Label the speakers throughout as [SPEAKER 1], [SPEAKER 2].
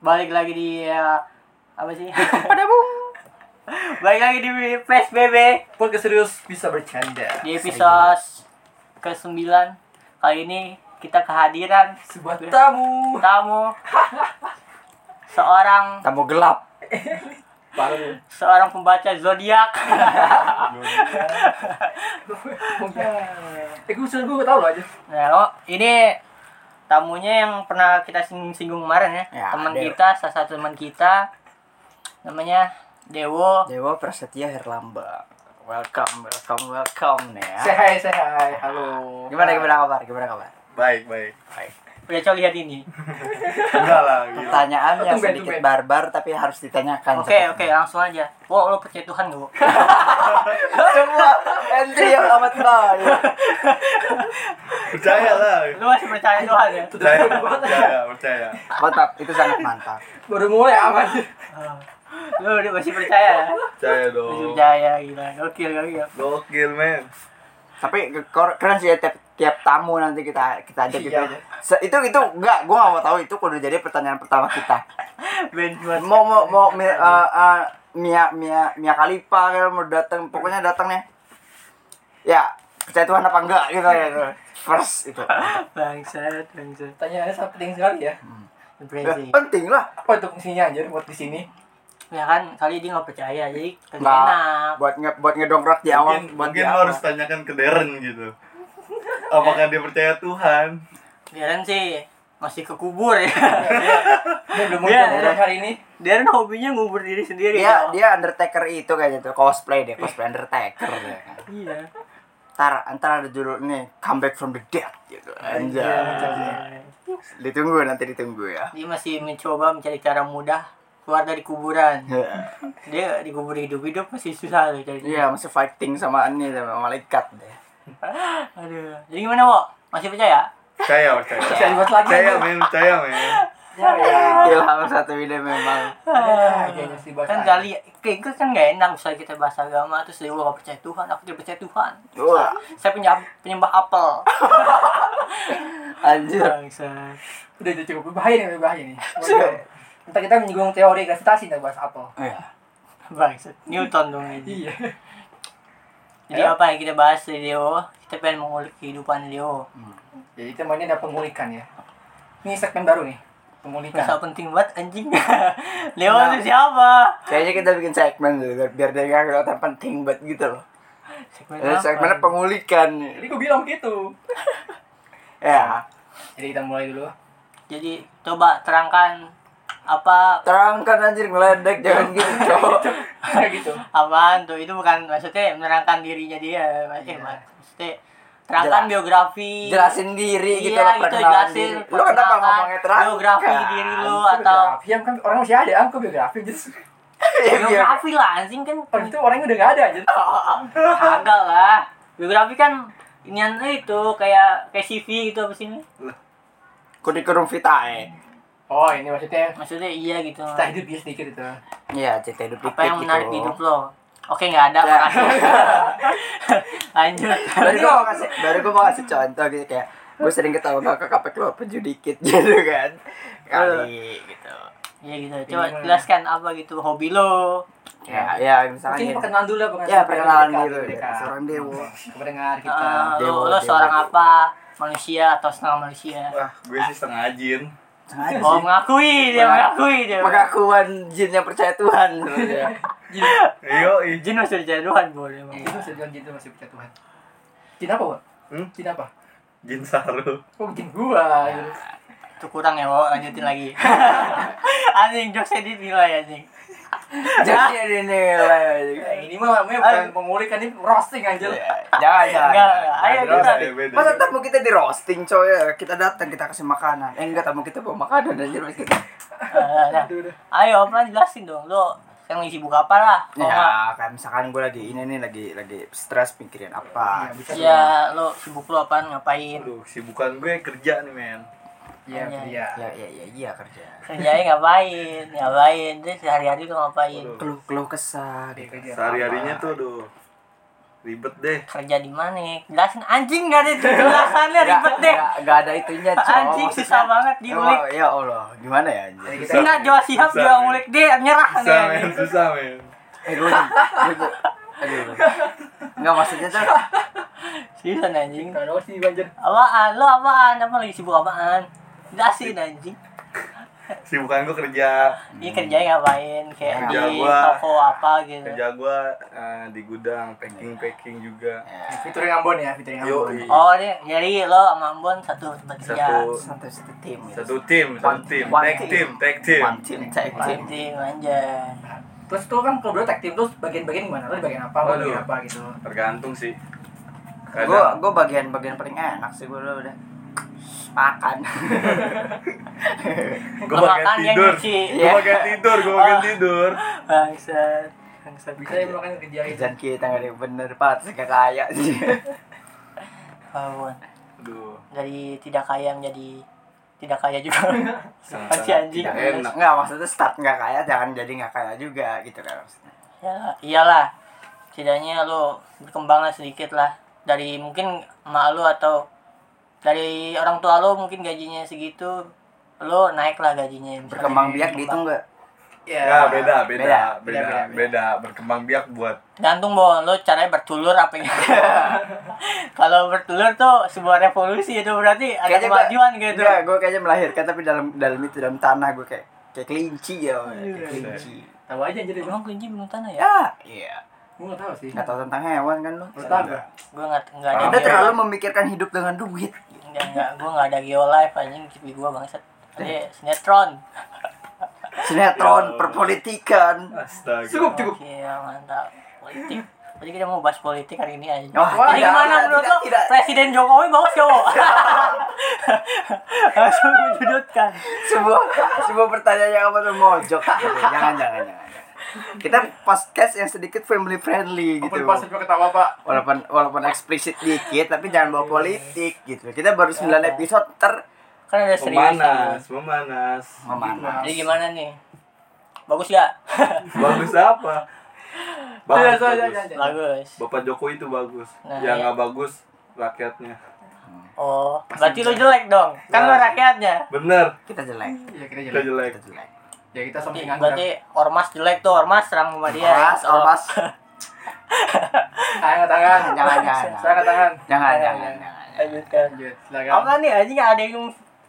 [SPEAKER 1] balik lagi di ya, apa sih?
[SPEAKER 2] Pada bung.
[SPEAKER 1] balik lagi di PSBB
[SPEAKER 3] Podcast serius bisa bercanda.
[SPEAKER 1] di episode ke-9. Kali ini kita kehadiran
[SPEAKER 3] Serius. sebuah tamu.
[SPEAKER 1] tamu seorang
[SPEAKER 2] Tamu gelap.
[SPEAKER 3] Baru.
[SPEAKER 1] seorang pembaca zodiak.
[SPEAKER 3] Eh, gue sudah gue tau lo aja.
[SPEAKER 1] Nah, oh, ini tamunya yang pernah kita singgung-singgung kemarin ya.
[SPEAKER 2] Ya,
[SPEAKER 1] teman
[SPEAKER 2] Dewo.
[SPEAKER 1] kita, salah satu teman kita namanya Dewo.
[SPEAKER 2] Dewa Prasetya Herlamba. Welcome, welcome, welcome nih
[SPEAKER 3] Say
[SPEAKER 2] ya.
[SPEAKER 3] hi, say hi. Halo.
[SPEAKER 2] Gimana gimana kabar? Gimana kabar?
[SPEAKER 4] Baik, baik.
[SPEAKER 1] Udah coba lihat ini.
[SPEAKER 4] Enggak lah, gitu. gila.
[SPEAKER 2] Pertanyaan yang
[SPEAKER 3] Tumben,
[SPEAKER 2] sedikit
[SPEAKER 3] tumben.
[SPEAKER 2] barbar tapi harus ditanyakan.
[SPEAKER 1] Oke, oke, langsung aja. Wow, lo percaya Tuhan gak? Wo?
[SPEAKER 2] Semua entry yang amat baik.
[SPEAKER 4] Percaya lah.
[SPEAKER 1] Lu masih percaya Tuhan ya?
[SPEAKER 4] Percaya, percaya, percaya.
[SPEAKER 2] Mantap, itu sangat mantap.
[SPEAKER 3] Baru mulai ah, aman.
[SPEAKER 1] Lu udah masih percaya ya? Masih
[SPEAKER 4] Percaya dong.
[SPEAKER 1] percaya gila. Oke, oke.
[SPEAKER 4] Gokil, men.
[SPEAKER 2] Tapi ke- kor- keren sih ya, tiap, tiap tamu nanti kita kita ajak gitu.
[SPEAKER 3] Iya, iya.
[SPEAKER 2] Se- itu itu enggak, gua nggak mau tahu itu kudu jadi pertanyaan pertama kita.
[SPEAKER 1] Ben buat
[SPEAKER 2] Mau mau mau mi- eh, eh, Mia Mia Mia Khalifa kan mau datang, pokoknya datangnya. Ya, percaya Tuhan apa enggak gitu ya. gitu. First itu.
[SPEAKER 1] bangsat, bangsat.
[SPEAKER 3] Pertanyaannya sangat penting sekali ya.
[SPEAKER 2] Ya,
[SPEAKER 1] Impresi.
[SPEAKER 2] penting lah
[SPEAKER 3] Apa itu fungsinya anjir buat di sini?
[SPEAKER 1] Ya kan, kali dia nggak percaya, jadi kagak
[SPEAKER 2] Nggak.
[SPEAKER 1] enak.
[SPEAKER 2] buat nge buat ngedongkrak di awal,
[SPEAKER 4] Mungkin,
[SPEAKER 2] buat
[SPEAKER 4] mungkin
[SPEAKER 2] di
[SPEAKER 4] lo
[SPEAKER 2] awal.
[SPEAKER 4] harus tanyakan ke Darren gitu. Apakah dia percaya Tuhan?
[SPEAKER 1] Darren sih masih kekubur ya.
[SPEAKER 3] Dia belum
[SPEAKER 1] Iya,
[SPEAKER 3] muncul
[SPEAKER 1] iya.
[SPEAKER 3] hari ini.
[SPEAKER 1] Darren hobinya ngubur diri sendiri.
[SPEAKER 2] dia
[SPEAKER 1] tau.
[SPEAKER 2] Iya, dia undertaker itu kayaknya tuh cosplay deh cosplay undertaker dia kan.
[SPEAKER 1] Iya.
[SPEAKER 2] ntar ntar ada judul nih comeback from the dead gitu anjay ditunggu nanti ditunggu ya
[SPEAKER 1] Dia masih mencoba mencari cara mudah keluar dari kuburan. Dia dikubur hidup-hidup masih susah loh cari.
[SPEAKER 2] iya masih fighting sama ini sama malaikat deh
[SPEAKER 1] Aduh. Jadi gimana, Wo? Masih percaya?
[SPEAKER 4] Percaya, percaya.
[SPEAKER 3] Bisa dibuat lagi. Ya,
[SPEAKER 4] Percaya, men. Percaya, men.
[SPEAKER 2] ilham satu ide memang
[SPEAKER 3] Ada aja yang mesti bahas.
[SPEAKER 1] kan kali kayak itu kan gak enak misalnya kita bahas agama terus dia gak percaya Tuhan aku tidak percaya Tuhan
[SPEAKER 2] wah
[SPEAKER 1] saya penyembah penyembah apel
[SPEAKER 2] anjir
[SPEAKER 1] Iya. Bangsat.
[SPEAKER 3] Udah udah cukup bahaya nih, bahaya nih. Entar kita menyinggung teori gravitasi ntar bahas apa.
[SPEAKER 2] Iya.
[SPEAKER 1] Bangsat. Newton dong ini
[SPEAKER 3] Iya.
[SPEAKER 1] jadi
[SPEAKER 3] Ayo.
[SPEAKER 1] apa yang kita bahas dari Deo kita pengen mengulik kehidupan Deo
[SPEAKER 3] Jadi temannya ada pemulikan ya. Ini segmen baru nih. Pemulikan.
[SPEAKER 1] Masa penting banget anjing Deo
[SPEAKER 2] Nah.
[SPEAKER 1] itu siapa
[SPEAKER 2] kayaknya kita bikin segmen dulu biar, biar dia nggak kelihatan penting banget gitu loh
[SPEAKER 1] segmen
[SPEAKER 2] Jadi segmennya pengulikan
[SPEAKER 3] Jadi gue bilang gitu.
[SPEAKER 2] ya
[SPEAKER 3] Jadi kita mulai dulu.
[SPEAKER 1] jadi coba terangkan apa
[SPEAKER 2] terangkan anjir
[SPEAKER 1] Iya.
[SPEAKER 2] ngeledek jangan gitu cowok
[SPEAKER 3] Kayak gitu.
[SPEAKER 1] apaan tuh itu bukan maksudnya menerangkan dirinya dia maksudnya,
[SPEAKER 3] Iya.
[SPEAKER 1] maksudnya terangkan
[SPEAKER 2] Jelas.
[SPEAKER 1] biografi
[SPEAKER 2] jelasin diri gitu
[SPEAKER 1] iya,
[SPEAKER 2] lah
[SPEAKER 1] gitu
[SPEAKER 2] perkenalan
[SPEAKER 1] jelasin
[SPEAKER 2] diri. Lu kenapa
[SPEAKER 1] perkenalan,
[SPEAKER 2] ngomongnya terang?
[SPEAKER 1] biografi diri lu atau
[SPEAKER 3] biografi yang kan orang masih ada, aku biografi jadi
[SPEAKER 2] Iya, biar-
[SPEAKER 1] biografi lah anjing kan
[SPEAKER 3] orang itu orangnya udah nggak ada aja.
[SPEAKER 1] kagak lah biografi kan inian itu kayak kayak CV gitu apa sih ini?
[SPEAKER 2] Kurikulum vitae.
[SPEAKER 3] Oh ini maksudnya
[SPEAKER 1] maksudnya iya gitu
[SPEAKER 3] kita hidup dia sedikit itu.
[SPEAKER 2] Iya, cerita hidup
[SPEAKER 1] apa
[SPEAKER 2] dikit
[SPEAKER 1] yang menarik di
[SPEAKER 2] gitu.
[SPEAKER 1] hidup lo oke nggak ada
[SPEAKER 2] Ya.
[SPEAKER 1] makasih. lanjut
[SPEAKER 2] Baru gua mau kasih, baru gua mau kasih contoh gitu kayak gue sering ketawa kakak kapek lu apa ju dikit gitu kan. Kali gitu.
[SPEAKER 1] ya
[SPEAKER 2] Iya.
[SPEAKER 1] gitu coba
[SPEAKER 3] Gimana?
[SPEAKER 1] jelaskan apa gitu hobi lo
[SPEAKER 2] Ya, ya
[SPEAKER 3] Mungkin perkenalan
[SPEAKER 2] misalnya
[SPEAKER 3] gitu. dulu lah pengen-
[SPEAKER 2] Ya, perkenalan
[SPEAKER 3] mereka,
[SPEAKER 2] dulu,
[SPEAKER 3] mereka.
[SPEAKER 2] seorang dewa.
[SPEAKER 3] Kependengar kita.
[SPEAKER 1] Eh,
[SPEAKER 2] Dewa,
[SPEAKER 1] lo, lo
[SPEAKER 2] dewa.
[SPEAKER 1] seorang apa manusia atau setengah manusia
[SPEAKER 4] Wah, gue sih setengah jin.
[SPEAKER 2] sengaja
[SPEAKER 1] Oh iya.
[SPEAKER 2] sih.
[SPEAKER 1] mengakui dia
[SPEAKER 2] Mengaku-
[SPEAKER 1] mengakui dia.
[SPEAKER 2] Pengakuan jin yang percaya Tuhan
[SPEAKER 3] Iya.
[SPEAKER 2] sebenarnya.
[SPEAKER 4] Yo,
[SPEAKER 1] Jin masih jadi Tuhan boleh emang.
[SPEAKER 3] Itu masih bilang gitu masih percaya Tuhan. Jin apa, Wak?
[SPEAKER 4] Hmm?
[SPEAKER 3] Jin apa?
[SPEAKER 4] jin saru.
[SPEAKER 3] Kok bikin gua? gitu.
[SPEAKER 1] Itu kurang ya, Wo. lanjutin lagi. anjing jokesnya dinilai ya, anjing.
[SPEAKER 2] Jadi ini nilai. gitu.
[SPEAKER 3] Ya,
[SPEAKER 2] Iya,
[SPEAKER 3] ini mah namanya bukan pemulikan, ini roasting anjir.
[SPEAKER 2] Jangan, jangan.
[SPEAKER 1] Enggak, ayo
[SPEAKER 4] Terus
[SPEAKER 1] kita.
[SPEAKER 4] ya, beda.
[SPEAKER 2] Masa tamu kita di roasting coy Ya, Kita datang kita kasih makanan Eh enggak tamu kita bawa makanan anjir Mas.
[SPEAKER 1] Eh, nah.
[SPEAKER 3] Aduh, udah.
[SPEAKER 1] Ayo, apa jelasin dong lo yang ngisi buka apa lah?
[SPEAKER 3] Oh,
[SPEAKER 1] Kalau nggak-
[SPEAKER 2] Ya, kayak misalkan gue lagi ini nih lagi lagi stres mikirin apa.
[SPEAKER 3] Iya, bisa.
[SPEAKER 1] Ya, lo sibuk lo apaan ngapain?
[SPEAKER 4] Aduh, kesibukan gue kerja nih, men.
[SPEAKER 3] Iya,
[SPEAKER 1] Iya.
[SPEAKER 3] iya.
[SPEAKER 2] Ya ya ya iya kerja.
[SPEAKER 1] Kerjanya ngapain? Ngapain? Terus sehari-hari lo ngapain?
[SPEAKER 4] Aduh.
[SPEAKER 2] Keluh keluh kesah.
[SPEAKER 3] Iya,
[SPEAKER 2] Gitu.
[SPEAKER 3] kerja.
[SPEAKER 4] Sehari-harinya tuh, aduh. ribet deh
[SPEAKER 1] kerja di mana jelasin anjing gak ada jelasannya Iya, ribet deh
[SPEAKER 2] Nggak- nggak ada itunya cowok
[SPEAKER 1] anjing susah banget diulik
[SPEAKER 2] ya Allah gimana ya anjing
[SPEAKER 3] Jadi kita
[SPEAKER 4] Susah.
[SPEAKER 1] enggak Jawa Sihab
[SPEAKER 4] Susah,
[SPEAKER 1] dia
[SPEAKER 4] men.
[SPEAKER 1] ngulik deh nyerah nih
[SPEAKER 4] susah men
[SPEAKER 1] anjing.
[SPEAKER 4] susah men
[SPEAKER 2] Eh, gue- gue- gue- aduh. nggak maksudnya tuh
[SPEAKER 1] seriusan anjing
[SPEAKER 3] nggak ada sih banjir.
[SPEAKER 1] apaan lo apaan apa lagi sibuk apaan jelasin anjing
[SPEAKER 4] sibukan gue kerja
[SPEAKER 1] ini kerjanya ngapain kayak
[SPEAKER 4] Kerja
[SPEAKER 1] di
[SPEAKER 4] gua.
[SPEAKER 1] toko apa gitu
[SPEAKER 4] kerja gue di gudang packing packing juga
[SPEAKER 3] Featuring Ambon ya, featuring Ambon.
[SPEAKER 4] Yoi.
[SPEAKER 1] oh deh jadi lo sama Ambon satu tempat kerja
[SPEAKER 4] Satu-
[SPEAKER 1] satu satu tim gitu.
[SPEAKER 4] satu tim satu
[SPEAKER 2] One-
[SPEAKER 4] tim
[SPEAKER 2] one
[SPEAKER 4] tag
[SPEAKER 2] team.
[SPEAKER 4] team tag team
[SPEAKER 2] one team
[SPEAKER 1] Satu tim aja
[SPEAKER 3] Terus tuh kan kalau dulu tag team terus bagian-bagian gimana? Lo di bagian apa? Lo di
[SPEAKER 4] Waduh.
[SPEAKER 3] bagian apa gitu.
[SPEAKER 4] tergantung sih
[SPEAKER 2] gue
[SPEAKER 4] kadang
[SPEAKER 2] gue bagian bagian paling enak sih gue udah makan
[SPEAKER 4] gue
[SPEAKER 1] Lo
[SPEAKER 4] bagian
[SPEAKER 1] makan, dia
[SPEAKER 4] tidur
[SPEAKER 1] nyuci.
[SPEAKER 4] gue bagian tidur gue bagian tidur
[SPEAKER 1] bangsat bangsat
[SPEAKER 3] Bisa ya melakukan kerja itu.
[SPEAKER 2] kerjaan kita nggak ada yang bener pak sih kaya sih
[SPEAKER 1] Ambon
[SPEAKER 4] aduh
[SPEAKER 1] dari tidak kaya menjadi tidak kaya juga
[SPEAKER 4] sangat
[SPEAKER 1] pasti anjing
[SPEAKER 4] tidak enak
[SPEAKER 2] nggak maksudnya start nggak kaya jangan jadi nggak kaya juga gitu kan maksudnya
[SPEAKER 1] ya iyalah setidaknya lo berkembanglah sedikit lah dari mungkin emak lo atau dari orang tua lo mungkin gajinya segitu lo naik lah gajinya misalnya. gitu.
[SPEAKER 2] berkembang biak dihitung nggak
[SPEAKER 3] Iya.
[SPEAKER 4] Ya, beda, beda,
[SPEAKER 2] Beda,
[SPEAKER 4] beda,
[SPEAKER 2] beda,
[SPEAKER 4] beda,
[SPEAKER 2] beda.
[SPEAKER 4] berkembang biak buat
[SPEAKER 1] gantung bon lo caranya bertulur apa ya kalau bertulur tuh sebuah revolusi itu berarti ada
[SPEAKER 2] Kayaknya gua- iya.
[SPEAKER 1] kemajuan gitu
[SPEAKER 2] Enggak, gue kayaknya melahirkan tapi dalam dalam itu dalam tanah gue kayak kayak kelinci ya, Om, kayak
[SPEAKER 3] Iya.
[SPEAKER 2] kelinci.
[SPEAKER 3] Tahu aja jadi gua
[SPEAKER 1] emang kelinci belum tanah ya
[SPEAKER 2] Ya, iya.
[SPEAKER 3] Gua nggak tahu sih.
[SPEAKER 2] Nggak tahu tentang hewan kan lu.
[SPEAKER 3] Lo tahu nggak?
[SPEAKER 1] gue nggak nggak ada
[SPEAKER 2] Anda
[SPEAKER 1] geo-
[SPEAKER 2] terlalu memikirkan hidup dengan duit.
[SPEAKER 1] nggak nggak gue nggak ada geolife anjing kipi gue bangsat ada sinetron
[SPEAKER 2] Sinetron, perpolitikan.
[SPEAKER 4] astaga.
[SPEAKER 3] Cukup, cukup.
[SPEAKER 1] Oke, mantap. Politik. Jadi kita mau bahas politik hari ini aja.
[SPEAKER 2] Wah,
[SPEAKER 1] Jadi
[SPEAKER 2] tidak,
[SPEAKER 1] gimana
[SPEAKER 2] tidak,
[SPEAKER 1] menurut
[SPEAKER 2] tidak,
[SPEAKER 1] lo
[SPEAKER 2] tidak.
[SPEAKER 1] Presiden Jokowi bagus gak, Wo? Langsung menjudutkan.
[SPEAKER 2] Sebuah sebuah pertanyaan yang apa tuh mojok. jangan, jangan, jangan. jangan. Kita podcast yang sedikit family friendly gitu.
[SPEAKER 3] Open pas gua ketawa pak.
[SPEAKER 2] Walaupun walaupun eksplisit dikit tapi jangan
[SPEAKER 1] Iya,
[SPEAKER 2] bawa politik gitu. Kita baru 9 episode ter
[SPEAKER 1] Kan ada serius.
[SPEAKER 4] Memanas, memanas.
[SPEAKER 3] Gitu,
[SPEAKER 2] memanas.
[SPEAKER 3] Iya,
[SPEAKER 1] Jadi gimana nih? Bagus gak?
[SPEAKER 4] Bagus apa?
[SPEAKER 3] Jangan,
[SPEAKER 4] Bagus,
[SPEAKER 3] jangan,
[SPEAKER 4] bagus.
[SPEAKER 3] jangan, jangan.
[SPEAKER 1] bagus.
[SPEAKER 4] Bapak Jokowi itu bagus.
[SPEAKER 1] Nah,
[SPEAKER 4] yang
[SPEAKER 1] iya.
[SPEAKER 4] nggak bagus rakyatnya.
[SPEAKER 1] Oh, berarti lo jelek dong. Kan lo
[SPEAKER 4] Nah.
[SPEAKER 1] rakyatnya.
[SPEAKER 4] Bener,
[SPEAKER 2] Kita
[SPEAKER 1] Iya.
[SPEAKER 2] jelek.
[SPEAKER 3] Ya kita
[SPEAKER 4] kita
[SPEAKER 3] jelek.
[SPEAKER 4] jelek.
[SPEAKER 2] Kita jelek.
[SPEAKER 3] Ya kita sampai nganggur.
[SPEAKER 1] Berarti ormas jelek tuh, ormas seram sama dia.
[SPEAKER 2] kan
[SPEAKER 1] Oh,
[SPEAKER 2] Ormas, ormas.
[SPEAKER 3] Tangan, tangan.
[SPEAKER 2] Jangan, jangan.
[SPEAKER 3] Tangan, tangan.
[SPEAKER 2] Jangan,
[SPEAKER 1] Iya,
[SPEAKER 2] jangan,
[SPEAKER 1] iya.
[SPEAKER 2] jangan.
[SPEAKER 1] Lanjutkan.
[SPEAKER 3] Lanjut,
[SPEAKER 4] Ya.
[SPEAKER 3] silakan.
[SPEAKER 1] Apa nih anjing ada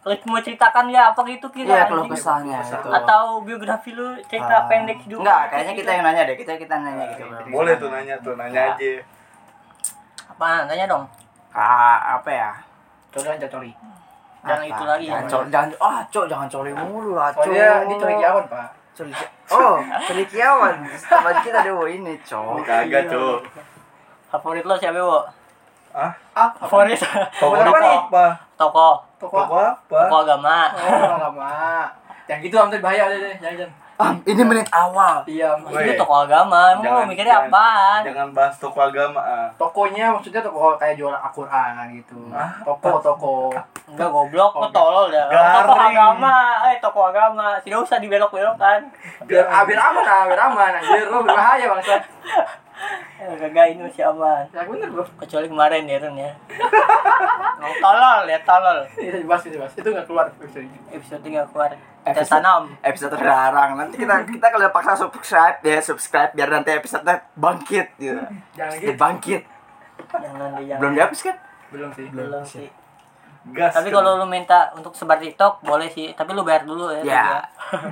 [SPEAKER 1] yang mau ceritakan ya apa gitu kira
[SPEAKER 2] Iya, keluh
[SPEAKER 1] anjing?
[SPEAKER 2] kesahnya itu.
[SPEAKER 1] atau biografi lu cerita
[SPEAKER 2] Ah.
[SPEAKER 1] pendek hidup Iya,
[SPEAKER 2] Enggak,
[SPEAKER 1] lu,
[SPEAKER 2] kayaknya kita
[SPEAKER 1] gitu.
[SPEAKER 2] yang nanya deh. Kita kita nanya gitu.
[SPEAKER 4] Boleh tuh nanya tuh, nanya aja.
[SPEAKER 1] Apaan? Tanya dong.
[SPEAKER 2] Ah, apa ya?
[SPEAKER 3] Contoh aja coli.
[SPEAKER 1] Jangan
[SPEAKER 2] Apa?
[SPEAKER 1] itu lagi. Oh, iya,
[SPEAKER 2] Jangan,
[SPEAKER 1] ya.
[SPEAKER 2] col- jangan ah, Cok, jangan coli mulu lah, Cok.
[SPEAKER 3] Soalnya dia coli kiawan pak.
[SPEAKER 2] Coli. Oh, coli kiawan. Teman kita dulu ini, Cok.
[SPEAKER 4] Oh, Kagak, Cok.
[SPEAKER 1] Favorit lo siapa, Wo?
[SPEAKER 4] Iya. Ah,
[SPEAKER 3] Ah, apa?
[SPEAKER 1] Favorit
[SPEAKER 4] toko
[SPEAKER 3] Apa nih?
[SPEAKER 4] apa?
[SPEAKER 1] toko,
[SPEAKER 3] Toko
[SPEAKER 4] Toko
[SPEAKER 3] apa?
[SPEAKER 4] apa?
[SPEAKER 1] toko agama.
[SPEAKER 3] Oh, lama. Yang gitu nanti bahaya deh, deh. jangan. jangan.
[SPEAKER 2] Ah, ini menit awal.
[SPEAKER 3] Iya,
[SPEAKER 4] Woi.
[SPEAKER 1] Itu toko agama. Emang lo mikirnya
[SPEAKER 4] Oh, jangan-
[SPEAKER 1] apaan?
[SPEAKER 4] Jangan bahas toko agama. ah.
[SPEAKER 3] tokonya maksudnya toko kayak jual Al-Qur'an gitu.
[SPEAKER 4] Ah,
[SPEAKER 3] Toko toko.
[SPEAKER 1] Enggak goblok, lo
[SPEAKER 3] Oke.
[SPEAKER 1] tolol dah. Oh, Toko
[SPEAKER 4] Garing.
[SPEAKER 1] agama, eh toko agama. Tidak usah dibelok-belokkan.
[SPEAKER 3] Biar ah, biar aman ah, biar aman anjir. Lu berbahaya bangsa.
[SPEAKER 1] Eh, Gagak ini masih aman.
[SPEAKER 3] Ya bener, Bro.
[SPEAKER 1] Kecuali kemarin ya, Ren ya. Emang tolol ya, tolol.
[SPEAKER 3] Iya, dibahas, dibahas. Itu enggak keluar episode ini.
[SPEAKER 1] Episode 3 keluar. Kita
[SPEAKER 2] Episode-
[SPEAKER 1] tanam.
[SPEAKER 2] Episode terlarang. Nanti kita kita kalau paksa subscribe ya, subscribe biar nanti episode bangkit gitu.
[SPEAKER 3] Jangan
[SPEAKER 2] Dia
[SPEAKER 3] gitu.
[SPEAKER 2] bangkit.
[SPEAKER 1] Jangan di
[SPEAKER 2] Belum dihapus kan?
[SPEAKER 3] Belum sih.
[SPEAKER 1] Belum sih.
[SPEAKER 4] Gas.
[SPEAKER 1] Tapi
[SPEAKER 4] Cok.
[SPEAKER 1] kalau lu minta untuk sebar TikTok boleh sih, tapi lu bayar dulu ya.
[SPEAKER 2] Ya.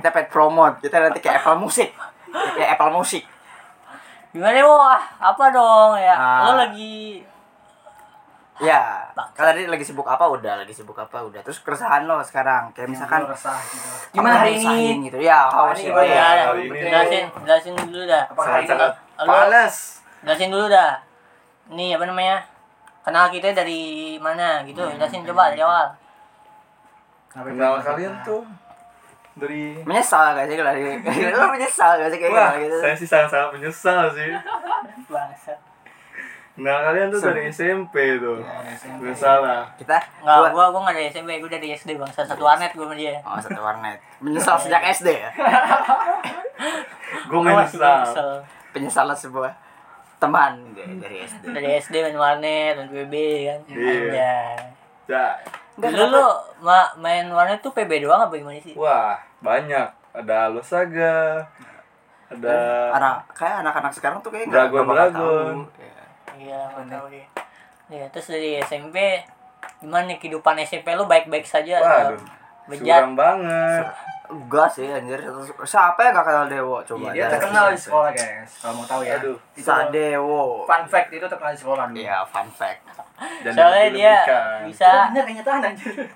[SPEAKER 2] Kita pet promote. Kita nanti kayak Apple Music. Kayak Apple Music.
[SPEAKER 1] Gimana ya, wah, apa dong ya?
[SPEAKER 2] Ah.
[SPEAKER 1] Lu lagi
[SPEAKER 2] Ya,
[SPEAKER 1] Bangsa.
[SPEAKER 2] kalau tadi lagi sibuk apa udah, lagi sibuk apa udah. Terus keresahan lo sekarang, kayak misalkan
[SPEAKER 3] Lu resah gitu.
[SPEAKER 2] apa
[SPEAKER 3] Gimana hari
[SPEAKER 2] yang
[SPEAKER 3] ini?
[SPEAKER 2] resahin gitu. Ya, haus
[SPEAKER 3] ini
[SPEAKER 2] gitu
[SPEAKER 1] Oh,
[SPEAKER 3] gimana?
[SPEAKER 2] ya.
[SPEAKER 1] ya,
[SPEAKER 4] hari ini.
[SPEAKER 1] jelasin, jelasin dulu dah.
[SPEAKER 3] Apa hari ini?
[SPEAKER 4] Sangat-sangat
[SPEAKER 1] Lu-
[SPEAKER 4] Males.
[SPEAKER 1] Jelasin dulu dah. Nih apa namanya? Kenal kita dari mana gitu? Jelasin coba dari awal.
[SPEAKER 3] Kenapa
[SPEAKER 4] Kenal
[SPEAKER 3] ini?
[SPEAKER 4] kalian tuh dari
[SPEAKER 2] Menyesal gak sih kalau gitu? Lo menyesal gak sih
[SPEAKER 1] Iya,
[SPEAKER 2] kayak
[SPEAKER 4] Wah,
[SPEAKER 2] gitu?
[SPEAKER 4] saya sih sangat-sangat menyesal sih.
[SPEAKER 1] Bangsat.
[SPEAKER 4] Nah, kalian tuh dari SMP tuh.
[SPEAKER 1] Iya,
[SPEAKER 4] Nggak salah.
[SPEAKER 2] Kita
[SPEAKER 1] Enggak,
[SPEAKER 2] gua-
[SPEAKER 1] gua gua enggak dari SMP, gua dari SD bangsa satu warnet gua sama dia.
[SPEAKER 2] Oh, satu warnet. Menyesal sejak SD ya?
[SPEAKER 4] Gue
[SPEAKER 1] Gua masih
[SPEAKER 4] menyesal.
[SPEAKER 1] kesel.
[SPEAKER 2] Penyesalan sebuah teman dari, dari SD
[SPEAKER 1] dari SD main warnet main PB kan
[SPEAKER 4] Iya.
[SPEAKER 1] Anjay.
[SPEAKER 4] Cak.
[SPEAKER 1] dulu lu ma- main warnet tuh PB doang apa gimana sih
[SPEAKER 4] Wah, banyak. Ada Losaga. Ada
[SPEAKER 2] anak kayak anak-anak sekarang tuh kayak
[SPEAKER 4] Eh, Dragon,
[SPEAKER 2] bakal
[SPEAKER 4] dragon.
[SPEAKER 2] tahu. Iya.
[SPEAKER 1] iya nggak tahu deh ya terus dari SMP gimana nih kehidupan SMP lu baik-baik saja atau
[SPEAKER 4] Waduh.
[SPEAKER 1] bejat
[SPEAKER 4] Suram banget.
[SPEAKER 2] Enggak sih anjir siapa yang gak kenal Dewo coba
[SPEAKER 3] Iya, dia
[SPEAKER 2] dari-
[SPEAKER 3] terkenal di sekolah guys kalau mau tahu ya
[SPEAKER 4] Aduh.
[SPEAKER 3] Itu
[SPEAKER 2] Sadewo
[SPEAKER 3] fun fact itu terkenal di sekolah dulu
[SPEAKER 2] Iya, fun fact
[SPEAKER 4] Dan
[SPEAKER 1] soalnya dia
[SPEAKER 4] dilebihkan.
[SPEAKER 1] bisa
[SPEAKER 3] Oh, bener kenyataan anjir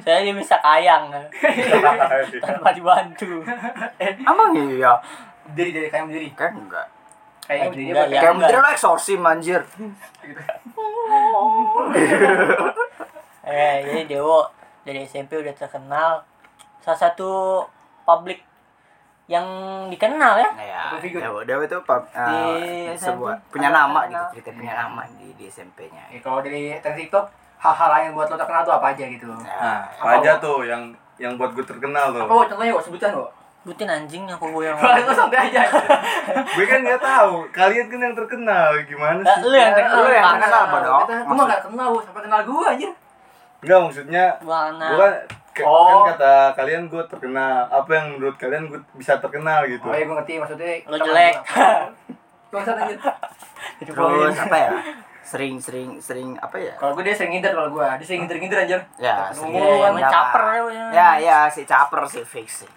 [SPEAKER 1] soalnya dia bisa kayang kan, tanpa dibantu
[SPEAKER 2] Emang iya?
[SPEAKER 3] Eh, Diri dari kayak sendiri
[SPEAKER 2] Kayak enggak
[SPEAKER 3] Kayaknya
[SPEAKER 1] Eh,
[SPEAKER 3] gitu. berdiri
[SPEAKER 1] enggak
[SPEAKER 3] pakai
[SPEAKER 1] ya.
[SPEAKER 2] Kayak menteri lo eksorsim anjir
[SPEAKER 1] eh jadi Dewo dari SMP udah terkenal salah satu publik yang dikenal ya
[SPEAKER 2] Iya,
[SPEAKER 3] Apa figur?
[SPEAKER 2] Dewo, Dewo itu pub- eh,
[SPEAKER 1] Di
[SPEAKER 2] sebuah
[SPEAKER 1] SMP.
[SPEAKER 2] punya
[SPEAKER 1] Ada
[SPEAKER 2] nama
[SPEAKER 1] terkenal.
[SPEAKER 2] gitu, cerita punya nama di, di SMP-nya.
[SPEAKER 3] Ya, kalau dari tren TikTok hal-hal lain yang buat lo terkenal tuh apa aja gitu
[SPEAKER 4] Nah,
[SPEAKER 2] Nah,
[SPEAKER 4] apa aja tuh yang yang buat gue terkenal
[SPEAKER 3] apa
[SPEAKER 4] tuh.
[SPEAKER 3] Wo? contohnya kok sebutan kok
[SPEAKER 1] butin anjing aku gue yang
[SPEAKER 3] kalau sampai aja
[SPEAKER 4] Gue kan nggak tahu. Kalian kan yang terkenal gimana
[SPEAKER 1] Nah,
[SPEAKER 4] sih?
[SPEAKER 1] lu yang terkenal
[SPEAKER 2] Lu yang terkenal,
[SPEAKER 1] Bang.
[SPEAKER 2] bodoh.
[SPEAKER 3] gue mah gak kenal Wo. sampai kenal gue aja
[SPEAKER 4] Enggak maksudnya
[SPEAKER 1] Warna.
[SPEAKER 4] gue kan, ke- kan
[SPEAKER 3] Oh.
[SPEAKER 4] kata kalian gue terkenal. Apa yang menurut kalian gue bisa terkenal gitu?
[SPEAKER 3] oh ya gue ngerti maksudnya
[SPEAKER 1] Lo
[SPEAKER 3] teman
[SPEAKER 1] jelek.
[SPEAKER 3] gua. Gua satu anjir
[SPEAKER 2] terus apa ya? Sering sering sering apa ya?
[SPEAKER 3] kalau gue dia sering ngider kalau gue dia sering ngider-ngider anjir
[SPEAKER 2] Ya,
[SPEAKER 3] Takut
[SPEAKER 2] sering
[SPEAKER 1] Iya,
[SPEAKER 3] ngomong.
[SPEAKER 1] emang caper ya, Bu, ya.
[SPEAKER 2] Ya, ya si caper si fix. sih.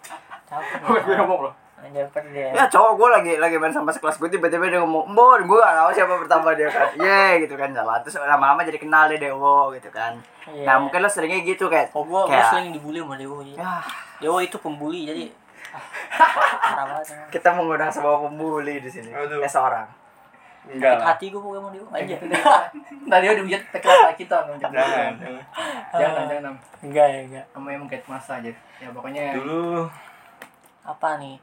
[SPEAKER 1] caper
[SPEAKER 3] gue ngomong loh
[SPEAKER 1] caper dia
[SPEAKER 2] Ya cowok gue lagi lagi main sama sekelas gue tiba-tiba dia ngomong Bon gue gak tau siapa pertama dia kan Ye gitu kan jalan Terus lama-lama jadi kenal deh Dewo gitu kan
[SPEAKER 1] Iya.
[SPEAKER 2] Nah mungkin lo seringnya gitu kayak
[SPEAKER 1] Oh gua, gua
[SPEAKER 2] kayak, "Ah,
[SPEAKER 1] sering dibully sama Dewo ya.
[SPEAKER 2] "Yah,
[SPEAKER 1] Dewo itu pembuli jadi ah, parah banget. emang.
[SPEAKER 2] Kita mengundang sebuah pembuli di sini
[SPEAKER 4] Aduh.
[SPEAKER 2] Eh seorang
[SPEAKER 4] Enggak.
[SPEAKER 1] Sakit
[SPEAKER 4] lah.
[SPEAKER 1] hati gua pokoknya sama Dewo aja.
[SPEAKER 3] Tadi Nah, udah dihujat tekrar kita Nom.
[SPEAKER 4] Jangan.
[SPEAKER 3] Jangan, jangan, jangan. Nom.
[SPEAKER 1] Enggak ya enggak.
[SPEAKER 3] Kamu yang mengait masa aja. Ya pokoknya
[SPEAKER 4] Dulu
[SPEAKER 1] Apa nih?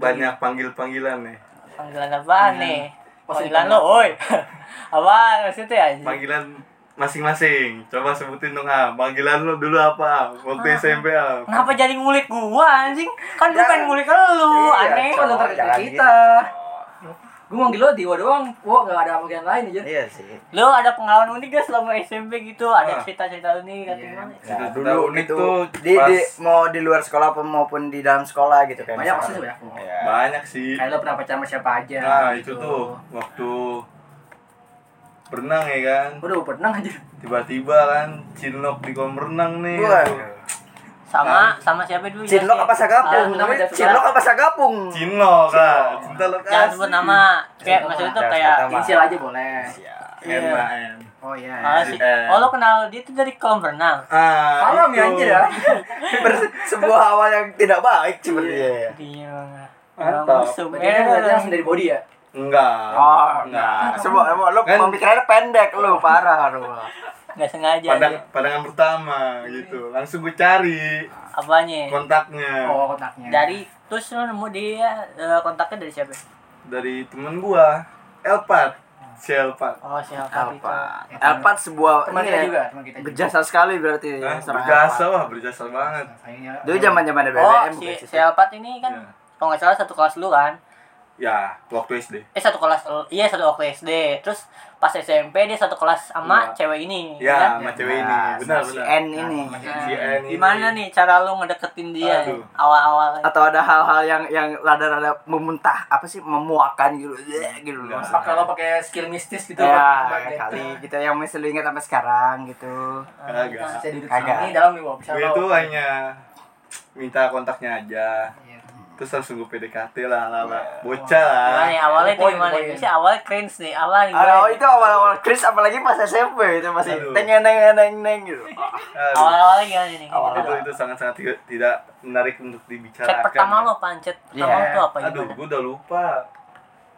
[SPEAKER 4] banyak panggil-panggilan nih.
[SPEAKER 1] Iya. Panggilan apaan nih?
[SPEAKER 3] Pasti
[SPEAKER 1] Panggilan lo,
[SPEAKER 3] dipanggil.
[SPEAKER 1] oi. Apaan maksudnya ya?
[SPEAKER 4] Panggilan masing-masing. Coba sebutin dong, Am. Panggilan lu dulu apa? Am? Waktu SMP, Am.
[SPEAKER 1] Kenapa jadi ngulik gua anjing? Kan gua
[SPEAKER 2] Ya.
[SPEAKER 1] pengen ngulik lu,
[SPEAKER 2] Iya,
[SPEAKER 1] Oh, aneh.
[SPEAKER 3] Kok lo terkait
[SPEAKER 2] Jangan
[SPEAKER 3] kita? Gue manggil lo Dewa doang. Wo gak ada bagian lain aja.
[SPEAKER 2] Iya sih
[SPEAKER 1] Lu ada pengalaman unik gak selama SMP gitu?
[SPEAKER 4] Ah.
[SPEAKER 1] Ada cerita-cerita unik atau
[SPEAKER 3] Iya.
[SPEAKER 1] gimana?
[SPEAKER 2] Ya,
[SPEAKER 4] Cerita
[SPEAKER 2] dulu
[SPEAKER 4] unik
[SPEAKER 2] itu
[SPEAKER 4] tuh
[SPEAKER 2] di,
[SPEAKER 4] pas-
[SPEAKER 2] di mau di luar sekolah apa maupun di dalam sekolah gitu kayak
[SPEAKER 3] Banyak
[SPEAKER 2] misalkan.
[SPEAKER 3] pasti sebenarnya.
[SPEAKER 2] Iya.
[SPEAKER 4] Banyak sih.
[SPEAKER 3] Kayak lo pernah pacaran sama siapa aja.
[SPEAKER 4] Nah, itu
[SPEAKER 3] gitu.
[SPEAKER 4] tuh waktu berenang ya kan.
[SPEAKER 3] Waduh, pernah aja.
[SPEAKER 4] Tiba-tiba kan cinlok di kolam renang nih.
[SPEAKER 2] Wah.
[SPEAKER 1] Sama sama siapa dulu? ya?
[SPEAKER 2] Cinlok apa
[SPEAKER 3] Ah,
[SPEAKER 2] sagapung?
[SPEAKER 3] nama jatuh.
[SPEAKER 2] Cinlok apa sagapung?
[SPEAKER 4] Cinlok lah, cinta lokasi.
[SPEAKER 1] Jangan sebut nama. Kayak
[SPEAKER 3] Jangan
[SPEAKER 1] maksudnya
[SPEAKER 3] sebut
[SPEAKER 1] tuh
[SPEAKER 2] nama.
[SPEAKER 1] kayak
[SPEAKER 2] Jangan sebut
[SPEAKER 3] Inisial aja boleh.
[SPEAKER 2] Iya.
[SPEAKER 4] Enak.
[SPEAKER 3] Oh iya.
[SPEAKER 1] Ah, sih.
[SPEAKER 4] Eh.
[SPEAKER 1] Oh lo kenal dia tuh dari kolam renang.
[SPEAKER 4] Ah,
[SPEAKER 3] Haram ya
[SPEAKER 4] itu.
[SPEAKER 3] anjir ya.
[SPEAKER 2] Ber- sebuah awal yang tidak baik
[SPEAKER 1] Iya.
[SPEAKER 2] ya. sepertinya.
[SPEAKER 1] Gila.
[SPEAKER 4] Mantap.
[SPEAKER 1] Orang musuh.
[SPEAKER 3] Berarti
[SPEAKER 1] Eh,
[SPEAKER 3] berarti langsung kan dari body ya.
[SPEAKER 4] Enggak.
[SPEAKER 2] Oh,
[SPEAKER 4] enggak.
[SPEAKER 2] Semua, semua lu
[SPEAKER 4] Kan- Oh.
[SPEAKER 2] pemikirannya pendek lu parah lu.
[SPEAKER 1] nggak sengaja.
[SPEAKER 4] Padang,
[SPEAKER 1] dia.
[SPEAKER 4] pandangan pertama
[SPEAKER 3] Iya.
[SPEAKER 4] gitu. Langsung gue cari
[SPEAKER 1] Apanya?
[SPEAKER 4] kontaknya
[SPEAKER 3] Oh kontaknya.
[SPEAKER 1] Dari terus lo nemu dia eh, kontaknya dari siapa?
[SPEAKER 4] dari temen gua, Elpat. Si Elpat.
[SPEAKER 1] Oh siapa
[SPEAKER 4] kan
[SPEAKER 1] itu?
[SPEAKER 2] Elpat. Elpat sebuah
[SPEAKER 3] teman
[SPEAKER 2] ini
[SPEAKER 3] kita
[SPEAKER 2] ya,
[SPEAKER 3] juga, teman kita juga.
[SPEAKER 2] Berjasa sekali berarti
[SPEAKER 4] Nah,
[SPEAKER 2] ya, seorang
[SPEAKER 4] berjasa
[SPEAKER 2] Elpat.
[SPEAKER 4] wah, berjasa banget.
[SPEAKER 3] Sayangnya.
[SPEAKER 2] Dulu zaman-zaman BBM
[SPEAKER 1] Oh si,
[SPEAKER 2] bukan sih? Nah,
[SPEAKER 1] si Alpat ini kan
[SPEAKER 4] Iya.
[SPEAKER 1] kalau nggak salah satu kelas lu kan?
[SPEAKER 4] Ya, waktu SD.
[SPEAKER 1] Eh satu kelas lu- iya satu kelas SD. Terus pas SMP dia satu kelas sama
[SPEAKER 4] Iya.
[SPEAKER 1] cewek ini.
[SPEAKER 4] Ya,
[SPEAKER 1] kan?
[SPEAKER 4] sama cewek ini.
[SPEAKER 2] Nah,
[SPEAKER 4] Benar,
[SPEAKER 2] si
[SPEAKER 4] benar.
[SPEAKER 2] N ini.
[SPEAKER 1] Nah,
[SPEAKER 4] Si N ini.
[SPEAKER 1] gimana nih cara lu ngedeketin dia
[SPEAKER 4] Aduh.
[SPEAKER 1] awal-awal?
[SPEAKER 2] atau ada hal-hal yang yang rada-rada memuntah apa sih memuakan gitu Zeh, gitu loh
[SPEAKER 4] Enggak.
[SPEAKER 3] Maka lo pakai skill mistis gitu.
[SPEAKER 2] ya
[SPEAKER 3] buat- buat-
[SPEAKER 2] kali gitu yang masih lu ingat sampai sekarang gitu
[SPEAKER 4] Kagak.
[SPEAKER 3] Bisa duduk
[SPEAKER 2] Kagak.
[SPEAKER 3] sini dalam nih, Wo. Bisa
[SPEAKER 4] Gue
[SPEAKER 3] lo-
[SPEAKER 4] tuh hanya minta kontaknya aja.
[SPEAKER 3] Iya.
[SPEAKER 4] Terus langsung gue PDKT lah lah, lah. Bocah lah.
[SPEAKER 1] Gimana nih awalnya tuh
[SPEAKER 3] Poin,
[SPEAKER 1] gimana?
[SPEAKER 3] poin.
[SPEAKER 1] Biasanya awalnya cringe nih, awalnya gimana?
[SPEAKER 2] Oh, itu awal-awal Chris apalagi pas SMP itu masih
[SPEAKER 4] Aduh.
[SPEAKER 2] teng neng neng neng neng gitu.
[SPEAKER 4] Aduh.
[SPEAKER 1] Awal-awalnya gimana nih?
[SPEAKER 2] Awal-awal.
[SPEAKER 4] itu itu sangat-sangat tidak, tidak menarik untuk dibicarakan.
[SPEAKER 1] Chat pertama
[SPEAKER 4] ya.
[SPEAKER 1] lo apaan? Chat pertama
[SPEAKER 2] Iya.
[SPEAKER 1] lo tuh apa
[SPEAKER 4] Aduh,
[SPEAKER 1] gimana?
[SPEAKER 4] gue udah lupa.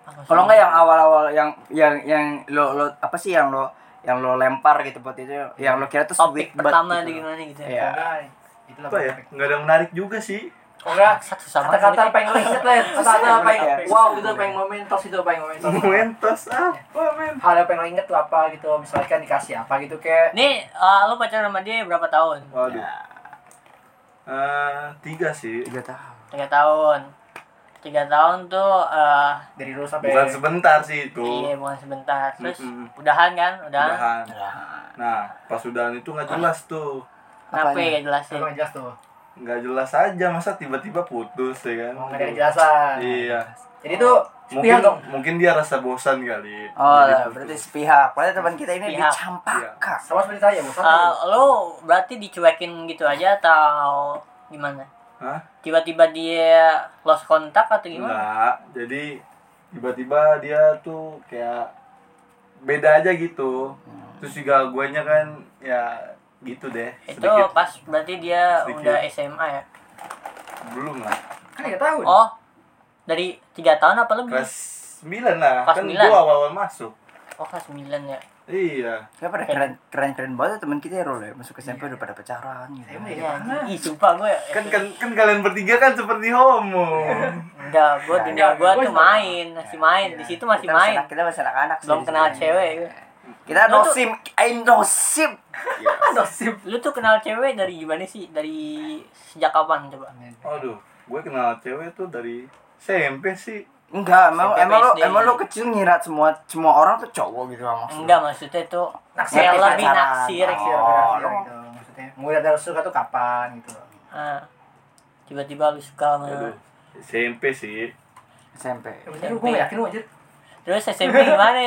[SPEAKER 1] Apa sih?
[SPEAKER 2] Kalau nggak yang awal-awal yang yang yang lo lo apa sih yang lo yang lo lempar gitu buat itu yang lo kira tuh
[SPEAKER 1] topik
[SPEAKER 2] sweet banget
[SPEAKER 1] pertama
[SPEAKER 2] gitu.
[SPEAKER 1] di gimana gitu ya?
[SPEAKER 2] Iya.
[SPEAKER 3] Kagak. Itulah
[SPEAKER 4] Apa ya?
[SPEAKER 3] perfect.
[SPEAKER 4] Nggak ada yang menarik juga sih.
[SPEAKER 3] Kok enggak?
[SPEAKER 1] Satu sama kan?
[SPEAKER 3] Kata-kata paling lengket lah, ya. kata-kata paling
[SPEAKER 2] Iya.
[SPEAKER 3] wow itu paling momentos itu paling momentos.
[SPEAKER 4] Momentos apa, men?
[SPEAKER 3] Hal yang paling lo inget tuh apa gitu, misalkan dikasih apa gitu kayak
[SPEAKER 1] Nih, eh, lo pacaran sama dia berapa tahun?
[SPEAKER 4] Waduh.
[SPEAKER 2] Ya,
[SPEAKER 4] Eh, tiga sih.
[SPEAKER 2] gitu. tiga tahun.
[SPEAKER 1] Tiga tahun. tiga tahun tuh eh,
[SPEAKER 3] dari dulu sampai
[SPEAKER 4] Bukan sebentar sih itu.
[SPEAKER 1] iya bukan sebentar terus
[SPEAKER 4] Mm-mm.
[SPEAKER 1] udahan kan udahan,
[SPEAKER 4] Udahan. Nah, pas udahan itu nggak jelas tuh.
[SPEAKER 1] kenapa
[SPEAKER 2] Apanya?
[SPEAKER 1] ya jelasin
[SPEAKER 3] Emang kan jelas tuh.
[SPEAKER 4] Nggak jelas aja masa tiba-tiba putus ya kan.
[SPEAKER 3] Emang Oh, nggak ada kejelasan.
[SPEAKER 4] Iya.
[SPEAKER 3] Jadi tuh
[SPEAKER 4] Mungkin
[SPEAKER 3] sepihak dong.
[SPEAKER 4] mungkin dia rasa bosan kali.
[SPEAKER 1] ya,
[SPEAKER 2] Oh,
[SPEAKER 4] Jadi putus.
[SPEAKER 2] berarti sepihak. Iya. Padahal teman kita ini
[SPEAKER 1] Sepihak.
[SPEAKER 2] dicampakkan.
[SPEAKER 3] Sama seperti saya, Bu. Satu.
[SPEAKER 2] Ah.
[SPEAKER 1] Eh, lo berarti dicuekin gitu aja atau gimana
[SPEAKER 4] Hah?
[SPEAKER 1] tiba-tiba dia lost kontak atau gimana
[SPEAKER 4] Enggak. Jadi tiba-tiba dia tuh kayak beda aja gitu.
[SPEAKER 1] Hmm.
[SPEAKER 4] Terus juga guanya kan ya gitu deh.
[SPEAKER 1] itu
[SPEAKER 4] Sedikit
[SPEAKER 1] pas berarti dia
[SPEAKER 4] Sedikit.
[SPEAKER 1] udah SMA ya
[SPEAKER 4] belum lah.
[SPEAKER 3] Kan nggak tahu.
[SPEAKER 1] oh dari tiga tahun apa lebih
[SPEAKER 4] Kelas 9 lah.
[SPEAKER 1] Kelas
[SPEAKER 4] kan
[SPEAKER 1] sembilan.
[SPEAKER 4] gua awal-awal masuk.
[SPEAKER 1] oh kelas 9 ya
[SPEAKER 4] Iya.
[SPEAKER 2] Ya pada keren keren keren banget teman kita ya Rul ya. Masuk ke SMP udah pada pacaran gitu.
[SPEAKER 3] Saya mau ya,
[SPEAKER 1] Iya,
[SPEAKER 3] gimana?
[SPEAKER 1] ih sumpah ya. gue
[SPEAKER 4] Kan, kan kan kalian bertiga kan seperti homo.
[SPEAKER 1] enggak
[SPEAKER 4] Nah,
[SPEAKER 1] gue dunia
[SPEAKER 4] ya,
[SPEAKER 1] gue
[SPEAKER 3] Gua
[SPEAKER 1] tuh
[SPEAKER 3] sama.
[SPEAKER 1] main masih main di situ masih
[SPEAKER 2] Kita masih
[SPEAKER 1] main
[SPEAKER 2] anak- kita masih anak-anak sih
[SPEAKER 1] belum
[SPEAKER 2] di
[SPEAKER 1] kenal
[SPEAKER 2] sini.
[SPEAKER 1] cewek gue.
[SPEAKER 2] Kita
[SPEAKER 1] Lu tuh-
[SPEAKER 2] nosim, I nosim.
[SPEAKER 3] Nasib.
[SPEAKER 1] lu tuh kenal cewek dari gimana sih dari sejak kapan coba
[SPEAKER 4] Aduh, gue kenal cewek tuh dari SMP sih.
[SPEAKER 2] Enggak, emang
[SPEAKER 1] Sampai
[SPEAKER 2] emang lo
[SPEAKER 1] SD.
[SPEAKER 2] emang lo kecil ngira semua semua orang tuh cowok gitu lah maksudnya.
[SPEAKER 1] enggak maksudnya tuh
[SPEAKER 3] Naksir,
[SPEAKER 1] kayak
[SPEAKER 2] pacaran.
[SPEAKER 1] lebih naksir
[SPEAKER 3] Naksir,
[SPEAKER 2] Oh,
[SPEAKER 3] naksir,
[SPEAKER 2] lu-
[SPEAKER 3] gitu. Maksudnya, mulai dari suka tuh kapan gitu.
[SPEAKER 1] Ah. tiba-tiba lu suka sama
[SPEAKER 4] Aduh, SMP sih.
[SPEAKER 2] SMP.
[SPEAKER 3] Ya, bener, gue nggak yakin lu anjir.
[SPEAKER 1] terus SMP gimana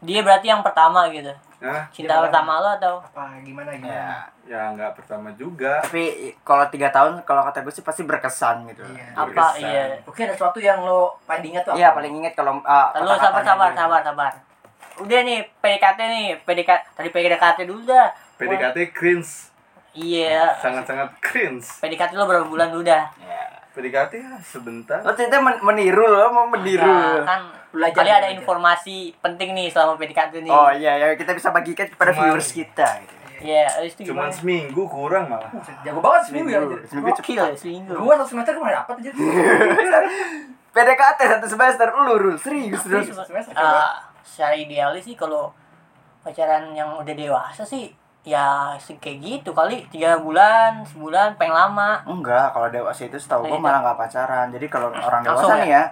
[SPEAKER 1] dia berarti yang pertama gitu
[SPEAKER 4] Nah,
[SPEAKER 1] cinta
[SPEAKER 3] Dia
[SPEAKER 1] pertama lo atau
[SPEAKER 3] Apa gimana gimana?
[SPEAKER 2] Ya.
[SPEAKER 4] ya nggak pertama juga.
[SPEAKER 2] Tapi kalau tiga tahun kalau kata gue sih pasti berkesan gitu.
[SPEAKER 3] Iya.
[SPEAKER 1] apa
[SPEAKER 4] Berkesan.
[SPEAKER 1] iya
[SPEAKER 3] Mungkin ada sesuatu yang lo paling ingat tuh apa?
[SPEAKER 2] Iya paling inget kalau uh,
[SPEAKER 1] Lalu sabar
[SPEAKER 2] kata-katanya
[SPEAKER 1] sabar
[SPEAKER 2] gitu.
[SPEAKER 1] sabar sabar udah nih PDKT nih PDKT dari PDKT dulu dah
[SPEAKER 4] PDKT cringe,
[SPEAKER 1] iya
[SPEAKER 4] sangat-sangat cringe.
[SPEAKER 1] PDKT lo berapa bulan dulu dah
[SPEAKER 2] Iya.
[SPEAKER 4] PDKT ya sebentar.
[SPEAKER 2] Lo ternyata men- meniru lo mau meniru.
[SPEAKER 1] Nah, kan
[SPEAKER 3] Belajar,
[SPEAKER 1] kali ada
[SPEAKER 3] belajar.
[SPEAKER 1] informasi penting nih selama PDKT nih
[SPEAKER 2] Oh iya ya kita bisa bagikan kepada
[SPEAKER 4] Cuman-
[SPEAKER 2] viewers kita. Gitu.
[SPEAKER 1] Iya, habis itu gimana?
[SPEAKER 4] Cuman seminggu kurang malah.
[SPEAKER 3] Buset, Jago banget seminggu ya anjir.
[SPEAKER 2] Seminggu
[SPEAKER 1] Gokil ya, seminggu.
[SPEAKER 3] Gue satu semester kemarin dapat aja.
[SPEAKER 2] PDKT satu semester lu rul serius
[SPEAKER 3] Tapi
[SPEAKER 2] rul.
[SPEAKER 3] satu semester coba.
[SPEAKER 1] Eh, secara idealis sih kalau pacaran yang udah dewasa sih ya se- kayak gitu kali tiga bulan sebulan pengen lama
[SPEAKER 2] Enggak, kalau dewasa itu setahu gua
[SPEAKER 1] Iya.
[SPEAKER 2] malah nggak pacaran. Jadi kalau orang
[SPEAKER 1] Langsung
[SPEAKER 2] dewasa
[SPEAKER 1] ya?
[SPEAKER 2] nih ya,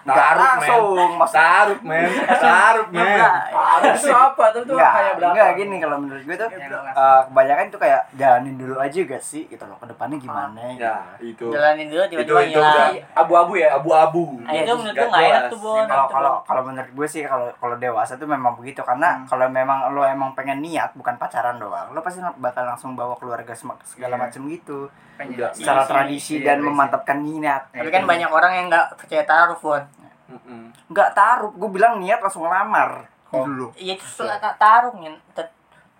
[SPEAKER 2] enggak
[SPEAKER 4] Taruh,
[SPEAKER 2] langsung mas
[SPEAKER 4] Tarup men, tarup men.
[SPEAKER 3] Ah, itu apa? Tapi tuh
[SPEAKER 2] Enggak,
[SPEAKER 3] kayak berapa?
[SPEAKER 2] enggak gini kalau menurut gue tuh
[SPEAKER 3] Ya, enggak langsung.
[SPEAKER 2] eh, kebanyakan tuh kayak jalanin dulu aja gak sih gitu loh ke depannya gimana
[SPEAKER 1] Ah.
[SPEAKER 2] gitu.
[SPEAKER 4] Ya itu
[SPEAKER 1] jalanin dulu tiba-tiba
[SPEAKER 4] Itu- itu udah.
[SPEAKER 1] hilang
[SPEAKER 3] abu-abu ya.
[SPEAKER 4] abu-abu.
[SPEAKER 1] Nah, itu menurut
[SPEAKER 4] Nggak
[SPEAKER 1] gue nggak enak
[SPEAKER 4] jelas.
[SPEAKER 1] tuh bon
[SPEAKER 2] Iya, kalau
[SPEAKER 1] Itu,
[SPEAKER 2] kalau
[SPEAKER 1] Bon.
[SPEAKER 2] kalau menurut gue sih kalau kalau dewasa tuh memang begitu karena kalau memang lo emang pengen niat bukan pacaran doang lo pasti bakal langsung bawa keluarga sem- segala
[SPEAKER 3] Iya.
[SPEAKER 2] macam gitu
[SPEAKER 3] Pengen
[SPEAKER 4] Enggak.
[SPEAKER 3] jadi.
[SPEAKER 2] secara
[SPEAKER 3] Iya,
[SPEAKER 2] tradisi
[SPEAKER 3] iya,
[SPEAKER 2] dan
[SPEAKER 3] iya,
[SPEAKER 2] memantapkan niat
[SPEAKER 1] tapi kan banyak orang yang nggak percaya taruh pun
[SPEAKER 4] Mm-mm.
[SPEAKER 2] nggak taruh gue bilang niat langsung lamar dulu
[SPEAKER 1] iya itu suka tak taruh nyen Tet-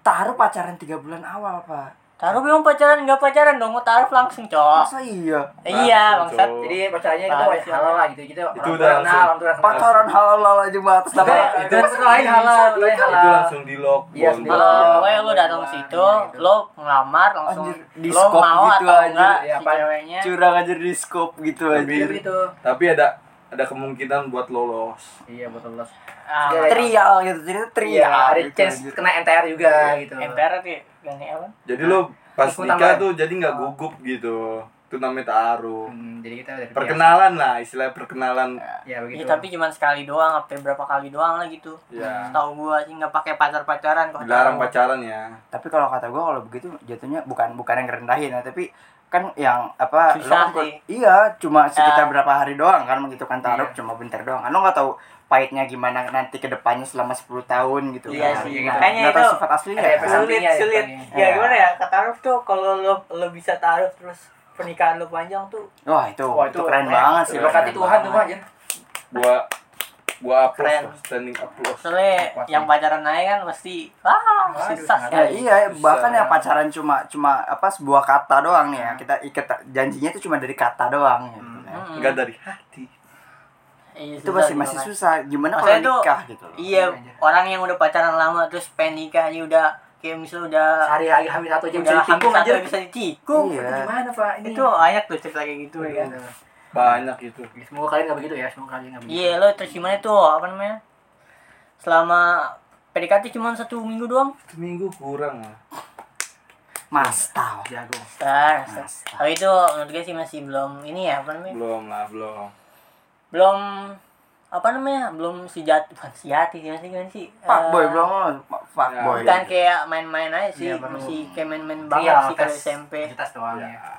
[SPEAKER 2] taruh pacaran tiga bulan awal pak
[SPEAKER 1] taruh memang pacaran nggak pacaran dong mau taruh langsung cowok
[SPEAKER 2] masa iya
[SPEAKER 1] iya
[SPEAKER 4] Langsung,
[SPEAKER 1] bangsat
[SPEAKER 4] cowok.
[SPEAKER 3] Jadi pacarnya itu
[SPEAKER 1] Bagus,
[SPEAKER 3] banyak halal lah gitu. Gitu orang
[SPEAKER 4] udah
[SPEAKER 3] tua kenal,
[SPEAKER 4] langsung.
[SPEAKER 3] orang tua kenal.
[SPEAKER 2] pacaran halal aja batas
[SPEAKER 4] Nah,
[SPEAKER 1] Ya,
[SPEAKER 2] lah
[SPEAKER 3] itu masalah lain halal, lain
[SPEAKER 1] kan.
[SPEAKER 4] Itu
[SPEAKER 3] halal.
[SPEAKER 4] langsung di lock
[SPEAKER 3] Iya,
[SPEAKER 4] Bon.
[SPEAKER 3] sendiri.
[SPEAKER 1] Kalau
[SPEAKER 3] Iya.
[SPEAKER 1] pokoknya lu datang
[SPEAKER 3] Iya,
[SPEAKER 1] situ,
[SPEAKER 3] gitu.
[SPEAKER 1] lu ngelamar langsung
[SPEAKER 2] Anjir, di
[SPEAKER 1] lo
[SPEAKER 2] scope
[SPEAKER 1] mau
[SPEAKER 2] gitu,
[SPEAKER 1] atau
[SPEAKER 2] anjir.
[SPEAKER 1] enggak
[SPEAKER 3] Ya,
[SPEAKER 1] si
[SPEAKER 3] apaan?
[SPEAKER 1] ceweknya.
[SPEAKER 2] curang aja di scope gitu aja
[SPEAKER 4] Tapi-
[SPEAKER 3] Gitu.
[SPEAKER 4] Tapi ada ada kemungkinan buat lolos.
[SPEAKER 3] Iya, betul betul.
[SPEAKER 1] Ah,
[SPEAKER 3] Iya,
[SPEAKER 2] trial gitu ternyata
[SPEAKER 3] Iya,
[SPEAKER 2] trial
[SPEAKER 3] ada
[SPEAKER 2] gitu,
[SPEAKER 3] chance
[SPEAKER 2] anjir. Iya,
[SPEAKER 3] kena NTR juga gitu.
[SPEAKER 1] MPR tuh ya, gini apa?
[SPEAKER 2] Gitu.
[SPEAKER 4] Jadi lo pas
[SPEAKER 3] Ikut
[SPEAKER 4] nikah
[SPEAKER 3] tambahan.
[SPEAKER 4] tuh jadi nggak gugup gitu. Itu namanya taruh.
[SPEAKER 3] Hmm, jadi kita udah
[SPEAKER 4] Perkenalan lah, istilah perkenalan.
[SPEAKER 3] biasa. Ya, begitu.
[SPEAKER 2] Iya,
[SPEAKER 1] Ya, tapi cuma sekali doang, apa berapa kali doang lah gitu.
[SPEAKER 4] Ya.
[SPEAKER 1] Tahu gua sih nggak pakai pacar-pacaran kok.
[SPEAKER 4] Dilarang pacaran ya.
[SPEAKER 2] tapi kalau kata gue kalau begitu jatuhnya bukan bukan yang rendahin ya tapi kan yang apa lo
[SPEAKER 1] Susah
[SPEAKER 2] kan kok-
[SPEAKER 1] sih.
[SPEAKER 2] iya cuma
[SPEAKER 1] Ah.
[SPEAKER 2] sekitar berapa hari doang kan begitu kan taruh
[SPEAKER 3] Iya.
[SPEAKER 2] cuma bentar doang kan lo nggak tahu pahitnya gimana nanti ke depannya selama 10 tahun gitu
[SPEAKER 1] Iya
[SPEAKER 2] kan.
[SPEAKER 1] sih,
[SPEAKER 2] Nggak-
[SPEAKER 1] makanya
[SPEAKER 2] nggak tahu
[SPEAKER 1] itu
[SPEAKER 2] sifat aslinya
[SPEAKER 3] ada
[SPEAKER 2] kan.
[SPEAKER 3] pesan
[SPEAKER 1] Sulit,
[SPEAKER 3] Sampingnya ya,
[SPEAKER 1] sulit.
[SPEAKER 3] depannya.
[SPEAKER 1] Ya
[SPEAKER 2] Iya.
[SPEAKER 1] gimana ya? Kata Arif tuh kalau lo lo bisa taruh terus pernikahan lo panjang tuh
[SPEAKER 2] wah itu itu, keren banget sih
[SPEAKER 3] eh, Berkati
[SPEAKER 2] keren
[SPEAKER 3] Tuhan tuh
[SPEAKER 2] banget.
[SPEAKER 3] anjir.
[SPEAKER 4] Gua gua
[SPEAKER 1] Keren.
[SPEAKER 4] applause, tuh, standing applause.
[SPEAKER 1] soalnya
[SPEAKER 3] Kuat
[SPEAKER 1] yang pacaran aja kan pasti wah
[SPEAKER 3] Waduh,
[SPEAKER 1] susah kan?
[SPEAKER 3] sangat.
[SPEAKER 2] Ya,
[SPEAKER 1] sekali.
[SPEAKER 2] iya,
[SPEAKER 4] Susah.
[SPEAKER 2] bahkan ya pacaran cuma cuma apa sebuah kata doang nih ya.
[SPEAKER 1] Hmm.
[SPEAKER 2] Kita ikat janjinya itu cuma dari kata doang ya. gitu kan.
[SPEAKER 1] Mm-mm.
[SPEAKER 4] Enggak dari hati.
[SPEAKER 1] Iya,
[SPEAKER 2] Itu
[SPEAKER 1] Hmm. susah
[SPEAKER 2] masih
[SPEAKER 1] gitu
[SPEAKER 2] masih
[SPEAKER 1] kan.
[SPEAKER 2] susah. Gimana kalau
[SPEAKER 1] Maksudnya tuh,
[SPEAKER 2] nikah gitu loh.
[SPEAKER 1] Iya,
[SPEAKER 3] Iya,
[SPEAKER 1] orang yang udah pacaran lama terus pengen nikah aja udah kayak misalnya udah
[SPEAKER 3] Sehari lagi hamil satu aja bisa
[SPEAKER 1] udah
[SPEAKER 3] ditikung
[SPEAKER 1] hampir
[SPEAKER 3] anjir.
[SPEAKER 1] satu bisa ditikung.
[SPEAKER 2] Iya.
[SPEAKER 3] Itu Gimana, Pak? Ini. Iya.
[SPEAKER 1] Itu banyak tuh cerita kayak gitu ya.
[SPEAKER 3] Aduh.
[SPEAKER 4] Banyak gitu.
[SPEAKER 3] Semoga kalian gak begitu ya, semoga kalian gak begitu.
[SPEAKER 1] Iya, lo terus gimana tuh? Apa namanya? Selama PDKT cuma satu minggu doang.
[SPEAKER 4] Seminggu kurang lah.
[SPEAKER 2] Masta, jago.
[SPEAKER 3] Iya
[SPEAKER 1] Star, Star. Tapi Nah, Oh, itu menurut gue sih masih belum ini ya apa namanya?
[SPEAKER 4] belum lah belum
[SPEAKER 1] Belum apa namanya? Belum sejati bukan sejati sih masih gimana sih?
[SPEAKER 2] Pak
[SPEAKER 1] Eh,
[SPEAKER 2] boy belum on. Pak
[SPEAKER 4] Ya.
[SPEAKER 2] boy.
[SPEAKER 1] Bukan kayak main-main aja sih,
[SPEAKER 3] Iya, baru-
[SPEAKER 1] masih kayak main-main banget
[SPEAKER 3] Iya,
[SPEAKER 1] sih kalau
[SPEAKER 3] tes
[SPEAKER 1] SMP.
[SPEAKER 3] Universitas doang
[SPEAKER 4] ya.
[SPEAKER 3] ya.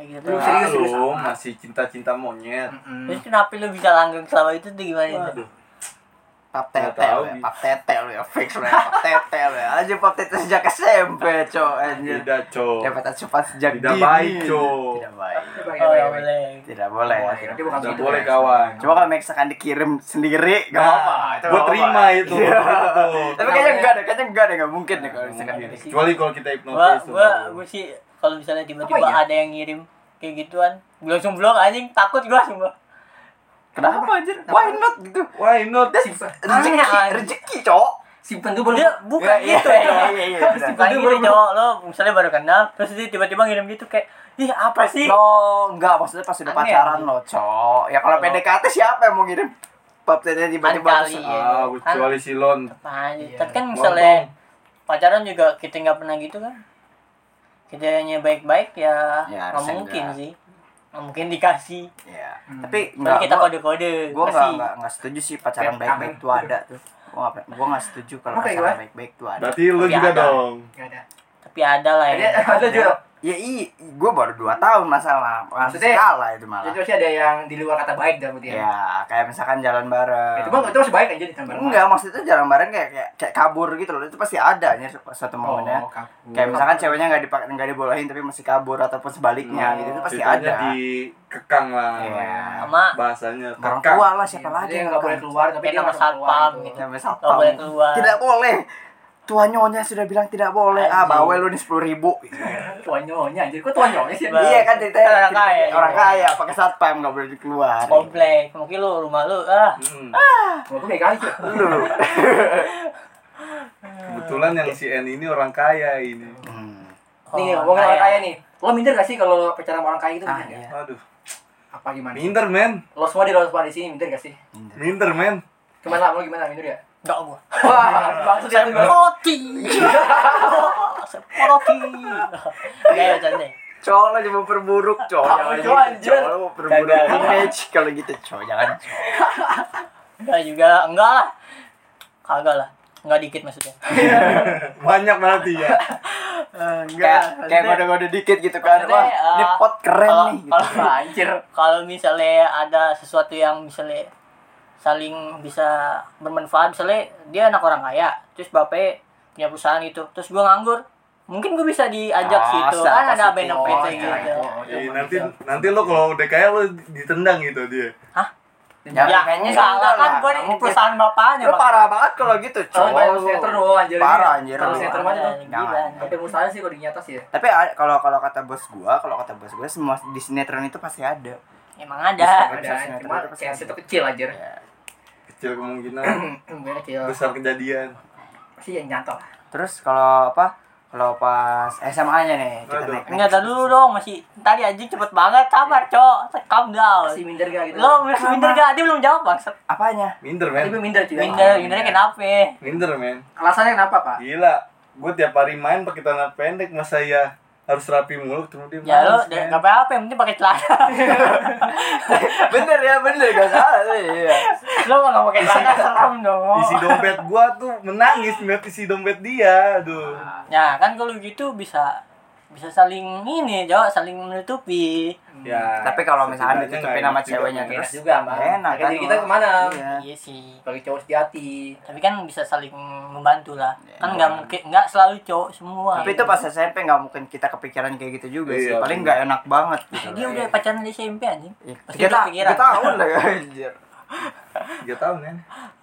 [SPEAKER 1] Kayak gitu.
[SPEAKER 3] Belum
[SPEAKER 1] Terus,
[SPEAKER 3] serius, serius
[SPEAKER 4] Belum,
[SPEAKER 3] amat.
[SPEAKER 4] masih cinta-cinta monyet
[SPEAKER 3] Mm-mm.
[SPEAKER 1] terus kenapa lu bisa langgeng selama itu tuh gimana itu?
[SPEAKER 4] Waduh.
[SPEAKER 2] Pap tete
[SPEAKER 4] Nggak tahu,
[SPEAKER 2] lu ya,
[SPEAKER 4] Bi.
[SPEAKER 2] pap tete lu ya, fix lu ya, pap tete lu ya. Aja pap tete sejak SMP, cok. Anjir.
[SPEAKER 4] tidak co
[SPEAKER 2] Dapat asupan sejak
[SPEAKER 4] Tidak
[SPEAKER 2] dini.
[SPEAKER 4] baik, cok.
[SPEAKER 2] Tidak baik.
[SPEAKER 3] Iya,
[SPEAKER 1] Oh, ya boleh.
[SPEAKER 2] Tidak boleh.
[SPEAKER 3] Boleh, nanti bukan
[SPEAKER 4] tidak
[SPEAKER 3] gitu,
[SPEAKER 4] boleh
[SPEAKER 3] guys.
[SPEAKER 4] kawan
[SPEAKER 2] Coba kalau Meksakan dikirim sendiri,
[SPEAKER 4] Nah,
[SPEAKER 2] gak apa-apa. itu
[SPEAKER 4] gue
[SPEAKER 2] nggak
[SPEAKER 4] terima
[SPEAKER 2] apa-apa.
[SPEAKER 4] itu
[SPEAKER 2] Iya.
[SPEAKER 4] Betul.
[SPEAKER 2] Tapi kayaknya enggak deh, kayaknya enggak deh, enggak mungkin deh kalau misalkan
[SPEAKER 4] Mungkin.
[SPEAKER 2] gini.
[SPEAKER 4] kecuali kalau kita
[SPEAKER 1] Gua
[SPEAKER 4] hipnotis tuh
[SPEAKER 1] gua
[SPEAKER 4] baru.
[SPEAKER 1] gua sih kalau misalnya tiba-tiba
[SPEAKER 3] Apa ya?
[SPEAKER 1] ada yang ngirim kayak gituan, gua langsung blok anjing, takut gua sumpah.
[SPEAKER 2] Kenapa anjir? Why not gitu?
[SPEAKER 4] why not
[SPEAKER 2] That's rezeki,
[SPEAKER 1] aneh.
[SPEAKER 2] rezeki, cok.
[SPEAKER 3] Simpen tuh belum.
[SPEAKER 1] Dia bukan
[SPEAKER 2] Iya,
[SPEAKER 1] gitu
[SPEAKER 2] iya,
[SPEAKER 1] ya.
[SPEAKER 2] Iya, iya, iya.
[SPEAKER 1] Bukan
[SPEAKER 3] Lagi
[SPEAKER 1] gitu
[SPEAKER 3] belum-
[SPEAKER 1] cowok lo misalnya baru kenal terus dia tiba-tiba ngirim gitu kayak ih apa sih
[SPEAKER 2] Lo enggak maksudnya pas udah
[SPEAKER 3] Aneh,
[SPEAKER 2] pacaran lo, cok. Ya kalau
[SPEAKER 4] Oh.
[SPEAKER 1] Lo.
[SPEAKER 2] PDKT siapa yang mau ngirim? Pap tete tiba-tiba
[SPEAKER 1] Kan
[SPEAKER 2] terus,
[SPEAKER 1] kali.
[SPEAKER 4] ah kecuali silon
[SPEAKER 1] Apaan sih?
[SPEAKER 3] Iya.
[SPEAKER 1] tapi kan misalnya pacaran juga kita nggak pernah gitu kan kita hanya baik-baik ya
[SPEAKER 2] Ya,
[SPEAKER 1] nggak
[SPEAKER 2] harusnya
[SPEAKER 1] mungkin
[SPEAKER 2] enggak.
[SPEAKER 1] sih nggak mungkin dikasih
[SPEAKER 2] Iya.
[SPEAKER 3] Hmm.
[SPEAKER 2] Tapi
[SPEAKER 1] Tapi
[SPEAKER 2] enggak
[SPEAKER 1] kita
[SPEAKER 2] gua-
[SPEAKER 1] kode-kode
[SPEAKER 2] Gua enggak
[SPEAKER 1] kasih
[SPEAKER 2] enggak enggak setuju sih pacaran
[SPEAKER 3] Kayak
[SPEAKER 2] baik-baik
[SPEAKER 3] kangen.
[SPEAKER 2] tuh ada tuh. Gua enggak gua enggak setuju kalau
[SPEAKER 3] Oke,
[SPEAKER 2] pacaran
[SPEAKER 3] gua.
[SPEAKER 2] baik-baik tuh ada.
[SPEAKER 4] berarti lu
[SPEAKER 1] Tapi
[SPEAKER 4] juga
[SPEAKER 1] ada.
[SPEAKER 4] dong
[SPEAKER 3] Gak ada.
[SPEAKER 1] tapi ada lah
[SPEAKER 3] Ada
[SPEAKER 1] ya
[SPEAKER 3] ada juga.
[SPEAKER 2] Ya i, gua baru 2 tahun masalah. Masih
[SPEAKER 3] Maksudnya-
[SPEAKER 2] kalah itu malah.
[SPEAKER 3] Itu masih ada yang di luar kata baik dalam dia.
[SPEAKER 2] Ya, kayak misalkan jalan bareng.
[SPEAKER 3] Itu bang itu masih baik aja di tempat.
[SPEAKER 2] Enggak, maksudnya jalan bareng kayak kayak, kayak kabur gitu loh. Itu pasti ada ya satu momennya.
[SPEAKER 3] Oh, kaku.
[SPEAKER 2] Kayak misalkan ceweknya nggak dipakai nggak dibolehin tapi masih kabur ataupun sebaliknya
[SPEAKER 4] Hmm,
[SPEAKER 2] gitu itu pasti
[SPEAKER 4] ceritanya
[SPEAKER 2] ada.
[SPEAKER 4] dikekang lah
[SPEAKER 2] Iya.
[SPEAKER 1] sama
[SPEAKER 4] bahasanya
[SPEAKER 2] Orang
[SPEAKER 4] kekang.
[SPEAKER 2] tua lah siapa
[SPEAKER 3] Iya,
[SPEAKER 2] lagi
[SPEAKER 3] dia
[SPEAKER 2] yang
[SPEAKER 3] nggak boleh keluar tapi
[SPEAKER 1] Kayak
[SPEAKER 3] dia
[SPEAKER 1] nama
[SPEAKER 3] masuk keluar
[SPEAKER 1] satpam gitu.
[SPEAKER 2] Sampai
[SPEAKER 1] nggak boleh
[SPEAKER 2] satpam.
[SPEAKER 1] keluar
[SPEAKER 2] Tidak boleh. Tua nyonya sudah bilang tidak boleh. Ah,
[SPEAKER 1] Anjing.
[SPEAKER 2] bawel lu nih sepuluh ribu.
[SPEAKER 3] Tuan nyonya anjir. Kok tuan nyonya sih?
[SPEAKER 1] Bang.
[SPEAKER 2] iya kan ceritanya
[SPEAKER 1] Orang
[SPEAKER 2] ceritanya
[SPEAKER 1] kaya,
[SPEAKER 2] Orang
[SPEAKER 1] iya.
[SPEAKER 2] kaya pakai satpam nggak boleh keluar.
[SPEAKER 1] komplek mungkin lu rumah lu ah
[SPEAKER 4] Hmm.
[SPEAKER 3] Gua tuh kayak gitu.
[SPEAKER 2] Lu.
[SPEAKER 4] kebetulan yang si N ini orang kaya ini
[SPEAKER 2] Hmm.
[SPEAKER 3] Nih,
[SPEAKER 1] oh,
[SPEAKER 3] ngomongin orang
[SPEAKER 1] kayak-
[SPEAKER 3] kaya nih. Lo minder gak sih kalau pacaran sama orang kaya itu?
[SPEAKER 2] Ah,
[SPEAKER 3] minder nggak?
[SPEAKER 2] iya.
[SPEAKER 4] aduh
[SPEAKER 3] Apa gimana?
[SPEAKER 4] minder men
[SPEAKER 3] Lo semua di luar di sini minder gak sih?
[SPEAKER 4] minder men
[SPEAKER 3] Gimana lo gimana minder ya?
[SPEAKER 1] enggak gua
[SPEAKER 3] Wah, maksud dia tuh.
[SPEAKER 1] roti roti gak ya canda
[SPEAKER 2] Cowok lo cuma perburuk, cowok.
[SPEAKER 3] Apa
[SPEAKER 2] Jangan
[SPEAKER 3] itu,
[SPEAKER 2] gitu,
[SPEAKER 3] anjir?
[SPEAKER 2] cowok lo mau perburuk
[SPEAKER 1] Kagak.
[SPEAKER 2] image kalau gitu, cowok. Jangan, cowok.
[SPEAKER 1] enggak juga enggak lah kagak lah enggak dikit maksudnya
[SPEAKER 4] banyak berarti ya
[SPEAKER 2] Kayak, kayak
[SPEAKER 1] maksudnya-
[SPEAKER 2] kode-kode dikit gitu kan.
[SPEAKER 1] Maksudnya,
[SPEAKER 2] Wah, ini
[SPEAKER 1] eh,
[SPEAKER 2] pot keren
[SPEAKER 1] kalau-
[SPEAKER 2] nih. Gitu.
[SPEAKER 1] kalau-
[SPEAKER 3] Wah, Anjir.
[SPEAKER 1] kalau misalnya ada sesuatu yang misalnya saling bisa bermanfaat misalnya dia anak orang kaya terus bapaknya punya perusahaan gitu terus gue nganggur mungkin gue bisa diajak
[SPEAKER 2] Ah,
[SPEAKER 1] sih itu
[SPEAKER 2] secara
[SPEAKER 1] kan ada
[SPEAKER 2] positif.
[SPEAKER 1] benefit
[SPEAKER 2] Oh,
[SPEAKER 1] gitu
[SPEAKER 2] iya,
[SPEAKER 4] Eh, nanti nanti lo kalau udah kaya lo ditendang gitu dia
[SPEAKER 1] ya,
[SPEAKER 2] Ya, kayaknya
[SPEAKER 1] enggak lah
[SPEAKER 2] enggak
[SPEAKER 1] kan
[SPEAKER 2] lah.
[SPEAKER 1] gue
[SPEAKER 2] Kamu
[SPEAKER 1] perusahaan bapaknya
[SPEAKER 2] Lu parah banget kalau gitu,
[SPEAKER 3] Soalnya banyak
[SPEAKER 2] cowok.
[SPEAKER 3] sinetron lo anjir.
[SPEAKER 2] Parah, anjir.
[SPEAKER 3] Terus
[SPEAKER 2] Lu.
[SPEAKER 3] sinetron aja tuh.
[SPEAKER 1] ya, Gila,
[SPEAKER 2] Jangan.
[SPEAKER 3] Sampai mustahil sih kalau dinyata sih ya.
[SPEAKER 2] Tapi ada- kalau kalau kata bos gua, kalau kata bos gua semua di sinetron itu pasti ada.
[SPEAKER 1] emang ada
[SPEAKER 2] Bisa
[SPEAKER 3] Ada,
[SPEAKER 2] sinetron
[SPEAKER 3] cuma
[SPEAKER 2] itu pasti
[SPEAKER 3] kayak
[SPEAKER 2] ada.
[SPEAKER 3] situ kecil anjir.
[SPEAKER 2] Ya.
[SPEAKER 4] kecil kemungkinan
[SPEAKER 3] Gue kecil.
[SPEAKER 4] besar kejadian
[SPEAKER 3] Pasti yang nyantol.
[SPEAKER 2] Terus kalau apa? Kalau pas SMA-nya nih, kita
[SPEAKER 4] Aduh.
[SPEAKER 2] naik.
[SPEAKER 1] Enggak tahu dulu dong masih tadi anjing cepet banget sabar cok calm down
[SPEAKER 3] Masih minder gak gitu.
[SPEAKER 1] lo minder gak dia belum jawab bang
[SPEAKER 2] Apanya?
[SPEAKER 4] minder
[SPEAKER 3] Tapi
[SPEAKER 4] men
[SPEAKER 3] minder cuy.
[SPEAKER 1] minder mindernya kenapa
[SPEAKER 4] minder men
[SPEAKER 3] Alasannya kenapa, Pak?
[SPEAKER 4] gila gue tiap hari main pakai tanah pendek masa ya harus rapi mulu ketemu dia
[SPEAKER 1] ya lo
[SPEAKER 4] males,
[SPEAKER 2] kan.
[SPEAKER 4] men.
[SPEAKER 1] gak apa-apa yang penting pakai celana
[SPEAKER 2] bener ya, bener gak salah. tuh, Iya.
[SPEAKER 1] lo mau nggak pakai celana serem dong
[SPEAKER 4] isi dompet gua tuh menangis melihat isi dompet dia aduh
[SPEAKER 1] ya kan kalau gitu bisa bisa saling ini jawab saling menutupi
[SPEAKER 4] ya
[SPEAKER 2] Hmm. Tapi kalau misalkan
[SPEAKER 4] setidaknya
[SPEAKER 2] ditutupin
[SPEAKER 4] nggak
[SPEAKER 2] sama
[SPEAKER 4] enak
[SPEAKER 2] ceweknya gitu.
[SPEAKER 4] juga.
[SPEAKER 3] Enak
[SPEAKER 2] terus
[SPEAKER 3] juga, Bang.
[SPEAKER 2] Enak
[SPEAKER 3] Kayak diri kita kemana?
[SPEAKER 2] Iya.
[SPEAKER 1] iya sih
[SPEAKER 3] Bagi cowok sejati.
[SPEAKER 1] tapi kan bisa saling membantu lah kan
[SPEAKER 2] Iya.
[SPEAKER 1] nggak mungkin nggak selalu cowok semua
[SPEAKER 2] Tapi itu pas SMP nggak mungkin kita kepikiran kayak gitu juga sih.
[SPEAKER 4] Iya,
[SPEAKER 2] Paling
[SPEAKER 4] bener.
[SPEAKER 2] nggak enak banget. Gitu.
[SPEAKER 1] dia udah pacaran di SMP anjing
[SPEAKER 2] Iya.
[SPEAKER 1] Pasti
[SPEAKER 2] Kita
[SPEAKER 1] udah kepikiran.
[SPEAKER 2] kita tahun lah ya. anjir.
[SPEAKER 4] tiga tahun men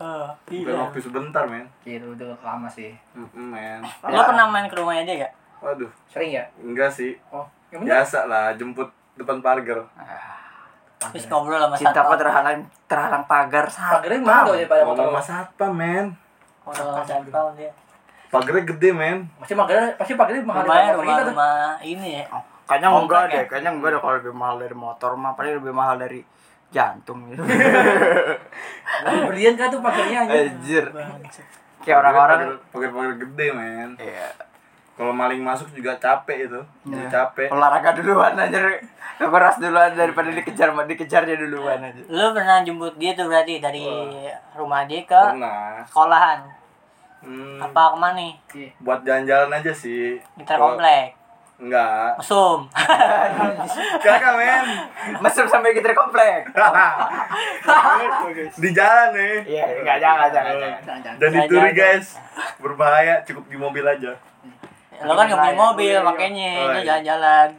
[SPEAKER 1] Eh,
[SPEAKER 4] bukan
[SPEAKER 1] iya.
[SPEAKER 4] waktu sebentar men
[SPEAKER 3] Gitu, itu lama sih.
[SPEAKER 4] Mm-mm, men
[SPEAKER 1] lo pernah main ke rumahnya dia gak
[SPEAKER 4] waduh
[SPEAKER 3] Sering ya?
[SPEAKER 4] enggak sih
[SPEAKER 3] Oh, yang bener.
[SPEAKER 4] biasa lah jemput depan pagar
[SPEAKER 1] terus ngobrol sama
[SPEAKER 2] Cintaku
[SPEAKER 1] satpam
[SPEAKER 2] terhalang terhalang pagar
[SPEAKER 3] Pagernya mana dong daripada motor
[SPEAKER 4] ngomong
[SPEAKER 3] lo?
[SPEAKER 4] sama satpam men
[SPEAKER 1] ngobrol sama satpam dia
[SPEAKER 4] pagarnya gede men
[SPEAKER 3] Pasti pagernya, pasti pagernya mahal
[SPEAKER 1] rumahnya
[SPEAKER 3] dari motor
[SPEAKER 1] rumah
[SPEAKER 3] kita tuh.
[SPEAKER 1] rumah ini ya
[SPEAKER 2] Oh, kayaknya
[SPEAKER 1] Kontrak
[SPEAKER 2] enggak
[SPEAKER 1] ya?
[SPEAKER 2] deh, kayaknya enggak deh kalau lebih mahal dari motor mah paling lebih mahal dari jantung gitu.
[SPEAKER 3] Berlian kan tuh pagernya anjir.
[SPEAKER 2] Anjir.
[SPEAKER 1] Bangsat.
[SPEAKER 2] Kayak orang-orang
[SPEAKER 4] pagar pagar gede men
[SPEAKER 2] Iya.
[SPEAKER 4] kalau maling masuk juga capek itu Jadi
[SPEAKER 2] Iya.
[SPEAKER 4] capek
[SPEAKER 2] olahraga duluan aja keras duluan daripada dikejar dikejarnya duluan aja
[SPEAKER 1] Lu pernah jemput dia tuh berarti dari rumah dia ke
[SPEAKER 4] pernah
[SPEAKER 1] sekolahan.
[SPEAKER 4] Hmm,
[SPEAKER 1] Apa kemana nih?
[SPEAKER 3] Iya.
[SPEAKER 4] buat jalan-jalan aja sih
[SPEAKER 1] Inter
[SPEAKER 4] Kalau-
[SPEAKER 1] komplek.
[SPEAKER 4] enggak
[SPEAKER 1] Mesum.
[SPEAKER 4] kakak men
[SPEAKER 2] mesum sampai kita komplek
[SPEAKER 4] di jalan nih
[SPEAKER 2] Iya, enggak, jangan, jangan,
[SPEAKER 1] Oh.
[SPEAKER 2] jangan.
[SPEAKER 3] Jangan, jangan.
[SPEAKER 4] dan
[SPEAKER 1] Jangan,
[SPEAKER 4] dituri
[SPEAKER 1] jangan.
[SPEAKER 4] guys berbahaya cukup di mobil aja
[SPEAKER 1] Lu kan nggak punya
[SPEAKER 3] Iya,
[SPEAKER 1] mobil
[SPEAKER 3] iya, iya.
[SPEAKER 1] makanya
[SPEAKER 4] Oh,
[SPEAKER 1] lu
[SPEAKER 4] iya.
[SPEAKER 1] jalan-jalan.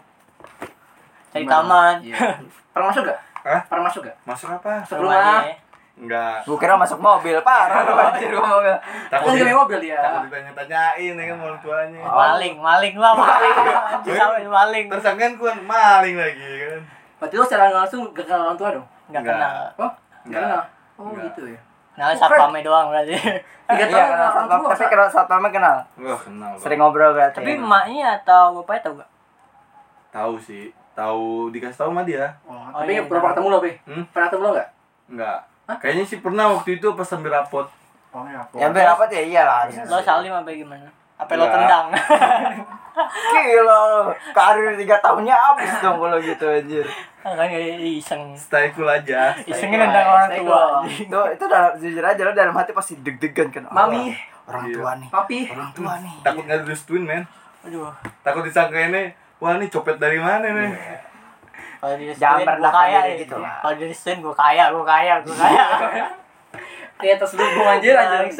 [SPEAKER 1] Cari
[SPEAKER 2] Gimana?
[SPEAKER 1] taman.
[SPEAKER 3] Iya. Pernah masuk gak?
[SPEAKER 4] Hah?
[SPEAKER 3] Pernah masuk gak?
[SPEAKER 4] masuk apa
[SPEAKER 3] Masuk
[SPEAKER 1] Rumah
[SPEAKER 3] rumah.
[SPEAKER 1] dia.
[SPEAKER 4] enggak
[SPEAKER 2] Gue kira masuk mobil, parah lu anjir gua mobil.
[SPEAKER 3] Kan dia
[SPEAKER 4] takut di-
[SPEAKER 3] punya mobil dia.
[SPEAKER 4] takut ditanya-tanyain ya kan orang tuanya
[SPEAKER 2] Oh.
[SPEAKER 1] Maling, maling lah, maling. Anjing sampai maling.
[SPEAKER 4] tersangkaan kan maling lagi kan
[SPEAKER 3] Berarti lu secara nggak langsung gak kenal orang tua dong?
[SPEAKER 1] Enggak
[SPEAKER 4] Nggak.
[SPEAKER 1] kenal.
[SPEAKER 3] Oh, nggak
[SPEAKER 4] Nggak.
[SPEAKER 3] kenal. Oh
[SPEAKER 4] Nggak.
[SPEAKER 3] gitu ya.
[SPEAKER 1] Kenal satpamnya doang berarti.
[SPEAKER 3] Tiga tahun
[SPEAKER 2] Iya, kenal
[SPEAKER 3] kenal orang
[SPEAKER 2] satpam,
[SPEAKER 3] tua.
[SPEAKER 2] tapi kenal satpamnya kenal.
[SPEAKER 4] wah kenal Bang.
[SPEAKER 2] Sering ngobrol berarti. Iya.
[SPEAKER 1] Tapi emaknya atau bapaknya tau gak?
[SPEAKER 4] tahu sih tahu dikasih tahu sama dia
[SPEAKER 3] Oh,
[SPEAKER 1] Oh,
[SPEAKER 3] tapi
[SPEAKER 1] iya,
[SPEAKER 3] pernah
[SPEAKER 1] iya.
[SPEAKER 3] ketemu lo, Be?
[SPEAKER 4] Hmm?
[SPEAKER 3] Pernah ketemu lo nggak?
[SPEAKER 4] enggak
[SPEAKER 3] Hah?
[SPEAKER 4] kayaknya sih pernah waktu itu pas sambil rapot
[SPEAKER 3] Oh, iya.
[SPEAKER 2] yang berapa ya iyalah harusnya.
[SPEAKER 1] Lo salim apa gimana? Apa lo
[SPEAKER 4] Nggak.
[SPEAKER 1] tendang?
[SPEAKER 2] Gila lu. Karir 3 tahunnya habis dong kalau gitu anjir.
[SPEAKER 1] Kan kayak iseng.
[SPEAKER 4] stay cool aja
[SPEAKER 1] Isengnya nendang orang
[SPEAKER 3] Stay
[SPEAKER 1] tua.
[SPEAKER 3] cool.
[SPEAKER 1] anjing.
[SPEAKER 2] Tuh, itu dalam jujur aja lo dalam hati pasti deg-degan kan. Allah,
[SPEAKER 3] Mami.
[SPEAKER 2] Orang
[SPEAKER 4] Iya.
[SPEAKER 2] tua nih.
[SPEAKER 3] Papi.
[SPEAKER 2] Orang tua nih.
[SPEAKER 4] takut nggak direstuin men
[SPEAKER 1] Aduh.
[SPEAKER 4] takut disangka ini wah ini copet dari mana nih
[SPEAKER 2] Iya.
[SPEAKER 1] Kalau di restuin
[SPEAKER 2] Jangan
[SPEAKER 1] gue
[SPEAKER 2] merendahkan
[SPEAKER 1] kaya
[SPEAKER 2] diri
[SPEAKER 1] ya.
[SPEAKER 2] gitu lah.
[SPEAKER 1] Kalau di restuin gue kaya, gue kaya, gue kaya.
[SPEAKER 3] Kayak terselubung anjir anjir.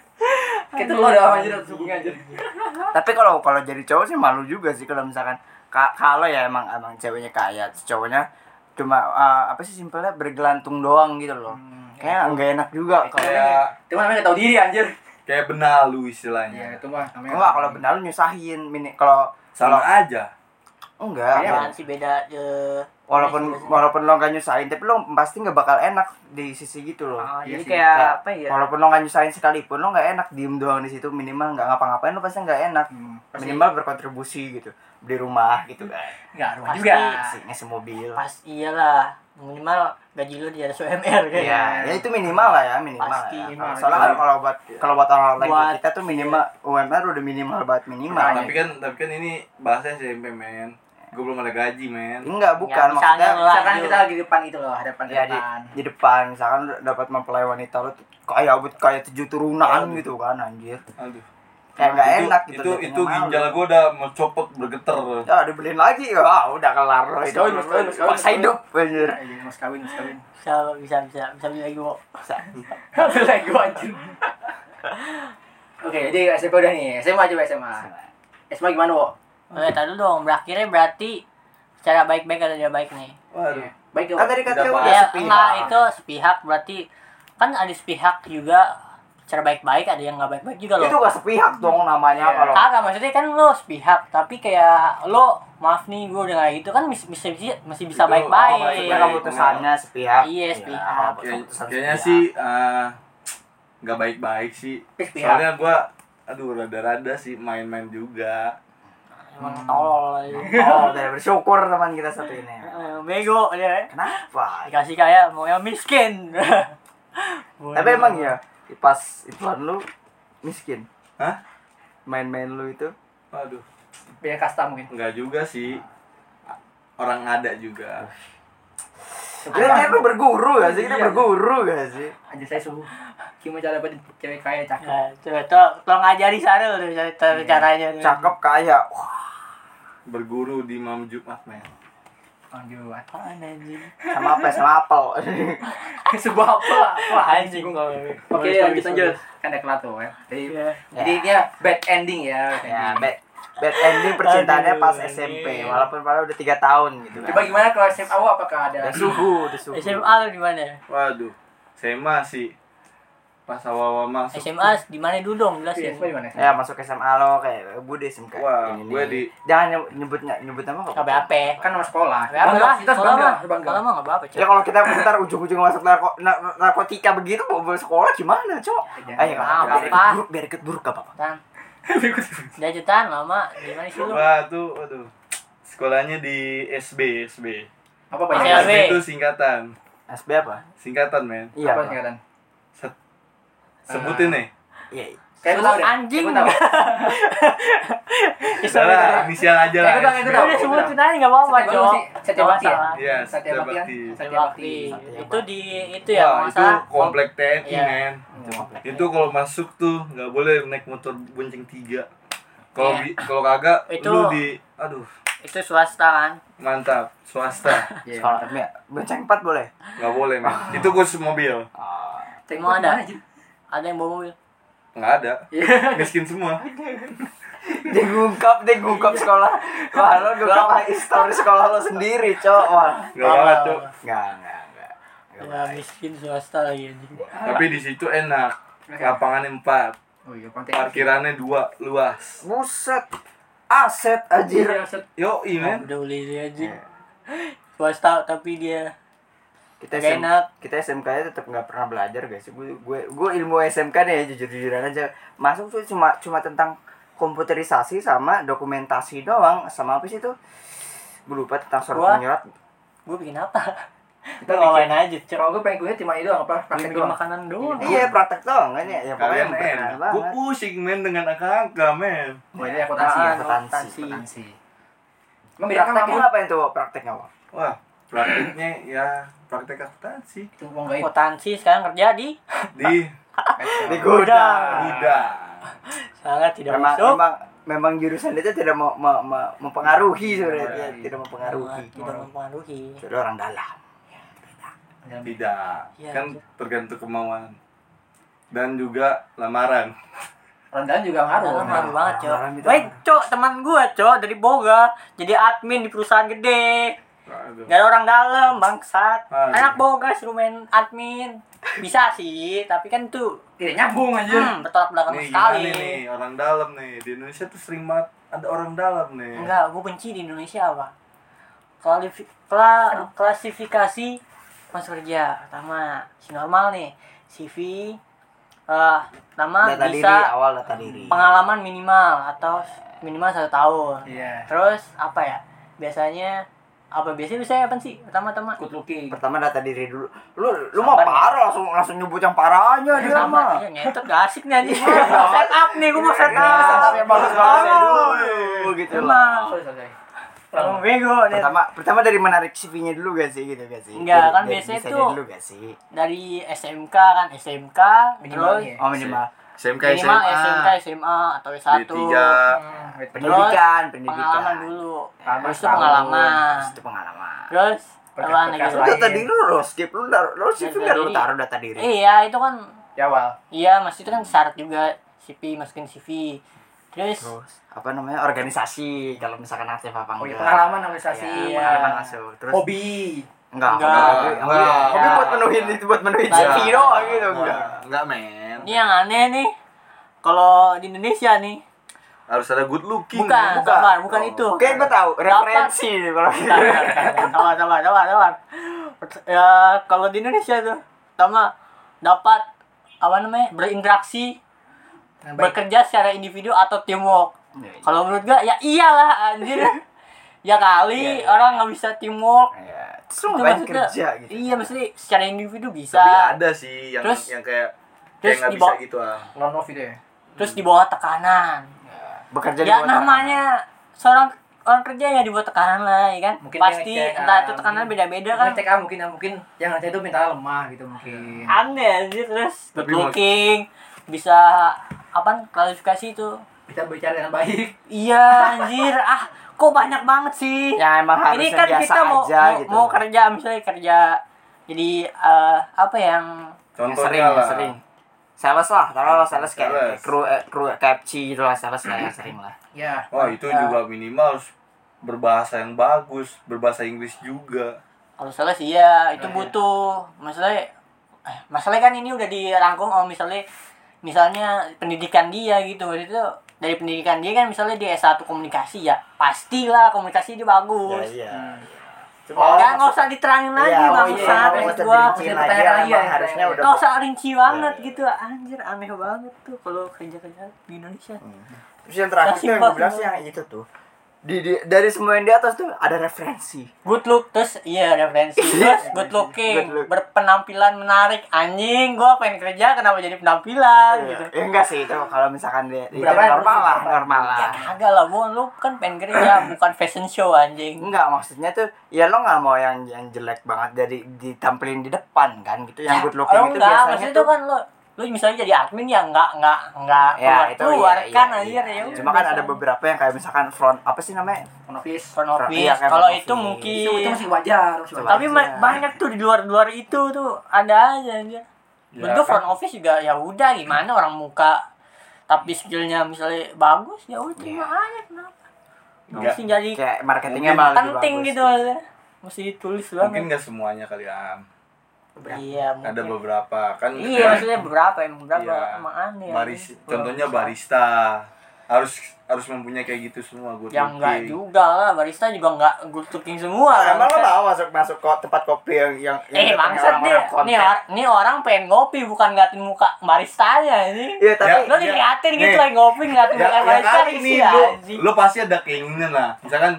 [SPEAKER 3] Kayak telur dalam anjir terselubung anjir.
[SPEAKER 2] Tapi kalau kalau jadi cowok sih malu juga sih kalau misalkan ka- kalau ya emang emang ceweknya kaya, cowoknya cuma eh, apa sih simpelnya bergelantung doang gitu loh.
[SPEAKER 1] Hmm,
[SPEAKER 2] Kayak nggak enak juga kalau
[SPEAKER 1] gitu.
[SPEAKER 4] kayak
[SPEAKER 3] Cuma namanya nggak tahu diri anjir.
[SPEAKER 4] kayak benalu
[SPEAKER 2] Iya,
[SPEAKER 4] istilahnya
[SPEAKER 3] Iya, itu mah namanya.
[SPEAKER 2] Enggak, kalau benar lu nyusahin mini kalau kalau
[SPEAKER 4] sama aja
[SPEAKER 2] enggak.
[SPEAKER 3] Iya.
[SPEAKER 2] enggak.
[SPEAKER 1] Apaan sih beda eh,
[SPEAKER 2] Walaupun walaupun lo nggak nyusahin, tapi lo pasti nggak bakal enak di sisi gitu loh.
[SPEAKER 1] Ah,
[SPEAKER 3] Iya
[SPEAKER 1] jadi
[SPEAKER 3] sih,
[SPEAKER 1] kayak
[SPEAKER 2] Kayak,
[SPEAKER 1] apa ya?
[SPEAKER 2] Walaupun lo nggak nyusahin sekalipun, lo nggak enak diem doang di situ minimal nggak ngapa-ngapain lo pasti nggak enak.
[SPEAKER 3] Hmm.
[SPEAKER 2] Minimal berkontribusi gitu, beli rumah gitu kan,
[SPEAKER 3] Enggak, rumah
[SPEAKER 1] Pasti.
[SPEAKER 3] juga.
[SPEAKER 2] ngasih ngasih mobil.
[SPEAKER 1] Pas iyalah, minimal gaji lu di atas UMR kayak.
[SPEAKER 2] Iya, ya itu minimal lah ya, minimal.
[SPEAKER 1] Pasti,
[SPEAKER 2] ya.
[SPEAKER 1] minimal.
[SPEAKER 2] Soalnya kalau- kalau buat kalau buat orang lain
[SPEAKER 1] Buat-
[SPEAKER 2] kayak kita tuh minimal UMR udah minimal buat minimal.
[SPEAKER 4] tapi kan tapi kan ini bahasanya SMP men gue belum ada gaji men
[SPEAKER 2] Enggak, bukan
[SPEAKER 1] Ya, misalnya
[SPEAKER 2] maksudnya
[SPEAKER 1] lo-
[SPEAKER 3] Misalkan
[SPEAKER 1] Lanjut.
[SPEAKER 3] kita lagi di depan itu loh, hadapan
[SPEAKER 2] ya di,
[SPEAKER 3] depan.
[SPEAKER 2] di depan misalkan lu dapat mempelai wanita lu tuh kayak abut kayak tujuh turunan gitu kan anjir
[SPEAKER 4] aduh
[SPEAKER 2] kayak nggak
[SPEAKER 4] Nah, itu,
[SPEAKER 2] enak gitu
[SPEAKER 4] itu
[SPEAKER 2] jadinya
[SPEAKER 4] itu
[SPEAKER 2] malu.
[SPEAKER 4] ginjal gue udah mau copot bergetar
[SPEAKER 2] ya dibeliin lagi ya udah kelar
[SPEAKER 3] Mas
[SPEAKER 2] itu
[SPEAKER 3] kawin, mas kawin, mas kawin, mas
[SPEAKER 2] paksa
[SPEAKER 3] kawin.
[SPEAKER 2] hidup anjir
[SPEAKER 3] Iya, mas kawin, mas kawin.
[SPEAKER 1] Bisa, bisa, bisa, bisa beli lagi kok.
[SPEAKER 3] Ambil lagi gua, anjir. Oke, jadi SMP udah nih. SMA coba SMA. SMA gimana, Wo?
[SPEAKER 1] Oke, tadi dulu dong. Berakhirnya berarti secara baik-baik atau tidak baik nih.
[SPEAKER 4] waduh
[SPEAKER 3] Iya. Baik dong.
[SPEAKER 2] kan tadi katanya
[SPEAKER 4] Tidak
[SPEAKER 2] udah
[SPEAKER 1] Ya,
[SPEAKER 2] sepihak
[SPEAKER 1] enggak, itu sepihak berarti kan ada sepihak juga secara baik-baik ada yang nggak baik-baik juga loh.
[SPEAKER 2] itu gak sepihak dong namanya
[SPEAKER 3] Iya.
[SPEAKER 2] kalau
[SPEAKER 1] Kagak maksudnya kan lo sepihak tapi kayak lo maaf nih gue udah kayak gitu kan mis- bisa bisa masih bisa
[SPEAKER 4] Itu apa
[SPEAKER 1] baik-baik.
[SPEAKER 4] itu
[SPEAKER 2] oh, Maksudnya keputusannya sepihak
[SPEAKER 1] Iya, sepihak.
[SPEAKER 2] Ya, kalau
[SPEAKER 4] Kayak-
[SPEAKER 2] keputusan
[SPEAKER 4] kayaknya
[SPEAKER 2] sepihak.
[SPEAKER 4] sih eh, nggak baik-baik sih
[SPEAKER 3] Sepihak.
[SPEAKER 4] soalnya gue aduh rada-rada sih main-main juga
[SPEAKER 1] Emang tolol.
[SPEAKER 2] oh udah bersyukur teman kita satu ini
[SPEAKER 1] Eh, Bego dia.
[SPEAKER 2] kenapa
[SPEAKER 1] Dikasih kayak mau yang miskin.
[SPEAKER 2] tapi emang ya pas ituan lu miskin
[SPEAKER 4] Hah?
[SPEAKER 2] main-main lu itu
[SPEAKER 4] waduh
[SPEAKER 3] Beda kasta mungkin.
[SPEAKER 4] nggak juga sih orang ada juga
[SPEAKER 2] Kita kan lu berguru gak sih? Kita
[SPEAKER 3] Iya.
[SPEAKER 2] berguru gak sih?
[SPEAKER 3] Anjir saya suhu. Gimana cara dapat cewek kaya cakep?
[SPEAKER 1] Ya, coba tolong, tolong ajari Sarul tuh cara- cara-
[SPEAKER 3] Iya.
[SPEAKER 1] caranya. tuh.
[SPEAKER 2] Cakep kaya. Wah,
[SPEAKER 4] berguru di Imam Jumat men
[SPEAKER 3] Aduh,
[SPEAKER 1] Apaan anjing?
[SPEAKER 2] sama apa? ya? Sama apel.
[SPEAKER 3] sebuah apa? Wah,
[SPEAKER 1] Anjing.
[SPEAKER 3] Oke,
[SPEAKER 1] Sorry, sorry,
[SPEAKER 3] lanjut lanjut. Kan udah kelar tuh ya. Jadi,
[SPEAKER 1] Iya.
[SPEAKER 3] jadi dia bad ending ya. bad
[SPEAKER 2] ya,
[SPEAKER 3] ending.
[SPEAKER 2] bad, bad ending percintaannya
[SPEAKER 1] Aduh,
[SPEAKER 2] pas
[SPEAKER 1] anjing.
[SPEAKER 2] SMP. Walaupun padahal udah 3 tahun gitu kan.
[SPEAKER 3] Coba ya. gimana kalau SMA awal apakah ada?
[SPEAKER 2] Udah suhu, udah suhu.
[SPEAKER 1] SMA lu di mana?
[SPEAKER 4] waduh SMA sih pas awal-awal masuk
[SPEAKER 1] SMA di mana dulu dong
[SPEAKER 3] Iya,
[SPEAKER 1] jelasin.
[SPEAKER 3] SMA di mana?
[SPEAKER 2] Ya masuk SMA lo kayak gue di SMK.
[SPEAKER 4] Wah,
[SPEAKER 2] ini,
[SPEAKER 4] gue
[SPEAKER 2] nih.
[SPEAKER 4] di-
[SPEAKER 2] Jangan nyebut- nyebut nyebut nama kok.
[SPEAKER 1] Enggak apa-apa.
[SPEAKER 3] Kan nama sekolah.
[SPEAKER 1] Nggak apa-apa Iya, lah.
[SPEAKER 3] kita harus
[SPEAKER 1] Sekolah
[SPEAKER 3] bangga,
[SPEAKER 1] mah-
[SPEAKER 3] harus bangga.
[SPEAKER 1] sekolah mah enggak apa-apa. Cok.
[SPEAKER 2] Ya kalau kita ntar ujung-ujung masuk narko- na- narkotika begitu mau mau sekolah gimana, Cok?
[SPEAKER 3] Jangan.
[SPEAKER 2] Ayo,
[SPEAKER 1] Ah,
[SPEAKER 2] biar
[SPEAKER 1] apa-apa.
[SPEAKER 2] ikut buruk, biar ikut buruk gak apa-apa.
[SPEAKER 1] Tan. Jajutan lama di mana sih lu? Ya
[SPEAKER 4] Wah tuh, waduh. Sekolahnya di SB, SB.
[SPEAKER 3] Apa apa
[SPEAKER 1] Oke,
[SPEAKER 3] ya?
[SPEAKER 1] SB.
[SPEAKER 4] SB itu singkatan.
[SPEAKER 2] SB apa?
[SPEAKER 4] Singkatan, men.
[SPEAKER 2] Iya.
[SPEAKER 3] Apa
[SPEAKER 2] Pak.
[SPEAKER 3] singkatan?
[SPEAKER 4] Sebutin nih.
[SPEAKER 2] Iya.
[SPEAKER 3] Kayak gue
[SPEAKER 1] Sudah
[SPEAKER 3] tau deh.
[SPEAKER 1] anjing.
[SPEAKER 3] Kayak gue tau.
[SPEAKER 4] Udah lah, inisial aja lah.
[SPEAKER 3] Itu doang, itu
[SPEAKER 4] SB.
[SPEAKER 3] doang.
[SPEAKER 1] Udah sebutin aja nggak apa-apa,
[SPEAKER 3] Satya
[SPEAKER 1] Cok.
[SPEAKER 3] Bakti,
[SPEAKER 1] Oh,
[SPEAKER 3] Satya
[SPEAKER 1] Nggak
[SPEAKER 3] Bakti ya?
[SPEAKER 1] masalah.
[SPEAKER 4] Iya,
[SPEAKER 3] Satya Bakti kan?
[SPEAKER 1] Satya
[SPEAKER 3] Satya
[SPEAKER 1] Bakti.
[SPEAKER 2] Bakti.
[SPEAKER 1] Itu di itu ya,
[SPEAKER 4] Wah,
[SPEAKER 1] kalau nggak
[SPEAKER 4] itu
[SPEAKER 1] salah.
[SPEAKER 4] komplek TNI,
[SPEAKER 1] Iya.
[SPEAKER 4] men.
[SPEAKER 1] Komplek.
[SPEAKER 4] Itu kalau masuk tuh nggak boleh naik motor bonceng tiga. Kalau
[SPEAKER 1] Iya.
[SPEAKER 4] bi- kalau kagak
[SPEAKER 1] Itu-
[SPEAKER 4] lu di aduh,
[SPEAKER 1] Itu swasta kan.
[SPEAKER 4] mantap, swasta.
[SPEAKER 3] Iya.
[SPEAKER 2] Sekolah tapi ya, bonceng empat boleh.
[SPEAKER 4] nggak boleh, men. Itu khusus mobil.
[SPEAKER 2] Ah.
[SPEAKER 3] Cek
[SPEAKER 1] Mau
[SPEAKER 3] gua
[SPEAKER 1] ada?
[SPEAKER 3] kemana, Jin?
[SPEAKER 1] Ada yang bawa mobil.
[SPEAKER 4] Nggak ada.
[SPEAKER 3] Iya.
[SPEAKER 4] Miskin semua.
[SPEAKER 2] Dia ngungkap, dia ngungkap sekolah. Wah, lo ngungkap story sekolah lo sendiri, cok. Wah.
[SPEAKER 4] Nggak banget, Cuk.
[SPEAKER 2] Enggak, enggak, enggak.
[SPEAKER 1] Ya, miskin swasta lagi anjing.
[SPEAKER 4] Tapi di situ enak. Lapangan empat,
[SPEAKER 3] Oh iya, konten.
[SPEAKER 4] parkirannya dua, luas.
[SPEAKER 2] Buset. Aset
[SPEAKER 3] Anjir.
[SPEAKER 2] anjir.
[SPEAKER 4] Yo, men.
[SPEAKER 1] Udah beli dia anjing.
[SPEAKER 2] Iya.
[SPEAKER 1] Swasta tapi dia
[SPEAKER 2] Kita
[SPEAKER 1] Nggak
[SPEAKER 2] SM,
[SPEAKER 1] enak.
[SPEAKER 2] kita SMK nya tetap nggak pernah belajar guys. Gue gue gue ilmu SMK nih ya jujur jujuran aja. Masuk tuh cuma cuma tentang komputerisasi sama dokumentasi doang sama apa sih itu? Gue lupa tentang
[SPEAKER 1] Wah.
[SPEAKER 2] surat menyurat.
[SPEAKER 1] gue bikin apa? Kita
[SPEAKER 3] Kita
[SPEAKER 1] ngawain aja, Cok.
[SPEAKER 3] Kalau gue pengen gue cuma itu doang apa?
[SPEAKER 1] Gue
[SPEAKER 3] Praktek
[SPEAKER 1] bikin
[SPEAKER 3] doang.
[SPEAKER 1] makanan doang.
[SPEAKER 2] Iya praktek doang kan ya. Ya
[SPEAKER 4] Kalian
[SPEAKER 2] memperkenalkan
[SPEAKER 4] enak.
[SPEAKER 2] banget.
[SPEAKER 4] Gue pusing, men, dengan angka-angka, men.
[SPEAKER 3] Oh ini akuntansi ya.
[SPEAKER 2] Ah, akuntansi.
[SPEAKER 3] Akuntansi. Emang beda kan
[SPEAKER 2] Prakteknya
[SPEAKER 3] kamu?
[SPEAKER 2] ngapain tuh prakteknya Wak?
[SPEAKER 4] Wah, praktiknya ya praktek akuntansi
[SPEAKER 3] Tuh, mau nggak
[SPEAKER 1] Potensi sekarang kerja di
[SPEAKER 4] di
[SPEAKER 2] Di gudang.
[SPEAKER 1] Ah.
[SPEAKER 4] gudang.
[SPEAKER 1] sangat tidak
[SPEAKER 2] Memang,
[SPEAKER 1] masuk.
[SPEAKER 2] memang memang jurusan itu tidak mau, mau, mau- mempengaruhi sebenarnya
[SPEAKER 3] Mempengaruhi.
[SPEAKER 2] tidak
[SPEAKER 1] Sangat
[SPEAKER 2] mempengaruhi.
[SPEAKER 1] Iya. tidak mempengaruhi.
[SPEAKER 2] Jadi orang dalam.
[SPEAKER 4] Tidak.
[SPEAKER 1] Iya,
[SPEAKER 4] kan
[SPEAKER 1] iya.
[SPEAKER 4] tergantung kemauan. Dan juga lamaran.
[SPEAKER 3] Rendahan juga ngaruh.
[SPEAKER 1] Dalam ngaruh banget, Cok.
[SPEAKER 2] Dalam itu
[SPEAKER 1] Wait,
[SPEAKER 2] ngaruh.
[SPEAKER 1] Cok, teman gua, Cok, dari Boga, jadi admin di perusahaan gede.
[SPEAKER 4] Aduh.
[SPEAKER 1] Gak ada orang dalam, bangsat.
[SPEAKER 4] Aduh.
[SPEAKER 1] Anak Boga suruh main admin. Bisa sih, tapi kan tuh
[SPEAKER 3] Tidak nyambung aja.
[SPEAKER 1] hmm, bertolak belakang
[SPEAKER 4] Nih,
[SPEAKER 1] sekali.
[SPEAKER 4] gimana nih orang dalam nih. Di Indonesia tuh sering banget ada orang dalam nih.
[SPEAKER 1] Enggak, gue benci di Indonesia apa? Klalifi- kla- klasifikasi mas kerja pertama si normal nih CV eh nama
[SPEAKER 2] Data diri
[SPEAKER 1] bisa
[SPEAKER 2] awal data diri.
[SPEAKER 1] pengalaman minimal atau minimal satu tahun
[SPEAKER 3] Iya.
[SPEAKER 1] Terus apa ya? Biasanya apa biasanya biasanya apa sih? Pertama-tama
[SPEAKER 3] Good looking.
[SPEAKER 2] Pertama data diri dulu. Lu lu mau
[SPEAKER 1] Sabar,
[SPEAKER 2] parah langsung langsung nyebut yang parahnya dia
[SPEAKER 1] sama
[SPEAKER 2] mah.
[SPEAKER 1] iya nyetot gak asik nih anjing.
[SPEAKER 2] Iya.
[SPEAKER 1] Gua mau set up nih, gua mau set
[SPEAKER 2] Nah, setup
[SPEAKER 1] up.
[SPEAKER 2] yang bagus
[SPEAKER 1] ya,
[SPEAKER 2] banget dulu gitu loh.
[SPEAKER 1] Emang.
[SPEAKER 3] Sorry, sorry. sorry.
[SPEAKER 1] Emang bego nih.
[SPEAKER 2] Pertama pertama dari menarik CV-nya dulu gak sih gitu gak sih?
[SPEAKER 1] Enggak,
[SPEAKER 2] Dari-
[SPEAKER 1] kan
[SPEAKER 2] dari
[SPEAKER 1] biasanya
[SPEAKER 2] desainnya
[SPEAKER 1] tuh-
[SPEAKER 2] dulu gak sih?
[SPEAKER 1] Dari SMK kan, SMK
[SPEAKER 3] Minimal
[SPEAKER 1] terus
[SPEAKER 3] nih ya.
[SPEAKER 2] Oh minimal
[SPEAKER 4] SMK
[SPEAKER 1] minimal ya, SMK, SMA atau S1.
[SPEAKER 4] D3.
[SPEAKER 3] Hmm,
[SPEAKER 1] Terus,
[SPEAKER 3] wait,
[SPEAKER 2] pendidikan, pendidikan.
[SPEAKER 1] Pengalaman dulu.
[SPEAKER 3] Pertama
[SPEAKER 1] Terus itu
[SPEAKER 3] setahun.
[SPEAKER 1] pengalaman.
[SPEAKER 2] Terus itu pengalaman.
[SPEAKER 1] Terus
[SPEAKER 3] Berkas-
[SPEAKER 1] apaan lagi?
[SPEAKER 3] berkas
[SPEAKER 2] Lu
[SPEAKER 1] Bro?
[SPEAKER 3] lain.
[SPEAKER 2] data diri lu lo skip lu taruh lu CV
[SPEAKER 1] Data
[SPEAKER 2] biar lu
[SPEAKER 1] diri.
[SPEAKER 2] taruh data diri.
[SPEAKER 1] Iya, itu kan
[SPEAKER 3] Di Ya, awal.
[SPEAKER 1] iya, maksud itu kan syarat juga CV masukin CV. Terus
[SPEAKER 2] Terus apa namanya organisasi kalau misalkan aktif apa enggak?
[SPEAKER 3] Oh iya, pengalaman organisasi. ya.
[SPEAKER 2] Iya,
[SPEAKER 1] Iya.
[SPEAKER 2] pengalaman masuk. Terus
[SPEAKER 3] Hobi.
[SPEAKER 2] enggak
[SPEAKER 1] Enggak.
[SPEAKER 2] hobi,
[SPEAKER 4] Enggak.
[SPEAKER 2] hobi-
[SPEAKER 4] Enggak.
[SPEAKER 2] hobi buat menuhin itu buat menuhin
[SPEAKER 4] Iya.
[SPEAKER 1] Enggak.
[SPEAKER 2] CV doang gitu enggak.
[SPEAKER 4] Enggak, men.
[SPEAKER 1] Ini yang aneh nih. Kalau di Indonesia nih,
[SPEAKER 4] Harus ada good looking. ya. Oh,
[SPEAKER 1] bukan,
[SPEAKER 2] bukan. Oh.
[SPEAKER 1] sabar, bukan itu.
[SPEAKER 2] Oke, gua tahu referensi nih kalau gitu.
[SPEAKER 1] Bentar, bentar, bentar. Sabar, sabar, sabar, sabar. Ya, kalau di Indonesia tuh, pertama dapat apa namanya berinteraksi,
[SPEAKER 3] Yang baik.
[SPEAKER 1] bekerja secara individu atau teamwork. Kalau menurut gua ya iyalah anjir. ya kali
[SPEAKER 2] Iya, iya.
[SPEAKER 1] orang nggak bisa teamwork.
[SPEAKER 2] Iya. Terus lu
[SPEAKER 1] Itu
[SPEAKER 2] ngapain
[SPEAKER 1] maksudnya-
[SPEAKER 2] kerja gitu?
[SPEAKER 1] Iya, maksudnya secara individu bisa.
[SPEAKER 4] Tapi ada sih yang
[SPEAKER 1] Terus-
[SPEAKER 4] yang kayak
[SPEAKER 1] terus
[SPEAKER 4] kayak nggak
[SPEAKER 1] di
[SPEAKER 4] bisa
[SPEAKER 1] bawah-
[SPEAKER 4] gitu ah.
[SPEAKER 3] Lone Wolf itu ya.
[SPEAKER 1] Terus di bawah tekanan.
[SPEAKER 2] Bekerja di
[SPEAKER 1] ya
[SPEAKER 2] luar
[SPEAKER 1] namanya seorang orang kerja ya dibuat tekanan lah ya kan
[SPEAKER 3] Mungkin
[SPEAKER 1] pasti
[SPEAKER 3] dia ngecek,
[SPEAKER 1] entah
[SPEAKER 3] ah,
[SPEAKER 1] itu tekanan
[SPEAKER 3] mungkin.
[SPEAKER 1] beda-beda
[SPEAKER 2] Ya
[SPEAKER 3] Dia
[SPEAKER 1] kan
[SPEAKER 3] ngecek ah mungkin ah, mungkin yang ngecek itu mentalnya lemah gitu mungkin.
[SPEAKER 2] Ah.
[SPEAKER 1] aneh anjir terus good
[SPEAKER 4] Tapi
[SPEAKER 1] looking bisa apa klarifikasi itu
[SPEAKER 3] Kita bicara dengan baik.
[SPEAKER 1] iya anjir ah kok banyak banget sih
[SPEAKER 2] Ya emang harus
[SPEAKER 1] ini kan
[SPEAKER 2] biasa
[SPEAKER 1] kita mau
[SPEAKER 2] aja
[SPEAKER 1] mau,
[SPEAKER 2] gitu.
[SPEAKER 1] mau kerja misalnya kerja jadi eh, apa yang
[SPEAKER 2] Yang
[SPEAKER 4] Contohnya
[SPEAKER 2] sering,
[SPEAKER 4] lah.
[SPEAKER 2] yang sering. Sales lah, taruh lah sales kayak
[SPEAKER 4] Sales.
[SPEAKER 2] kru eh, kru KFC gitu lah sales lah yang sering lah.
[SPEAKER 3] Ya.
[SPEAKER 4] Wah itu
[SPEAKER 1] Iya.
[SPEAKER 4] juga minimal harus berbahasa yang bagus, berbahasa Inggris juga.
[SPEAKER 1] kalau salah sih ya itu
[SPEAKER 3] Nah, iya.
[SPEAKER 1] butuh masalahnya eh, masalahnya kan ini udah dirangkum oh misalnya misalnya pendidikan dia gitu Maksudnya itu dari pendidikan dia kan misalnya dia S1 komunikasi ya pastilah komunikasi dia bagus
[SPEAKER 2] iya.
[SPEAKER 1] Nggak- nggak usah diterangin lagi
[SPEAKER 2] Iya,
[SPEAKER 1] nggak
[SPEAKER 2] oh iya,
[SPEAKER 1] usah
[SPEAKER 2] nggak
[SPEAKER 1] maksud
[SPEAKER 2] usah
[SPEAKER 1] gua
[SPEAKER 2] dirinciin
[SPEAKER 3] Maksudnya
[SPEAKER 2] lagi,
[SPEAKER 3] pertanyaan
[SPEAKER 2] emang
[SPEAKER 3] lagi ya,
[SPEAKER 2] harusnya
[SPEAKER 3] pertanyaan.
[SPEAKER 2] udah
[SPEAKER 1] nggak usah rinci banget
[SPEAKER 2] Iya, iya.
[SPEAKER 1] gitu anjir aneh banget tuh kalau kerja kerja di Indonesia
[SPEAKER 2] Terus yang terakhir
[SPEAKER 1] Kasih
[SPEAKER 2] tuh yang gue
[SPEAKER 1] pas
[SPEAKER 2] bilang
[SPEAKER 1] dulu.
[SPEAKER 2] sih yang itu tuh di, di- dari semua yang di atas tuh ada referensi
[SPEAKER 1] Good look terus iya referensi terus good looking
[SPEAKER 2] Good look.
[SPEAKER 1] berpenampilan menarik anjing gua pengen kerja kenapa jadi penampilan gitu
[SPEAKER 2] ya enggak sih itu kalau misalkan dia itu
[SPEAKER 3] Berapa yang
[SPEAKER 2] normal
[SPEAKER 3] harus
[SPEAKER 2] lah
[SPEAKER 3] berapa?
[SPEAKER 2] normal lah
[SPEAKER 1] ya kagak lah bu lu kan pengen kerja bukan fashion show anjing
[SPEAKER 2] enggak maksudnya tuh ya lo nggak mau yang yang jelek banget dari ditampilin di depan kan gitu yang good looking
[SPEAKER 1] oh
[SPEAKER 2] itu
[SPEAKER 1] enggak
[SPEAKER 2] biasanya
[SPEAKER 1] maksudnya itu
[SPEAKER 2] tuh
[SPEAKER 1] kan lu lu misalnya jadi admin ya enggak enggak enggak
[SPEAKER 2] ya
[SPEAKER 1] keluar
[SPEAKER 2] itu
[SPEAKER 1] keluar
[SPEAKER 2] iya,
[SPEAKER 1] kan
[SPEAKER 2] iya,
[SPEAKER 1] anjir
[SPEAKER 2] iya.
[SPEAKER 1] ya udah,
[SPEAKER 2] cuma kan ada
[SPEAKER 1] biasa.
[SPEAKER 2] beberapa yang kayak misalkan front apa sih namanya
[SPEAKER 3] Front office.
[SPEAKER 1] front office
[SPEAKER 2] Iya, kayak
[SPEAKER 1] kalau
[SPEAKER 2] front
[SPEAKER 1] itu
[SPEAKER 2] office.
[SPEAKER 1] mungkin
[SPEAKER 3] Itu, itu masih wajar, masih wajar.
[SPEAKER 1] tapi ma-
[SPEAKER 2] Iya.
[SPEAKER 1] banyak tuh di luar luar itu tuh ada aja anjir bentuk
[SPEAKER 4] kan?
[SPEAKER 1] front office juga ya udah gimana orang muka tapi skillnya misalnya bagus ya udah terima
[SPEAKER 4] Iya.
[SPEAKER 1] aja kenapa
[SPEAKER 4] Enggak.
[SPEAKER 1] mesti jadi
[SPEAKER 2] kayak marketingnya
[SPEAKER 4] Mungkin
[SPEAKER 2] malah lebih
[SPEAKER 1] penting
[SPEAKER 2] bagus.
[SPEAKER 1] gitu aja mesti ditulis
[SPEAKER 4] mungkin
[SPEAKER 1] banget
[SPEAKER 4] nggak semuanya kali ah. am
[SPEAKER 1] iya
[SPEAKER 4] ada
[SPEAKER 1] mungkin
[SPEAKER 4] beberapa kan
[SPEAKER 1] iya maksudnya ya. beberapa emang beberapa
[SPEAKER 4] Iya.
[SPEAKER 1] emang aneh
[SPEAKER 4] baris
[SPEAKER 1] anjing.
[SPEAKER 4] contohnya barista harus harus mempunyai kayak gitu semua gue
[SPEAKER 1] yang enggak Ya juga lah barista juga enggak good looking semua
[SPEAKER 2] Ah, emang lo
[SPEAKER 1] bangsat.
[SPEAKER 2] mau masuk masuk ke tempat kopi yang yang,
[SPEAKER 1] eh
[SPEAKER 2] yang
[SPEAKER 1] bangsat ya.
[SPEAKER 2] orang-orang
[SPEAKER 1] nih
[SPEAKER 2] konten?
[SPEAKER 1] nih, or- nih orang pengen ngopi bukan ngeliatin muka baristanya ini
[SPEAKER 2] Iya tapi
[SPEAKER 1] lo diliatin
[SPEAKER 4] Nih.
[SPEAKER 1] gitu lagi ngopi ngeliatin
[SPEAKER 4] ya,
[SPEAKER 1] muka
[SPEAKER 4] ya
[SPEAKER 1] barista
[SPEAKER 4] kali
[SPEAKER 1] isi
[SPEAKER 4] nih lu,
[SPEAKER 1] iya, anjing.
[SPEAKER 4] lu pasti ada keinginan lah misalkan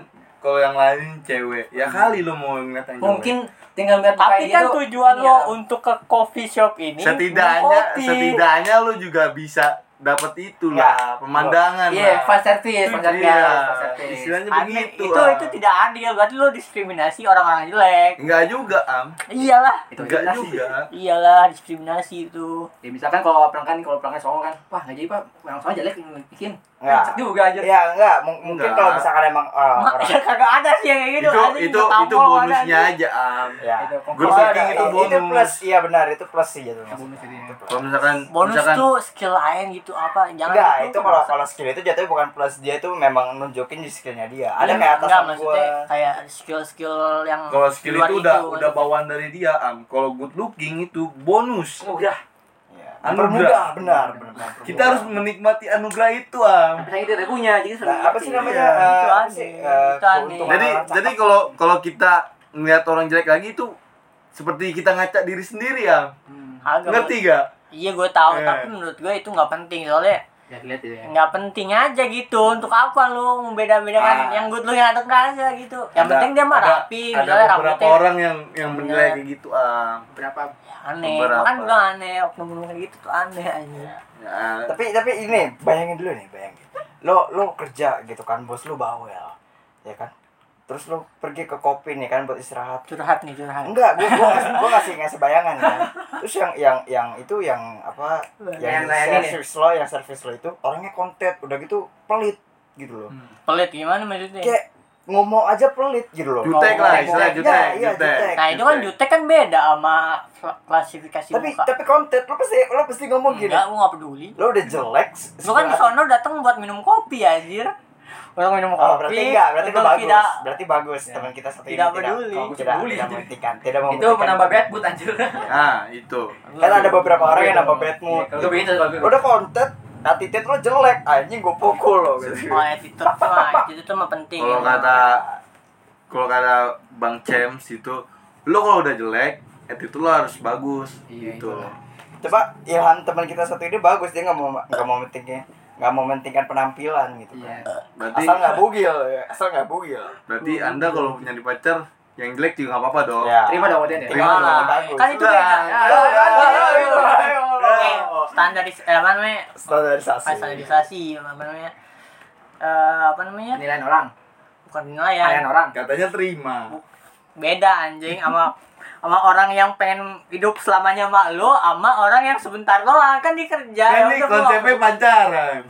[SPEAKER 4] kalau yang lain cewek
[SPEAKER 1] Hmm.
[SPEAKER 4] ya kali lu mau ngeliat yang cewek.
[SPEAKER 3] Mungkin tinggal lihat
[SPEAKER 1] Tapi
[SPEAKER 3] mukanya
[SPEAKER 1] kan
[SPEAKER 3] dia tuh,
[SPEAKER 1] tujuan
[SPEAKER 3] ini
[SPEAKER 1] lo
[SPEAKER 3] ya.
[SPEAKER 1] untuk ke coffee shop ini
[SPEAKER 4] Iya. setidaknya
[SPEAKER 1] minum kopi.
[SPEAKER 4] setidaknya lu juga bisa dapat itu lah
[SPEAKER 2] Ya.
[SPEAKER 4] pemandangan
[SPEAKER 3] Iya,
[SPEAKER 4] lah.
[SPEAKER 3] fast service, fast service,
[SPEAKER 4] Iya,
[SPEAKER 3] fast service.
[SPEAKER 4] istilahnya
[SPEAKER 1] Aneh,
[SPEAKER 4] begitu
[SPEAKER 1] itu
[SPEAKER 4] lah. Iya.
[SPEAKER 1] itu tidak adil berarti lo diskriminasi orang-orang jelek
[SPEAKER 4] enggak juga am
[SPEAKER 1] iyalah
[SPEAKER 3] Itu
[SPEAKER 4] enggak
[SPEAKER 3] jelas sih.
[SPEAKER 4] juga
[SPEAKER 1] iyalah diskriminasi itu
[SPEAKER 3] Ya misalkan kalau pelanggan kalau pelanggan songong kan, wah enggak jadi Pak, orang songong jelek yang bikin.
[SPEAKER 2] Ya.
[SPEAKER 3] Cek juga aja.
[SPEAKER 2] ya enggak mung- mungkin
[SPEAKER 4] Enggak.
[SPEAKER 2] kalau misalkan emang ah,
[SPEAKER 1] Ma,
[SPEAKER 2] orang
[SPEAKER 1] ya kagak ada sih yang kayak gitu
[SPEAKER 4] itu
[SPEAKER 1] anjing,
[SPEAKER 4] itu
[SPEAKER 1] gua
[SPEAKER 4] itu
[SPEAKER 1] tampol,
[SPEAKER 4] bonusnya
[SPEAKER 1] anjing.
[SPEAKER 4] aja am
[SPEAKER 2] ya
[SPEAKER 3] Itu
[SPEAKER 4] Good
[SPEAKER 2] Oh,
[SPEAKER 3] kongkong. Iya,
[SPEAKER 2] ada,
[SPEAKER 4] looking itu
[SPEAKER 2] i- itu
[SPEAKER 4] bonus.
[SPEAKER 2] plus iya benar itu plus sih gitu
[SPEAKER 3] Bonus
[SPEAKER 2] maksudnya.
[SPEAKER 3] jadinya.
[SPEAKER 4] kalau misalkan
[SPEAKER 1] bonus
[SPEAKER 4] misalkan
[SPEAKER 1] tuh skill lain gitu apa jangan
[SPEAKER 2] enggak
[SPEAKER 1] gitu,
[SPEAKER 2] itu kalau
[SPEAKER 1] maksud-
[SPEAKER 2] kalau skill itu jatuhnya bukan plus dia itu memang nunjukin di skillnya dia
[SPEAKER 1] Iya,
[SPEAKER 2] ada kayak
[SPEAKER 1] enggak,
[SPEAKER 2] atasan
[SPEAKER 1] maksudnya
[SPEAKER 2] gua
[SPEAKER 1] kayak skill-skill yang
[SPEAKER 4] kalau skill
[SPEAKER 1] luar
[SPEAKER 4] itu udah
[SPEAKER 1] itu.
[SPEAKER 4] udah bawaan dari dia am kalau good looking itu bonus
[SPEAKER 1] Oh,
[SPEAKER 3] Udah,
[SPEAKER 2] ya,
[SPEAKER 1] Anu
[SPEAKER 2] mempermudah
[SPEAKER 4] Anugerah.
[SPEAKER 2] benar benar
[SPEAKER 4] kita harus menikmati anugerah itu am
[SPEAKER 3] misalnya dia udah punya, jadi sudah
[SPEAKER 2] Nah, apa sih
[SPEAKER 3] dilatih.
[SPEAKER 2] namanya
[SPEAKER 4] Iya,
[SPEAKER 2] eh,
[SPEAKER 1] itu
[SPEAKER 2] apa
[SPEAKER 1] aneh,
[SPEAKER 2] sih, eh,
[SPEAKER 1] itu aneh.
[SPEAKER 2] keuntungan
[SPEAKER 4] jadi
[SPEAKER 2] orang
[SPEAKER 4] jadi
[SPEAKER 2] cakep?
[SPEAKER 4] kalau kalau kita ngelihat orang jelek lagi itu seperti kita ngaca diri sendiri ya
[SPEAKER 3] Hmm.
[SPEAKER 1] Agak-
[SPEAKER 4] ngerti gak
[SPEAKER 1] Iya gue tahu,
[SPEAKER 4] Eh.
[SPEAKER 1] tapi menurut gue itu nggak penting soalnya
[SPEAKER 3] Ya lihat ya.
[SPEAKER 1] nggak penting aja gitu. Untuk apa lu membeda-bedakan
[SPEAKER 4] Ah.
[SPEAKER 1] yang good lu yang atau enggak aja gitu. Yang
[SPEAKER 4] Ada-
[SPEAKER 1] penting dia mah
[SPEAKER 4] ada-
[SPEAKER 1] rapi,
[SPEAKER 4] ada
[SPEAKER 1] misalnya
[SPEAKER 4] beberapa
[SPEAKER 1] rambutnya Iya.
[SPEAKER 4] orang yang yang menilai
[SPEAKER 1] Bener.
[SPEAKER 4] kayak gitu am
[SPEAKER 3] Berapa?
[SPEAKER 1] aneh.
[SPEAKER 4] beberapa.
[SPEAKER 1] Kan bilang aneh, oknum-oknum kayak gitu tuh aneh aja.
[SPEAKER 4] ya,
[SPEAKER 2] tapi tapi ini bayangin dulu nih bayangin lo lo kerja gitu kan bos lo bawel ya kan terus lo pergi ke kopi nih kan buat istirahat
[SPEAKER 1] Curhat nih, curhat.
[SPEAKER 2] enggak gue gue ngasih gue ngasih ngasih bayangan kan terus yang yang yang itu yang apa
[SPEAKER 3] Yang
[SPEAKER 2] yang
[SPEAKER 3] layanin ya?
[SPEAKER 2] service lo yang service lo itu orangnya kontet udah gitu pelit gitu loh
[SPEAKER 1] Pelit gimana maksudnya?
[SPEAKER 2] kayak ngomong aja pelit gitu loh
[SPEAKER 4] jutek
[SPEAKER 1] Oh,
[SPEAKER 4] lah
[SPEAKER 1] jutek.
[SPEAKER 4] istilah
[SPEAKER 2] Iya,
[SPEAKER 4] jutek
[SPEAKER 2] iya, jutek.
[SPEAKER 1] nah, itu kan jutek kan beda sama klasifikasi
[SPEAKER 2] tapi gitu.
[SPEAKER 1] muka.
[SPEAKER 2] tapi kontet lo pasti lo pasti ngomong gini
[SPEAKER 1] Enggak, gue nggak peduli.
[SPEAKER 2] lo udah jelek
[SPEAKER 1] Lu kan ke sono datang buat minum kopi anjir. Orang minum
[SPEAKER 2] Oh,
[SPEAKER 1] kopi.
[SPEAKER 2] berarti enggak, berarti itu
[SPEAKER 1] untuk
[SPEAKER 2] bagus.
[SPEAKER 1] Tidak,
[SPEAKER 2] berarti bagus teman kita satu
[SPEAKER 1] tidak
[SPEAKER 2] ini
[SPEAKER 1] peduli.
[SPEAKER 2] tidak
[SPEAKER 1] Tidak
[SPEAKER 2] tidak,
[SPEAKER 3] peduli.
[SPEAKER 2] tidak mementingkan, tidak
[SPEAKER 3] Itu
[SPEAKER 2] mementingkan.
[SPEAKER 3] menambah bad mood anjir.
[SPEAKER 4] ah itu
[SPEAKER 2] Kan ada beberapa orang yang nambah bad
[SPEAKER 3] Iya,
[SPEAKER 2] mood.
[SPEAKER 3] Kalau gue begitu kalau gue.
[SPEAKER 2] Udah konten, attitude lo jelek, anjing gue pukul lo gitu.
[SPEAKER 1] Oh, attitude tuh mah, attitude tuh mah penting.
[SPEAKER 4] kalau kata kalau kata bang Chems itu lo kalau udah jelek attitude lo harus bagus
[SPEAKER 3] Iya,
[SPEAKER 4] gitu
[SPEAKER 3] itulah.
[SPEAKER 2] Coba Ilham teman kita satu ini bagus dia nggak mau nggak mau mentingnya nggak mau mementingkan penampilan gitu.
[SPEAKER 3] Iya.
[SPEAKER 4] berarti
[SPEAKER 2] Asal nggak bugil, ya. asal nggak bugil.
[SPEAKER 4] berarti anda kalau punya di pacar yang jelek juga nggak apa-apa dong
[SPEAKER 2] Iya.
[SPEAKER 3] Terima dong Oden ya.
[SPEAKER 2] Terima
[SPEAKER 1] Nah,
[SPEAKER 2] lah. Bagus.
[SPEAKER 1] Kan itu
[SPEAKER 4] Udah.
[SPEAKER 1] beda.
[SPEAKER 4] Ya,
[SPEAKER 1] Kan
[SPEAKER 2] ya,
[SPEAKER 1] itu
[SPEAKER 2] ya,
[SPEAKER 1] beda.
[SPEAKER 2] ya, ya, ya.
[SPEAKER 1] Eh, Standaris eh, apa namanya?
[SPEAKER 2] Standarisasi.
[SPEAKER 1] Bukan Standarisasi, apa namanya? Eh, apa namanya?
[SPEAKER 3] Penilaian orang,
[SPEAKER 1] Bukan
[SPEAKER 3] penilaian
[SPEAKER 1] penilaian.
[SPEAKER 3] orang.
[SPEAKER 4] katanya terima
[SPEAKER 1] Beda anjing sama sama orang yang pengen hidup selamanya sama lo sama orang yang sebentar doang kan dikerja
[SPEAKER 4] kan ini konsepnya pacaran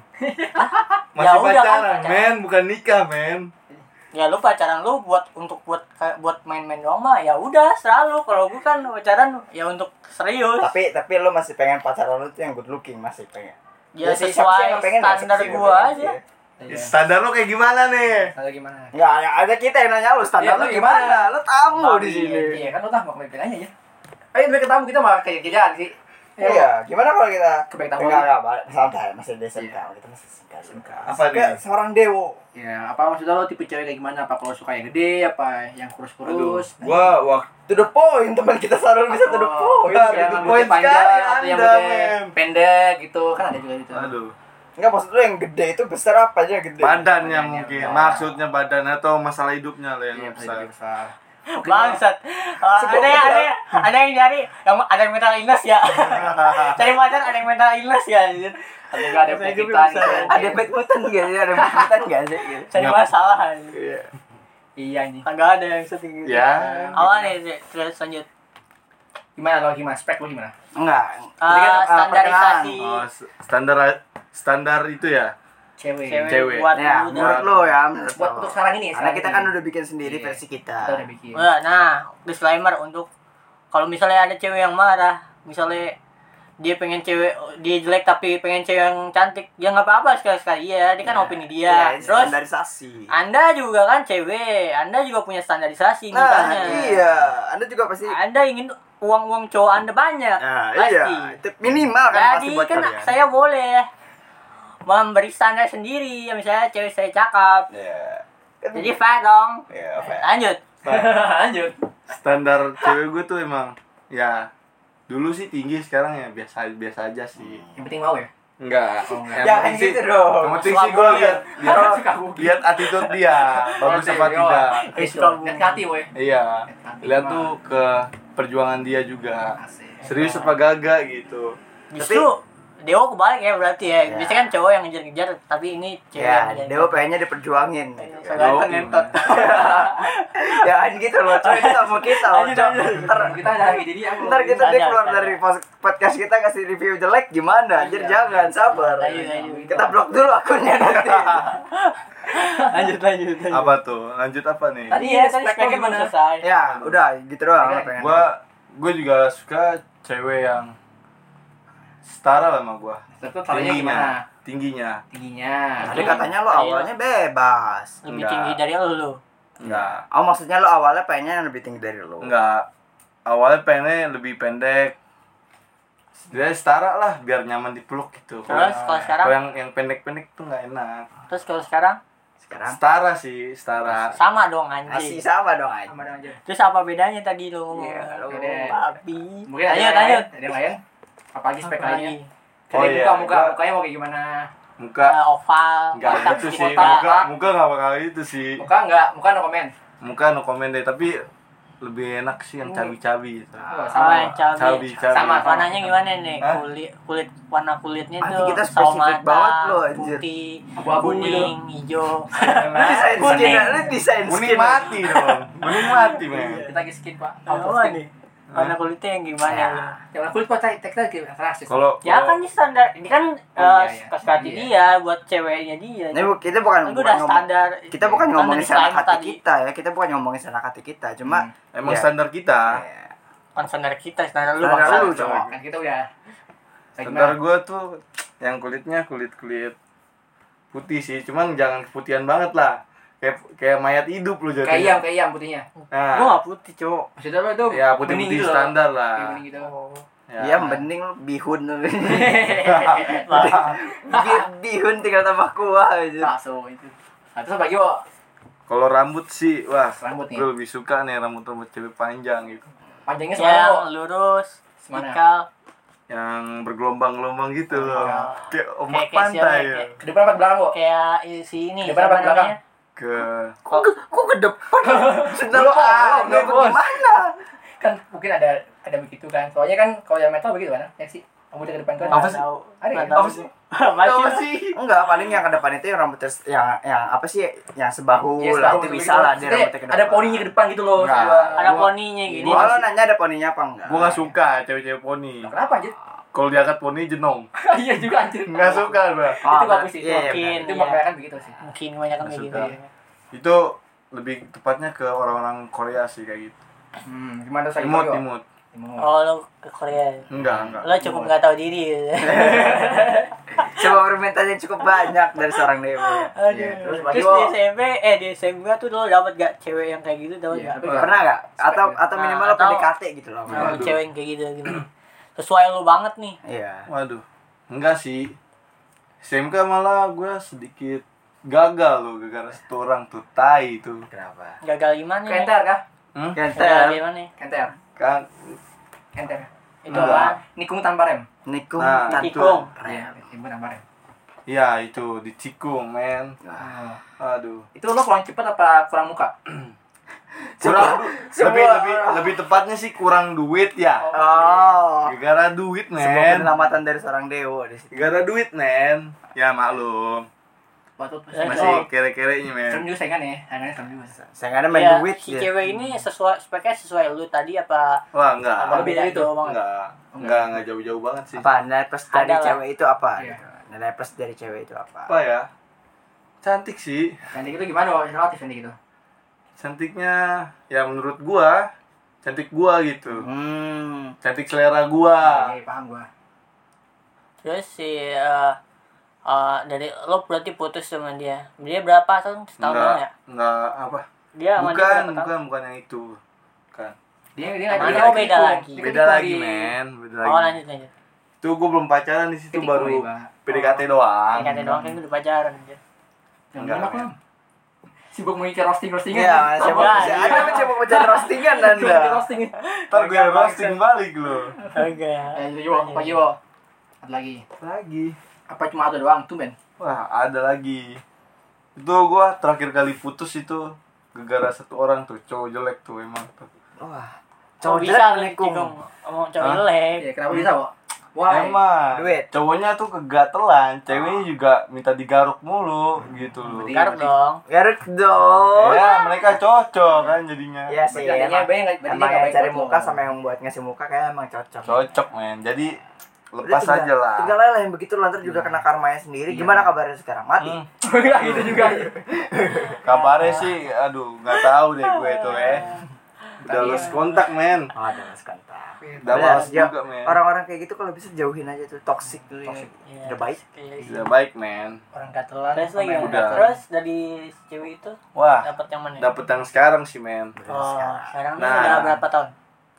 [SPEAKER 4] masih
[SPEAKER 1] Ya udah kan,
[SPEAKER 4] pacaran
[SPEAKER 1] pacaran.
[SPEAKER 4] men bukan nikah men
[SPEAKER 1] ya lu pacaran lu buat untuk buat kayak buat main-main doang mah ya udah selalu kalau gue kan pacaran ya untuk serius
[SPEAKER 2] Tapi tapi lo masih pengen pacaran lo tuh yang good looking masih pengen.
[SPEAKER 1] ya
[SPEAKER 2] sih, siapa sih
[SPEAKER 1] sesuai
[SPEAKER 2] yang nggak pengen ya? Siapa
[SPEAKER 1] standar
[SPEAKER 2] sih yang nggak
[SPEAKER 1] gua
[SPEAKER 2] pengen
[SPEAKER 1] aja
[SPEAKER 2] sih?
[SPEAKER 3] Iya.
[SPEAKER 4] standar lo kayak gimana nih
[SPEAKER 3] Atau gimana?
[SPEAKER 2] Enggak, yang ada kita yang nanya lu standar
[SPEAKER 3] Iya,
[SPEAKER 2] lu
[SPEAKER 3] lu
[SPEAKER 2] gimana? Lu tamu
[SPEAKER 1] Tamu,
[SPEAKER 2] Oh, di
[SPEAKER 1] iya,
[SPEAKER 2] sini.
[SPEAKER 3] Iya kan lo tahu mau kebaikan aja ya. Eh mereka tamu kita malah kayak kerjaan sih. Ya.
[SPEAKER 2] Iya, gimana kalau kita
[SPEAKER 3] Kebaik tamu.
[SPEAKER 2] Enggak, enggak, Pak. santai, masih di SMK, kita masih SMK. SMK.
[SPEAKER 4] Apa
[SPEAKER 2] Kayak
[SPEAKER 4] nih?
[SPEAKER 2] seorang dewo.
[SPEAKER 3] Ya, apa maksudnya lo tipe cewek kayak gimana? Apa kalau suka yang gede, apa yang
[SPEAKER 4] Aduh,
[SPEAKER 3] kurus-kurus?
[SPEAKER 4] gua waktu
[SPEAKER 2] To the point, teman kita selalu bisa to the
[SPEAKER 3] Oh,
[SPEAKER 2] point.
[SPEAKER 4] enggak,
[SPEAKER 3] yang
[SPEAKER 4] itu
[SPEAKER 3] rambutnya
[SPEAKER 4] poin
[SPEAKER 3] panjang
[SPEAKER 4] sekali
[SPEAKER 3] atau yang
[SPEAKER 4] Anda,
[SPEAKER 3] rambutnya
[SPEAKER 4] men.
[SPEAKER 3] pendek gitu kan ada juga itu
[SPEAKER 4] aduh
[SPEAKER 5] Enggak maksud lu yang gede itu besar apa aja gede?
[SPEAKER 4] badannya mungkin
[SPEAKER 5] ya.
[SPEAKER 4] maksudnya badan atau masalah hidupnya lah yang
[SPEAKER 5] Iya,
[SPEAKER 4] besar
[SPEAKER 5] besar. besar.
[SPEAKER 1] Bangsat. Ah, ada,
[SPEAKER 5] Sebelum
[SPEAKER 1] yang-
[SPEAKER 5] kita-
[SPEAKER 1] ada, yang- ada yang nyari yang ada yang mental illness ya. Cari pacar ada yang mental illness ya. anjir. Atau enggak ada
[SPEAKER 4] Saya juga
[SPEAKER 1] penyakitan.
[SPEAKER 4] bisa.
[SPEAKER 1] gitu.
[SPEAKER 2] Ada badminton gak sih? Ada badminton gak sih?
[SPEAKER 1] Cari masalah. anjir.
[SPEAKER 3] Iya ini.
[SPEAKER 1] Enggak ada yang setinggi gitu.
[SPEAKER 4] ya
[SPEAKER 1] Awal nih Zek. terus lanjut.
[SPEAKER 3] Gimana lo gimana? Spek lo gimana?
[SPEAKER 2] Enggak.
[SPEAKER 1] Ah,
[SPEAKER 2] Tadi kan, ah,
[SPEAKER 1] standarisasi
[SPEAKER 4] oh, s- standar standar itu ya
[SPEAKER 3] Iya, Cewek.
[SPEAKER 1] cewek,
[SPEAKER 4] Cewek.
[SPEAKER 1] buat
[SPEAKER 2] perkenalan. Ya,
[SPEAKER 1] dulu
[SPEAKER 2] menurut
[SPEAKER 1] dah.
[SPEAKER 2] lo ya, menurut
[SPEAKER 3] Buat
[SPEAKER 2] lo.
[SPEAKER 3] untuk sekarang ini ya.
[SPEAKER 2] Karena
[SPEAKER 3] sekarang
[SPEAKER 2] kita
[SPEAKER 3] ini.
[SPEAKER 2] kan udah bikin sendiri
[SPEAKER 3] Iya.
[SPEAKER 2] versi
[SPEAKER 3] kita udah
[SPEAKER 2] kita.
[SPEAKER 3] bikin.
[SPEAKER 1] Nah, nah, disclaimer untuk kalau misalnya ada cewek yang marah, misalnya dia pengen cewek dia jelek tapi pengen cewek yang cantik, ya nggak apa-apa sekali sekali. Iya, dia kan opini dia.
[SPEAKER 2] Iya,
[SPEAKER 1] Terus
[SPEAKER 2] standarisasi.
[SPEAKER 1] Anda juga kan cewek, Anda juga punya standarisasi
[SPEAKER 2] Nah,
[SPEAKER 1] misalnya.
[SPEAKER 2] iya. Anda juga pasti
[SPEAKER 1] Anda ingin uang-uang cowok Anda banyak.
[SPEAKER 2] Nah,
[SPEAKER 1] pasti.
[SPEAKER 2] iya. Itu Minimal kan
[SPEAKER 1] Jadi
[SPEAKER 2] pasti buat
[SPEAKER 1] kan
[SPEAKER 2] kalian.
[SPEAKER 1] saya boleh memberi standar sendiri, Ya, misalnya cewek saya cakep.
[SPEAKER 5] Iya. Kan
[SPEAKER 1] Jadi fair dong.
[SPEAKER 5] Iya, apa ya?
[SPEAKER 1] Lanjut.
[SPEAKER 3] Lanjut.
[SPEAKER 4] standar cewek gue tuh emang ya dulu sih tinggi sekarang ya biasa biasa aja sih
[SPEAKER 3] Yang penting mau ya.
[SPEAKER 4] enggak yang
[SPEAKER 2] Jangan
[SPEAKER 4] penting sih
[SPEAKER 2] gitu dong.
[SPEAKER 4] yang penting sih gue lihat lihat
[SPEAKER 3] Suka bugil.
[SPEAKER 4] lihat attitude dia bagus
[SPEAKER 3] Oke,
[SPEAKER 4] apa
[SPEAKER 3] yo.
[SPEAKER 4] tidak
[SPEAKER 3] Oke,
[SPEAKER 1] Suka
[SPEAKER 3] tuh. Lihat ke hati woi.
[SPEAKER 4] iya
[SPEAKER 3] Tapi
[SPEAKER 4] lihat
[SPEAKER 3] mah.
[SPEAKER 4] tuh ke perjuangan dia juga
[SPEAKER 3] Asik.
[SPEAKER 4] serius apa gagak gitu
[SPEAKER 1] Justru Dewo kebalik ya berarti ya.
[SPEAKER 2] Ya.
[SPEAKER 1] Biasanya kan cowok yang ngejar-ngejar, tapi ini cewek yang
[SPEAKER 2] Ya,
[SPEAKER 1] ngejar.
[SPEAKER 2] Dewa pengennya diperjuangin. gitu kan.
[SPEAKER 1] gitu. Iya, Saya ganteng
[SPEAKER 4] Yo,
[SPEAKER 1] entot.
[SPEAKER 2] Jangan gitu loh, coy. Itu sama kita loh, coy. Ntar,
[SPEAKER 3] Ntar kita lagi jadi aku.
[SPEAKER 2] ntar kita
[SPEAKER 1] Tanya,
[SPEAKER 2] dia keluar
[SPEAKER 1] tanya.
[SPEAKER 2] dari pos- podcast kita kasih review jelek gimana? Anjir, jangan, sabar.
[SPEAKER 1] Ayo, ayo.
[SPEAKER 2] Kita blok dulu akunnya nanti.
[SPEAKER 1] lanjut lanjut. lanjut.
[SPEAKER 4] apa tuh lanjut apa nih
[SPEAKER 3] Tadi
[SPEAKER 2] Iya,
[SPEAKER 3] ya, tadi speknya
[SPEAKER 1] belum
[SPEAKER 3] gimana?
[SPEAKER 1] selesai.
[SPEAKER 2] Ya, udah gitu doang lah pengen.
[SPEAKER 4] gue gue juga suka cewek yang setara lah sama gue
[SPEAKER 3] Terus taranya
[SPEAKER 4] tingginya
[SPEAKER 3] gimana?
[SPEAKER 4] tingginya
[SPEAKER 3] Tingginya.
[SPEAKER 2] Tadi katanya lo awalnya bebas.
[SPEAKER 1] Lebih
[SPEAKER 4] Enggak.
[SPEAKER 1] tinggi dari lu.
[SPEAKER 4] enggak
[SPEAKER 2] Oh, maksudnya lo awalnya pengennya yang lebih tinggi dari lo.
[SPEAKER 4] enggak awalnya pengennya lebih pendek dia setara lah biar nyaman dipeluk gitu
[SPEAKER 1] Terus kalau sekarang,
[SPEAKER 4] kalau yang yang pendek-pendek tuh nggak enak
[SPEAKER 1] terus kalau sekarang
[SPEAKER 2] Sekarang
[SPEAKER 4] setara sih setara
[SPEAKER 1] sama dong
[SPEAKER 2] Nah.
[SPEAKER 1] anjing.
[SPEAKER 2] masih sama dong aja.
[SPEAKER 3] Sama dengan aja.
[SPEAKER 1] Terus apa bedanya tadi lu ngomong?
[SPEAKER 2] Iya, lo
[SPEAKER 3] Oke deh.
[SPEAKER 1] Babi.
[SPEAKER 3] Mungkin ada
[SPEAKER 1] lanjut
[SPEAKER 3] yang lain.
[SPEAKER 1] lanjut.
[SPEAKER 3] Ada yang lain. Apalagi spek lainnya.
[SPEAKER 1] Lagi.
[SPEAKER 4] Oh
[SPEAKER 3] Jadi
[SPEAKER 4] iya,
[SPEAKER 3] muka muka
[SPEAKER 4] gua-
[SPEAKER 3] mukanya mau kayak gimana?
[SPEAKER 4] muka
[SPEAKER 1] Eh, oval,
[SPEAKER 4] enggak
[SPEAKER 1] kotak,
[SPEAKER 4] gitu
[SPEAKER 1] bikin
[SPEAKER 4] sih
[SPEAKER 1] kotak.
[SPEAKER 4] muka muka nggak bakal itu sih
[SPEAKER 3] Muka enggak, muka no comment.
[SPEAKER 4] muka no comment deh tapi lebih enak sih yang cabi-cabi gitu
[SPEAKER 3] Oh,
[SPEAKER 1] Sama
[SPEAKER 3] sama.
[SPEAKER 1] yang cabi.
[SPEAKER 4] cabi cabi
[SPEAKER 3] Sama.
[SPEAKER 1] Warnanya gimana nih?
[SPEAKER 4] Hah?
[SPEAKER 1] Kulit kulit warna kulitnya
[SPEAKER 2] Anjing,
[SPEAKER 1] tuh
[SPEAKER 2] kita
[SPEAKER 1] sawo
[SPEAKER 2] spesifik
[SPEAKER 1] mata,
[SPEAKER 2] banget lo, anjir.
[SPEAKER 1] putih,
[SPEAKER 3] Abu-abu
[SPEAKER 1] kuning, hijau.
[SPEAKER 2] Desain skin,
[SPEAKER 1] Kuning.
[SPEAKER 2] lo desain
[SPEAKER 4] kuning
[SPEAKER 2] skin.
[SPEAKER 4] mati dong kuning mati men
[SPEAKER 1] Iya.
[SPEAKER 3] Kita lagi skin, Pak. Auto
[SPEAKER 1] Apa
[SPEAKER 3] skin.
[SPEAKER 1] nih? Warna kulitnya yang gimana?
[SPEAKER 2] Ya.
[SPEAKER 1] lu?
[SPEAKER 3] Yang warna kulit Pak, cari tag tag gitu. Rasis.
[SPEAKER 4] kalau
[SPEAKER 1] Ya
[SPEAKER 4] kalau-
[SPEAKER 1] kan ini standar, ini kan
[SPEAKER 3] Oh,
[SPEAKER 1] eh,
[SPEAKER 3] iya, iya.
[SPEAKER 1] suka-suka hati
[SPEAKER 3] Iya.
[SPEAKER 1] dia buat ceweknya dia.
[SPEAKER 2] Ini bu- kita bukan
[SPEAKER 1] Kan gue
[SPEAKER 2] bukan
[SPEAKER 1] udah
[SPEAKER 2] ngomong-
[SPEAKER 1] standar.
[SPEAKER 2] kita bukan
[SPEAKER 1] Standar
[SPEAKER 2] ngomongin salah
[SPEAKER 1] desain
[SPEAKER 2] hati
[SPEAKER 1] tadi.
[SPEAKER 2] kita ya kita bukan ngomongin salah hati kita cuma
[SPEAKER 4] emang
[SPEAKER 2] Ya.
[SPEAKER 4] standar kita
[SPEAKER 2] ya,
[SPEAKER 1] Bukan standar kita, standar lu
[SPEAKER 2] Standar
[SPEAKER 1] bangsa.
[SPEAKER 2] lu, cowok.
[SPEAKER 3] Kan kita udah Kayak
[SPEAKER 4] Standar
[SPEAKER 3] gimana?
[SPEAKER 4] gue tuh yang kulitnya kulit kulit putih sih, cuman jangan keputihan banget lah. Kayak kayak mayat hidup lu
[SPEAKER 3] Kayak iam,
[SPEAKER 4] jadi.
[SPEAKER 3] kayak iam putihnya.
[SPEAKER 1] Gue
[SPEAKER 4] Nah,
[SPEAKER 1] gak putih, cowok.
[SPEAKER 3] Maksudnya lo itu
[SPEAKER 4] ya putih
[SPEAKER 3] bening
[SPEAKER 4] putih
[SPEAKER 3] gitu loh.
[SPEAKER 4] standar
[SPEAKER 3] Kayak
[SPEAKER 4] lah.
[SPEAKER 3] bening gitu.
[SPEAKER 2] ya mending lu bihun lu. Bi- bihun tinggal tambah kuah aja
[SPEAKER 3] Bakso itu. Nah, terus bagi lo
[SPEAKER 4] Kalau rambut sih, wah,
[SPEAKER 3] Rambut nih.
[SPEAKER 4] gue lebih suka nih rambut rambut cewek panjang gitu,
[SPEAKER 1] Yang
[SPEAKER 3] panjangnya
[SPEAKER 2] Ya,
[SPEAKER 3] semana lo?
[SPEAKER 1] lurus,
[SPEAKER 3] Semana?
[SPEAKER 1] ikal.
[SPEAKER 4] yang bergelombang-gelombang gitu loh, kayak
[SPEAKER 1] Kayak- kayak
[SPEAKER 4] ombak pantai
[SPEAKER 1] siapa,
[SPEAKER 4] ya.
[SPEAKER 1] kayak-
[SPEAKER 3] Ke depan apa ke belakang lo?
[SPEAKER 1] Kayak eh, si ini,
[SPEAKER 3] Di mana,
[SPEAKER 1] siapa
[SPEAKER 3] Bang, belakang?
[SPEAKER 1] namanya?
[SPEAKER 4] Ke
[SPEAKER 2] kok ke- kok ke depan sedang
[SPEAKER 4] Lu
[SPEAKER 2] lu
[SPEAKER 4] ah, lu bos.
[SPEAKER 2] gimana
[SPEAKER 3] Kan mungkin ada ada begitu kan. Soalnya kan kalau yang metal begitu kan. Ya sih. Rambutnya ke depan tuh.
[SPEAKER 4] Apa sih?
[SPEAKER 3] Ada ya?
[SPEAKER 1] Nggak tahu
[SPEAKER 4] Apa sih?
[SPEAKER 1] gua. Masih
[SPEAKER 4] Apa
[SPEAKER 1] lah.
[SPEAKER 4] sih?
[SPEAKER 2] enggak paling yang ke depan itu yang rambutnya s- yang yang apa sih yang sebahu
[SPEAKER 3] Iya, tahu,
[SPEAKER 2] lah itu
[SPEAKER 3] tapi
[SPEAKER 2] Oh, bisa
[SPEAKER 3] gitu.
[SPEAKER 2] lah dia
[SPEAKER 3] Maksudnya
[SPEAKER 2] rambutnya ke depan
[SPEAKER 3] Ada poninya ke depan gitu loh.
[SPEAKER 2] Nggak.
[SPEAKER 3] Dua.
[SPEAKER 1] Ada
[SPEAKER 3] Dua.
[SPEAKER 1] poninya gini.
[SPEAKER 2] gua lo nanya ada poninya apa enggak Oh,
[SPEAKER 4] Gue gak suka cewek-cewek poni.
[SPEAKER 3] Kenapa anjir?
[SPEAKER 4] Kalau diangkat poni jenong,
[SPEAKER 3] Iya juga anjir.
[SPEAKER 4] nggak suka gue.
[SPEAKER 2] Oh,
[SPEAKER 3] Itu bagus
[SPEAKER 2] berarti-
[SPEAKER 3] itu.
[SPEAKER 2] iya, iya,
[SPEAKER 1] Mungkin.
[SPEAKER 3] Itu
[SPEAKER 1] Iya.
[SPEAKER 3] makanya kan begitu sih.
[SPEAKER 1] Mungkin banyak kan kayak gitu.
[SPEAKER 4] Suka. Itu lebih tepatnya ke orang-orang Korea sih kayak gitu.
[SPEAKER 3] Hmm, gimana saya
[SPEAKER 4] Imut, imut.
[SPEAKER 3] Imut.
[SPEAKER 1] Oh, lo ke Korea.
[SPEAKER 4] Enggak, enggak.
[SPEAKER 1] Lo cukup gak tahu diri.
[SPEAKER 2] benar. coba permintaan yang cukup banyak dari seorang ya. dewa
[SPEAKER 1] Aduh.
[SPEAKER 3] terus bagi
[SPEAKER 1] Terus
[SPEAKER 3] lo.
[SPEAKER 1] di SMP, eh di SMP tuh lo dapet gak cewek yang kayak gitu, dapet
[SPEAKER 3] Iya.
[SPEAKER 1] gak?
[SPEAKER 2] pernah nggak atau atau
[SPEAKER 1] Nah,
[SPEAKER 2] minimal lo
[SPEAKER 1] atau-
[SPEAKER 2] PDKT gitu loh
[SPEAKER 1] Nah,
[SPEAKER 4] Aduh.
[SPEAKER 1] cewek yang kayak gitu gimana? Sesuai lo banget nih.
[SPEAKER 2] iya
[SPEAKER 4] Waduh, enggak sih. SMK malah gue sedikit gagal loh gara-gara satu orang tuh tai itu.
[SPEAKER 2] kenapa
[SPEAKER 1] Gagal gimana? nih?
[SPEAKER 3] Kenter kah?
[SPEAKER 4] Hmm?
[SPEAKER 1] Gagal
[SPEAKER 2] Kenter,
[SPEAKER 1] gimana? nih?
[SPEAKER 3] Kenter.
[SPEAKER 4] Kan
[SPEAKER 3] Kenter.
[SPEAKER 1] Itu
[SPEAKER 4] Enggak.
[SPEAKER 1] apa?
[SPEAKER 3] Nikung tanpa rem.
[SPEAKER 2] nikung,
[SPEAKER 4] Nah,
[SPEAKER 2] tanpa
[SPEAKER 1] nikung.
[SPEAKER 2] rem.
[SPEAKER 3] Iya, nikung tanpa rem.
[SPEAKER 4] Iya itu ditikung men.
[SPEAKER 3] Oh.
[SPEAKER 4] Aduh.
[SPEAKER 3] Itu lo kurang cepat apa kurang muka?
[SPEAKER 4] Kurang lebih
[SPEAKER 5] semua-
[SPEAKER 4] lebih lebih tepatnya sih kurang duit ya.
[SPEAKER 2] Oh.
[SPEAKER 4] Gara-gara duit
[SPEAKER 2] Sebuah
[SPEAKER 4] men.
[SPEAKER 2] penyelamatan dari seorang dewa di situ.
[SPEAKER 4] Gara-gara duit men. Ya maklum.
[SPEAKER 3] Patut
[SPEAKER 1] Eh,
[SPEAKER 4] Masih kere-kerenya
[SPEAKER 2] Iya.
[SPEAKER 3] Serem
[SPEAKER 4] men.
[SPEAKER 3] juga saingan ya, saingannya serem juga.
[SPEAKER 2] Saya ada
[SPEAKER 1] Ya,
[SPEAKER 2] main duit
[SPEAKER 1] si
[SPEAKER 2] dia.
[SPEAKER 1] cewek ini sesuai speknya sesuai lu tadi apa
[SPEAKER 4] Wah enggak.
[SPEAKER 1] apa
[SPEAKER 3] lebih
[SPEAKER 1] beda gitu?
[SPEAKER 3] dari itu,
[SPEAKER 1] jauh banget?
[SPEAKER 4] Enggak. Enggak enggak jauh-jauh banget sih.
[SPEAKER 2] Apa nilai plus dari
[SPEAKER 1] Ada lah.
[SPEAKER 2] cewek itu apa?
[SPEAKER 3] Iya.
[SPEAKER 2] gitu. Nilai plus dari cewek itu
[SPEAKER 4] Apa
[SPEAKER 2] apa?
[SPEAKER 4] ya? Cantik sih.
[SPEAKER 3] Cantik itu gitu gimana kalau relatif cantik itu?
[SPEAKER 4] Cantiknya ya menurut gua cantik gua gitu.
[SPEAKER 2] Hmm.
[SPEAKER 4] Cantik
[SPEAKER 2] Ah.
[SPEAKER 4] selera gua.
[SPEAKER 3] Oke, paham gua.
[SPEAKER 1] terus si eh, eh, dari lo berarti putus sama dia dia berapa tahun setahun doang ya
[SPEAKER 4] Enggak, enggak apa?
[SPEAKER 1] dia kan? sama dia
[SPEAKER 4] bukan,
[SPEAKER 1] berapa tahun?
[SPEAKER 4] bukan, bukan yang itu. Bukan.
[SPEAKER 3] Dia dia
[SPEAKER 1] Mana?
[SPEAKER 3] dia
[SPEAKER 1] Oh, beda
[SPEAKER 3] ketipu.
[SPEAKER 1] lagi.
[SPEAKER 3] Dia
[SPEAKER 4] Beda
[SPEAKER 3] ketipu
[SPEAKER 4] lagi,
[SPEAKER 3] di-
[SPEAKER 4] men. Beda
[SPEAKER 1] oh
[SPEAKER 4] lagi.
[SPEAKER 1] lanjut lanjut
[SPEAKER 4] Itu gua belum pacaran di situ
[SPEAKER 3] Ketipu,
[SPEAKER 4] baru
[SPEAKER 3] Iba.
[SPEAKER 4] PDKT
[SPEAKER 1] Oh,
[SPEAKER 4] doang.
[SPEAKER 1] Ingatin doang kan gue udah pacaran anjir.
[SPEAKER 3] Yang
[SPEAKER 4] Enggak,
[SPEAKER 3] enak,
[SPEAKER 4] men.
[SPEAKER 3] Lam. Sibuk mengisi roasting roastingan.
[SPEAKER 2] Iya, siapa
[SPEAKER 1] Iya,
[SPEAKER 2] bisa? Ada
[SPEAKER 1] iya.
[SPEAKER 2] mencoba pecah roastingan
[SPEAKER 3] Sibuk
[SPEAKER 2] Anda.
[SPEAKER 3] roasting.
[SPEAKER 4] Ntar gue roasting balik lo.
[SPEAKER 1] Enggak.
[SPEAKER 3] Eh, Yo, apa yo? Ada lagi.
[SPEAKER 4] Lagi.
[SPEAKER 3] Apa cuma ada doang tuh, Ben?
[SPEAKER 4] Wah, ada lagi. Itu gua terakhir kali putus itu gara-gara satu orang tuh cowok jelek tuh emang tuh.
[SPEAKER 2] Wah.
[SPEAKER 1] Cowok
[SPEAKER 2] Cowok
[SPEAKER 1] bisa jelek
[SPEAKER 2] jelek nikung.
[SPEAKER 1] Ngomong cowok
[SPEAKER 4] Hah?
[SPEAKER 1] jelek.
[SPEAKER 3] Iya, kenapa bisa, Wak? Wah,
[SPEAKER 4] Emang
[SPEAKER 2] Duit.
[SPEAKER 4] cowoknya tuh kegatelan, ceweknya juga minta digaruk mulu gitu loh.
[SPEAKER 3] Berarti-
[SPEAKER 2] iya.
[SPEAKER 1] Garuk dong.
[SPEAKER 2] Garut dong.
[SPEAKER 1] Iya.
[SPEAKER 4] Ya, mereka cocok kan jadinya.
[SPEAKER 2] Iya sih.
[SPEAKER 3] Berarti adanya
[SPEAKER 2] Emang,
[SPEAKER 3] baik, berarti dia
[SPEAKER 2] emang
[SPEAKER 3] nggak
[SPEAKER 2] yang
[SPEAKER 3] baik
[SPEAKER 2] cari
[SPEAKER 3] buat lo. kan?
[SPEAKER 2] muka sama yang buat ngasih muka kayaknya emang cocok.
[SPEAKER 4] Cocok, men. Jadi
[SPEAKER 2] Udah
[SPEAKER 4] lepas
[SPEAKER 2] tinggal-
[SPEAKER 4] aja lah. Iya.
[SPEAKER 2] Tinggal aja lah yang begitu lantar juga kena karmanya sendiri. Gimana kabarnya sekarang? Mati.
[SPEAKER 4] Hmm,
[SPEAKER 3] enggak
[SPEAKER 2] Iya.
[SPEAKER 3] gitu juga.
[SPEAKER 4] kabarnya sih aduh, nggak tahu deh gue itu eh. Udah
[SPEAKER 3] Tapi-
[SPEAKER 4] lost kontak, men.
[SPEAKER 2] Aduh, mas kontak.
[SPEAKER 4] Udah
[SPEAKER 2] Udah,
[SPEAKER 4] males
[SPEAKER 2] jauh.
[SPEAKER 4] juga, men.
[SPEAKER 2] Orang-orang kayak gitu kalau bisa jauhin aja tuh toxic tuh. ya.
[SPEAKER 1] Iya.
[SPEAKER 2] Udah baik.
[SPEAKER 1] Iya, iya.
[SPEAKER 4] Udah baik, men.
[SPEAKER 3] Orang katelan.
[SPEAKER 1] Terus lagi
[SPEAKER 3] sama yang
[SPEAKER 4] Udah.
[SPEAKER 1] terus dari si cewek itu
[SPEAKER 2] Ah.
[SPEAKER 4] Wah,
[SPEAKER 1] dapat yang mana?
[SPEAKER 4] dapet yang sekarang sih, men.
[SPEAKER 1] Oh, sekarang
[SPEAKER 4] Nah.
[SPEAKER 1] udah berapa tahun?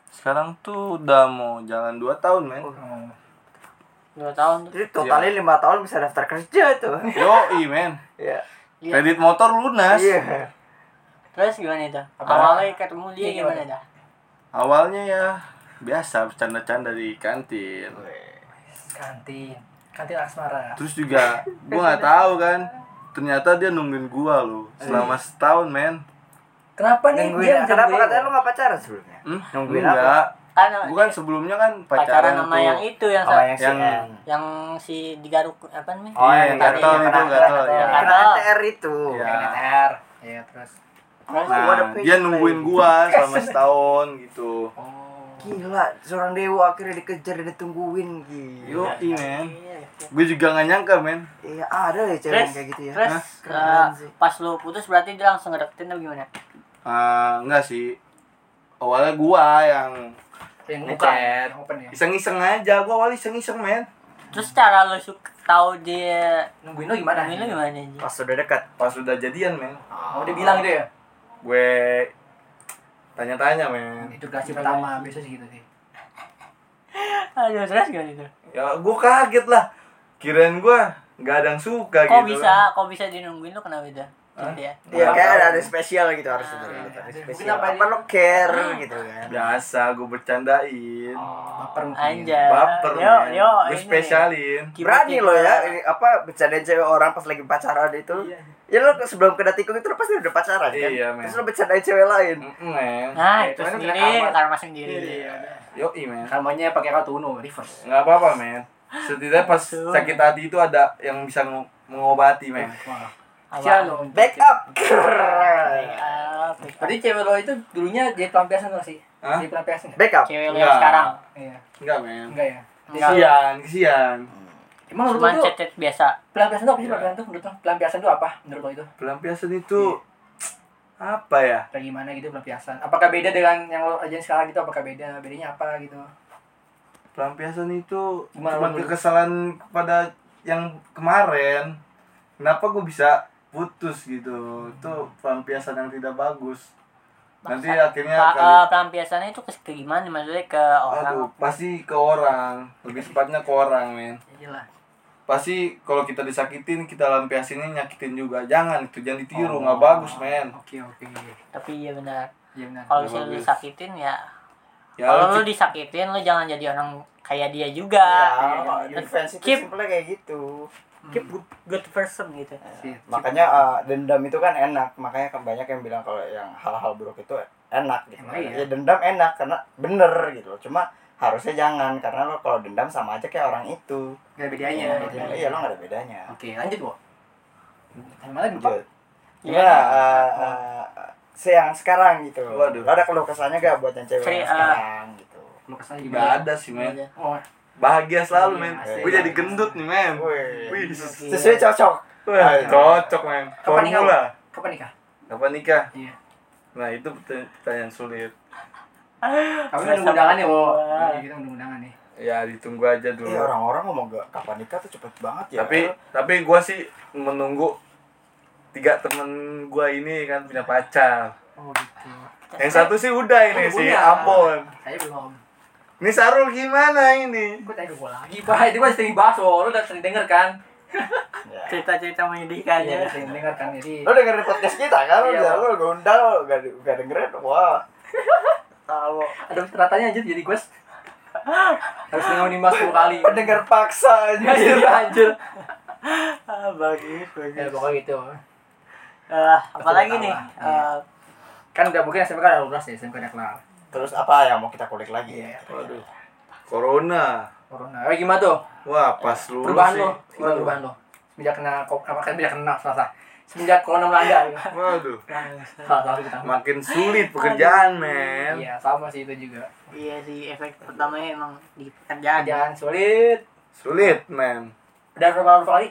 [SPEAKER 4] Sekarang tuh udah mau jalan 2 tahun, men.
[SPEAKER 3] Oh. Hmm,
[SPEAKER 1] Dua tahun. tuh.
[SPEAKER 2] Jadi
[SPEAKER 4] Iya.
[SPEAKER 2] totalnya lima tahun bisa daftar kerja tuh.
[SPEAKER 4] Yoi, men.
[SPEAKER 2] Iya.
[SPEAKER 1] Iya.
[SPEAKER 4] Kredit motor lunas.
[SPEAKER 2] Iya.
[SPEAKER 1] Terus gimana itu?
[SPEAKER 2] Ah.
[SPEAKER 1] Awalnya ketemu dia gimana
[SPEAKER 2] iya.
[SPEAKER 1] dah?
[SPEAKER 4] Awalnya ya biasa bercanda-canda di kantin.
[SPEAKER 3] Kantin. Kantin asmara.
[SPEAKER 4] Terus juga gua nggak tahu kan. Ternyata dia nungguin gua loh selama
[SPEAKER 2] Hmm.
[SPEAKER 4] setahun, men.
[SPEAKER 3] Kenapa nih
[SPEAKER 2] Nungguin. ya,
[SPEAKER 3] dia
[SPEAKER 2] Kenapa
[SPEAKER 3] menjauhi?
[SPEAKER 2] katanya lu gak pacaran sebelumnya?
[SPEAKER 4] Hmm?
[SPEAKER 2] Nungguin
[SPEAKER 4] Enggak.
[SPEAKER 1] Kan
[SPEAKER 4] Bukan sebelumnya kan
[SPEAKER 1] pacaran
[SPEAKER 4] pacaran,
[SPEAKER 1] sama
[SPEAKER 4] tuh.
[SPEAKER 1] yang itu yang
[SPEAKER 2] Sama
[SPEAKER 1] sa-
[SPEAKER 2] yang si
[SPEAKER 4] Yang-
[SPEAKER 2] N.
[SPEAKER 1] yang si digaruk apa namanya?
[SPEAKER 2] Oh,
[SPEAKER 4] Iya,
[SPEAKER 2] yang
[SPEAKER 4] yang
[SPEAKER 2] tadi,
[SPEAKER 4] gatel itu,
[SPEAKER 2] yang
[SPEAKER 4] gatel,
[SPEAKER 2] kena-
[SPEAKER 4] iya.
[SPEAKER 2] kena NTR itu.
[SPEAKER 4] Iya.
[SPEAKER 3] Yang NTR. Iya, terus.
[SPEAKER 2] gua ada
[SPEAKER 4] Nah,
[SPEAKER 2] pay
[SPEAKER 4] dia
[SPEAKER 2] play.
[SPEAKER 4] nungguin gua selama setahun gitu.
[SPEAKER 3] Oh.
[SPEAKER 2] Gila, seorang dewa akhirnya dikejar dan ditungguin gitu.
[SPEAKER 4] Yoi, men. Gue juga gak nyangka, men.
[SPEAKER 2] Iya, ada ya
[SPEAKER 1] Iya.
[SPEAKER 2] cewek
[SPEAKER 1] Terus,
[SPEAKER 2] yang kayak gitu ya.
[SPEAKER 1] terus
[SPEAKER 2] Keren
[SPEAKER 1] eh,
[SPEAKER 2] sih.
[SPEAKER 1] pas lu putus berarti dia langsung ngedeketin atau gimana?
[SPEAKER 4] Ah, enggak sih. Awalnya gua yang
[SPEAKER 3] Yang
[SPEAKER 4] Bukan.
[SPEAKER 3] ngechat, open ya.
[SPEAKER 4] iseng-iseng aja. Gua awalnya iseng-iseng, men.
[SPEAKER 1] Terus cara lu suka tahu dia
[SPEAKER 3] Nungguin lo gimana?
[SPEAKER 1] ini lu gimana anjir?
[SPEAKER 2] Pas udah dekat.
[SPEAKER 4] Pas udah jadian, men.
[SPEAKER 3] Oh, dia bilang gitu ya.
[SPEAKER 4] Gue tanya-tanya, men.
[SPEAKER 3] Itu kasih pertama, biasa sih gitu sih.
[SPEAKER 1] Aduh, gitu? terus gimana itu?
[SPEAKER 4] Ya, gua kaget lah. Kirain gua nggak ada yang suka
[SPEAKER 1] Kok
[SPEAKER 4] gitu.
[SPEAKER 1] bisa, kok bisa dinungguin lu kenapa itu? Gitu ya.
[SPEAKER 2] Iya, kayak ada, ada spesial gitu harus ada, ada
[SPEAKER 3] Mungkin
[SPEAKER 2] spesial.
[SPEAKER 3] apa
[SPEAKER 2] Apa lo care gitu kan?
[SPEAKER 4] Biasa gue bercandain.
[SPEAKER 3] Baper mungkin.
[SPEAKER 1] Anjay.
[SPEAKER 3] ya.
[SPEAKER 4] Baper,
[SPEAKER 1] Oh, ya. yo,
[SPEAKER 4] men.
[SPEAKER 1] yo,
[SPEAKER 4] Gue
[SPEAKER 1] ini.
[SPEAKER 4] spesialin.
[SPEAKER 1] Kipu-kipu.
[SPEAKER 2] Berani lo ya, ini apa bercandain cewek orang pas lagi pacaran
[SPEAKER 3] Iya,
[SPEAKER 2] itu. Ya lo sebelum kena tikung itu lo pasti udah pacaran kan?
[SPEAKER 4] Iya, men.
[SPEAKER 2] Terus lo bercandain cewek lain.
[SPEAKER 4] Mm-mm, men.
[SPEAKER 1] Nah,
[SPEAKER 3] Ya,
[SPEAKER 1] itu
[SPEAKER 3] cuman Iya,
[SPEAKER 1] sendiri,
[SPEAKER 3] kena karma.
[SPEAKER 1] karma sendiri.
[SPEAKER 4] Yoi, men.
[SPEAKER 3] Kalmanya Kan pakai kartu Uno, reverse.
[SPEAKER 4] Nggak apa-apa, men. Setidaknya pas
[SPEAKER 1] Betul.
[SPEAKER 4] sakit hati itu ada yang bisa ng- mengobati, men.
[SPEAKER 3] Wah.
[SPEAKER 1] Apa?
[SPEAKER 3] Sial lo.
[SPEAKER 2] Back up. Keren.
[SPEAKER 1] Ah,
[SPEAKER 3] Berarti cewek lo itu dulunya jadi pelampiasan lo sih?
[SPEAKER 4] Hah?
[SPEAKER 3] Jadi pelampiasan nggak?
[SPEAKER 2] Back up.
[SPEAKER 1] Cewek lu
[SPEAKER 4] Enggak.
[SPEAKER 1] yang sekarang.
[SPEAKER 3] Iya.
[SPEAKER 4] Enggak, men.
[SPEAKER 3] Enggak ya?
[SPEAKER 1] Enggak.
[SPEAKER 4] Kesian, kesian.
[SPEAKER 1] Oh.
[SPEAKER 3] Emang menurut
[SPEAKER 1] Cuman
[SPEAKER 3] lo tuh
[SPEAKER 1] chat-chat biasa.
[SPEAKER 3] pelampiasan itu apa sih
[SPEAKER 4] Iya.
[SPEAKER 3] pelampiasan tuh menurut lo? Pelampiasan itu apa menurut lo itu?
[SPEAKER 4] Pelampiasan itu
[SPEAKER 1] Iya.
[SPEAKER 4] apa ya?
[SPEAKER 3] Kayak gimana gitu pelampiasan? Apakah beda dengan yang lo ajarin sekarang gitu? Apakah beda? Bedanya apa gitu?
[SPEAKER 4] Pelampiasan itu
[SPEAKER 3] Gimana
[SPEAKER 4] cuma
[SPEAKER 3] lu?
[SPEAKER 4] kekesalan kepada yang kemarin. Kenapa gue bisa putus gitu? Itu pelampiasan yang tidak bagus. Nanti
[SPEAKER 3] Iya,
[SPEAKER 4] akhirnya
[SPEAKER 1] Pa-
[SPEAKER 4] kali-
[SPEAKER 1] eh, pelampiasannya itu ke, ke gimana maksudnya ke
[SPEAKER 4] Aduh,
[SPEAKER 1] orang?
[SPEAKER 4] pasti ke orang. Lebih tepatnya ke orang, men.
[SPEAKER 3] Iyalah.
[SPEAKER 4] Pasti kalau kita disakitin, kita lampiasinnya nyakitin juga. Jangan itu jangan ditiru,
[SPEAKER 3] Oh.
[SPEAKER 4] nggak bagus, men.
[SPEAKER 3] Iya Oke oke.
[SPEAKER 1] Tapi iya benar.
[SPEAKER 3] Iya benar.
[SPEAKER 1] Kalau
[SPEAKER 4] Nggak
[SPEAKER 1] misalnya lu
[SPEAKER 4] bagus.
[SPEAKER 1] sakitin ya
[SPEAKER 4] Ya,
[SPEAKER 1] kalau lu
[SPEAKER 4] lu-
[SPEAKER 1] disakitin lu jangan jadi orang kayak dia juga
[SPEAKER 2] Ya,
[SPEAKER 1] Iya.
[SPEAKER 2] defense itu
[SPEAKER 1] Keep-
[SPEAKER 2] simpelnya kayak gitu.
[SPEAKER 1] keep good, good person gitu
[SPEAKER 3] Iya, Sip.
[SPEAKER 2] Makanya eh, dendam itu kan enak. Makanya kan banyak yang bilang kalau yang hal-hal buruk itu enak gitu.
[SPEAKER 3] Emang iya.
[SPEAKER 2] Ya dendam enak karena bener gitu loh. Cuma harusnya jangan karena lo kalau dendam sama aja kayak orang itu.
[SPEAKER 3] Gak ada bedanya.
[SPEAKER 2] Iya, iya lo gak ada bedanya.
[SPEAKER 3] Oke, lanjut, Bo. Yang mana lupa?
[SPEAKER 2] Lanjut.
[SPEAKER 1] Iya.
[SPEAKER 2] Gimana eh, eh, se- yang sekarang gitu.
[SPEAKER 4] Waduh.
[SPEAKER 2] Lo ada keluh kesannya gak buat yang cewek
[SPEAKER 1] Seri-
[SPEAKER 2] yang sekarang gitu?
[SPEAKER 3] Lu kesal
[SPEAKER 4] nggak
[SPEAKER 3] gimana?
[SPEAKER 4] ada sih
[SPEAKER 1] Gitu.
[SPEAKER 4] men
[SPEAKER 3] Oh,
[SPEAKER 4] bahagia selalu men
[SPEAKER 2] Iya.
[SPEAKER 4] gue jadi gendut nih men
[SPEAKER 2] Wih.
[SPEAKER 4] Wih,
[SPEAKER 2] Sesuai cocok.
[SPEAKER 4] wah, cocok men
[SPEAKER 3] Kapan nikah?
[SPEAKER 4] formula
[SPEAKER 3] kapan nikah?
[SPEAKER 4] kapan nikah
[SPEAKER 3] Iya.
[SPEAKER 4] nah itu pertanya- pertanyaan sulit
[SPEAKER 3] Kami
[SPEAKER 1] Saya
[SPEAKER 3] nunggu undangan ya, Bo.
[SPEAKER 1] sama.
[SPEAKER 3] Iya, kita nunggu undangan nih.
[SPEAKER 4] ya ditunggu aja dulu
[SPEAKER 2] Iya orang-orang ngomong gak kapan nikah tuh cepet banget ya.
[SPEAKER 4] tapi tapi gue sih menunggu tiga temen gue ini kan punya pacar
[SPEAKER 3] Oh, gitu.
[SPEAKER 4] yang satu sih udah
[SPEAKER 3] Oh,
[SPEAKER 4] ini sih
[SPEAKER 3] udah.
[SPEAKER 4] Ambon
[SPEAKER 3] Saya belum.
[SPEAKER 4] ini Sarul gimana ini
[SPEAKER 3] Gue tanya gue lagi, Pak. Itu gue sering bahas, Bo. Lu udah sering denger kan?
[SPEAKER 2] Ya.
[SPEAKER 1] cerita-cerita menyedihkannya
[SPEAKER 3] Iya, sering denger kan. Jadi,
[SPEAKER 2] Lo dengerin podcast kita kan? Lo
[SPEAKER 3] Iya,
[SPEAKER 2] udah
[SPEAKER 3] Pak.
[SPEAKER 2] lo gondal, lo gak, gak dengerin. Wah.
[SPEAKER 4] tahu
[SPEAKER 1] Ah,
[SPEAKER 3] ada ratanya aja jadi gue s- harus dengar lima sepuluh kali.
[SPEAKER 2] Pendengar paksa aja.
[SPEAKER 3] Anjir, anjir.
[SPEAKER 1] ah, bagus bagus
[SPEAKER 3] Ya, pokoknya gitu.
[SPEAKER 1] Eh, apalagi
[SPEAKER 3] Betul,
[SPEAKER 1] nih
[SPEAKER 3] apa?
[SPEAKER 1] eh,
[SPEAKER 3] Kan udah mungkin SMK udah lulus ya, SMK udah kelar.
[SPEAKER 2] Terus apa yang mau kita kulik lagi? ya?
[SPEAKER 4] waduh corona
[SPEAKER 3] Corona. Eh, gimana tuh?
[SPEAKER 4] wah pas lu
[SPEAKER 3] perubahan
[SPEAKER 4] sih
[SPEAKER 3] lo gimana
[SPEAKER 4] waduh,
[SPEAKER 3] perubahan lo semenjak kena kok apa kan semenjak kena salah salah semenjak corona melanda
[SPEAKER 4] waduh
[SPEAKER 3] salah salah kita
[SPEAKER 4] makin sulit pekerjaan men
[SPEAKER 3] iya sama sih itu juga
[SPEAKER 1] iya sih efek pertamanya emang di pekerjaan
[SPEAKER 3] kerjaan sulit
[SPEAKER 4] sulit men
[SPEAKER 3] udah berapa berapa kali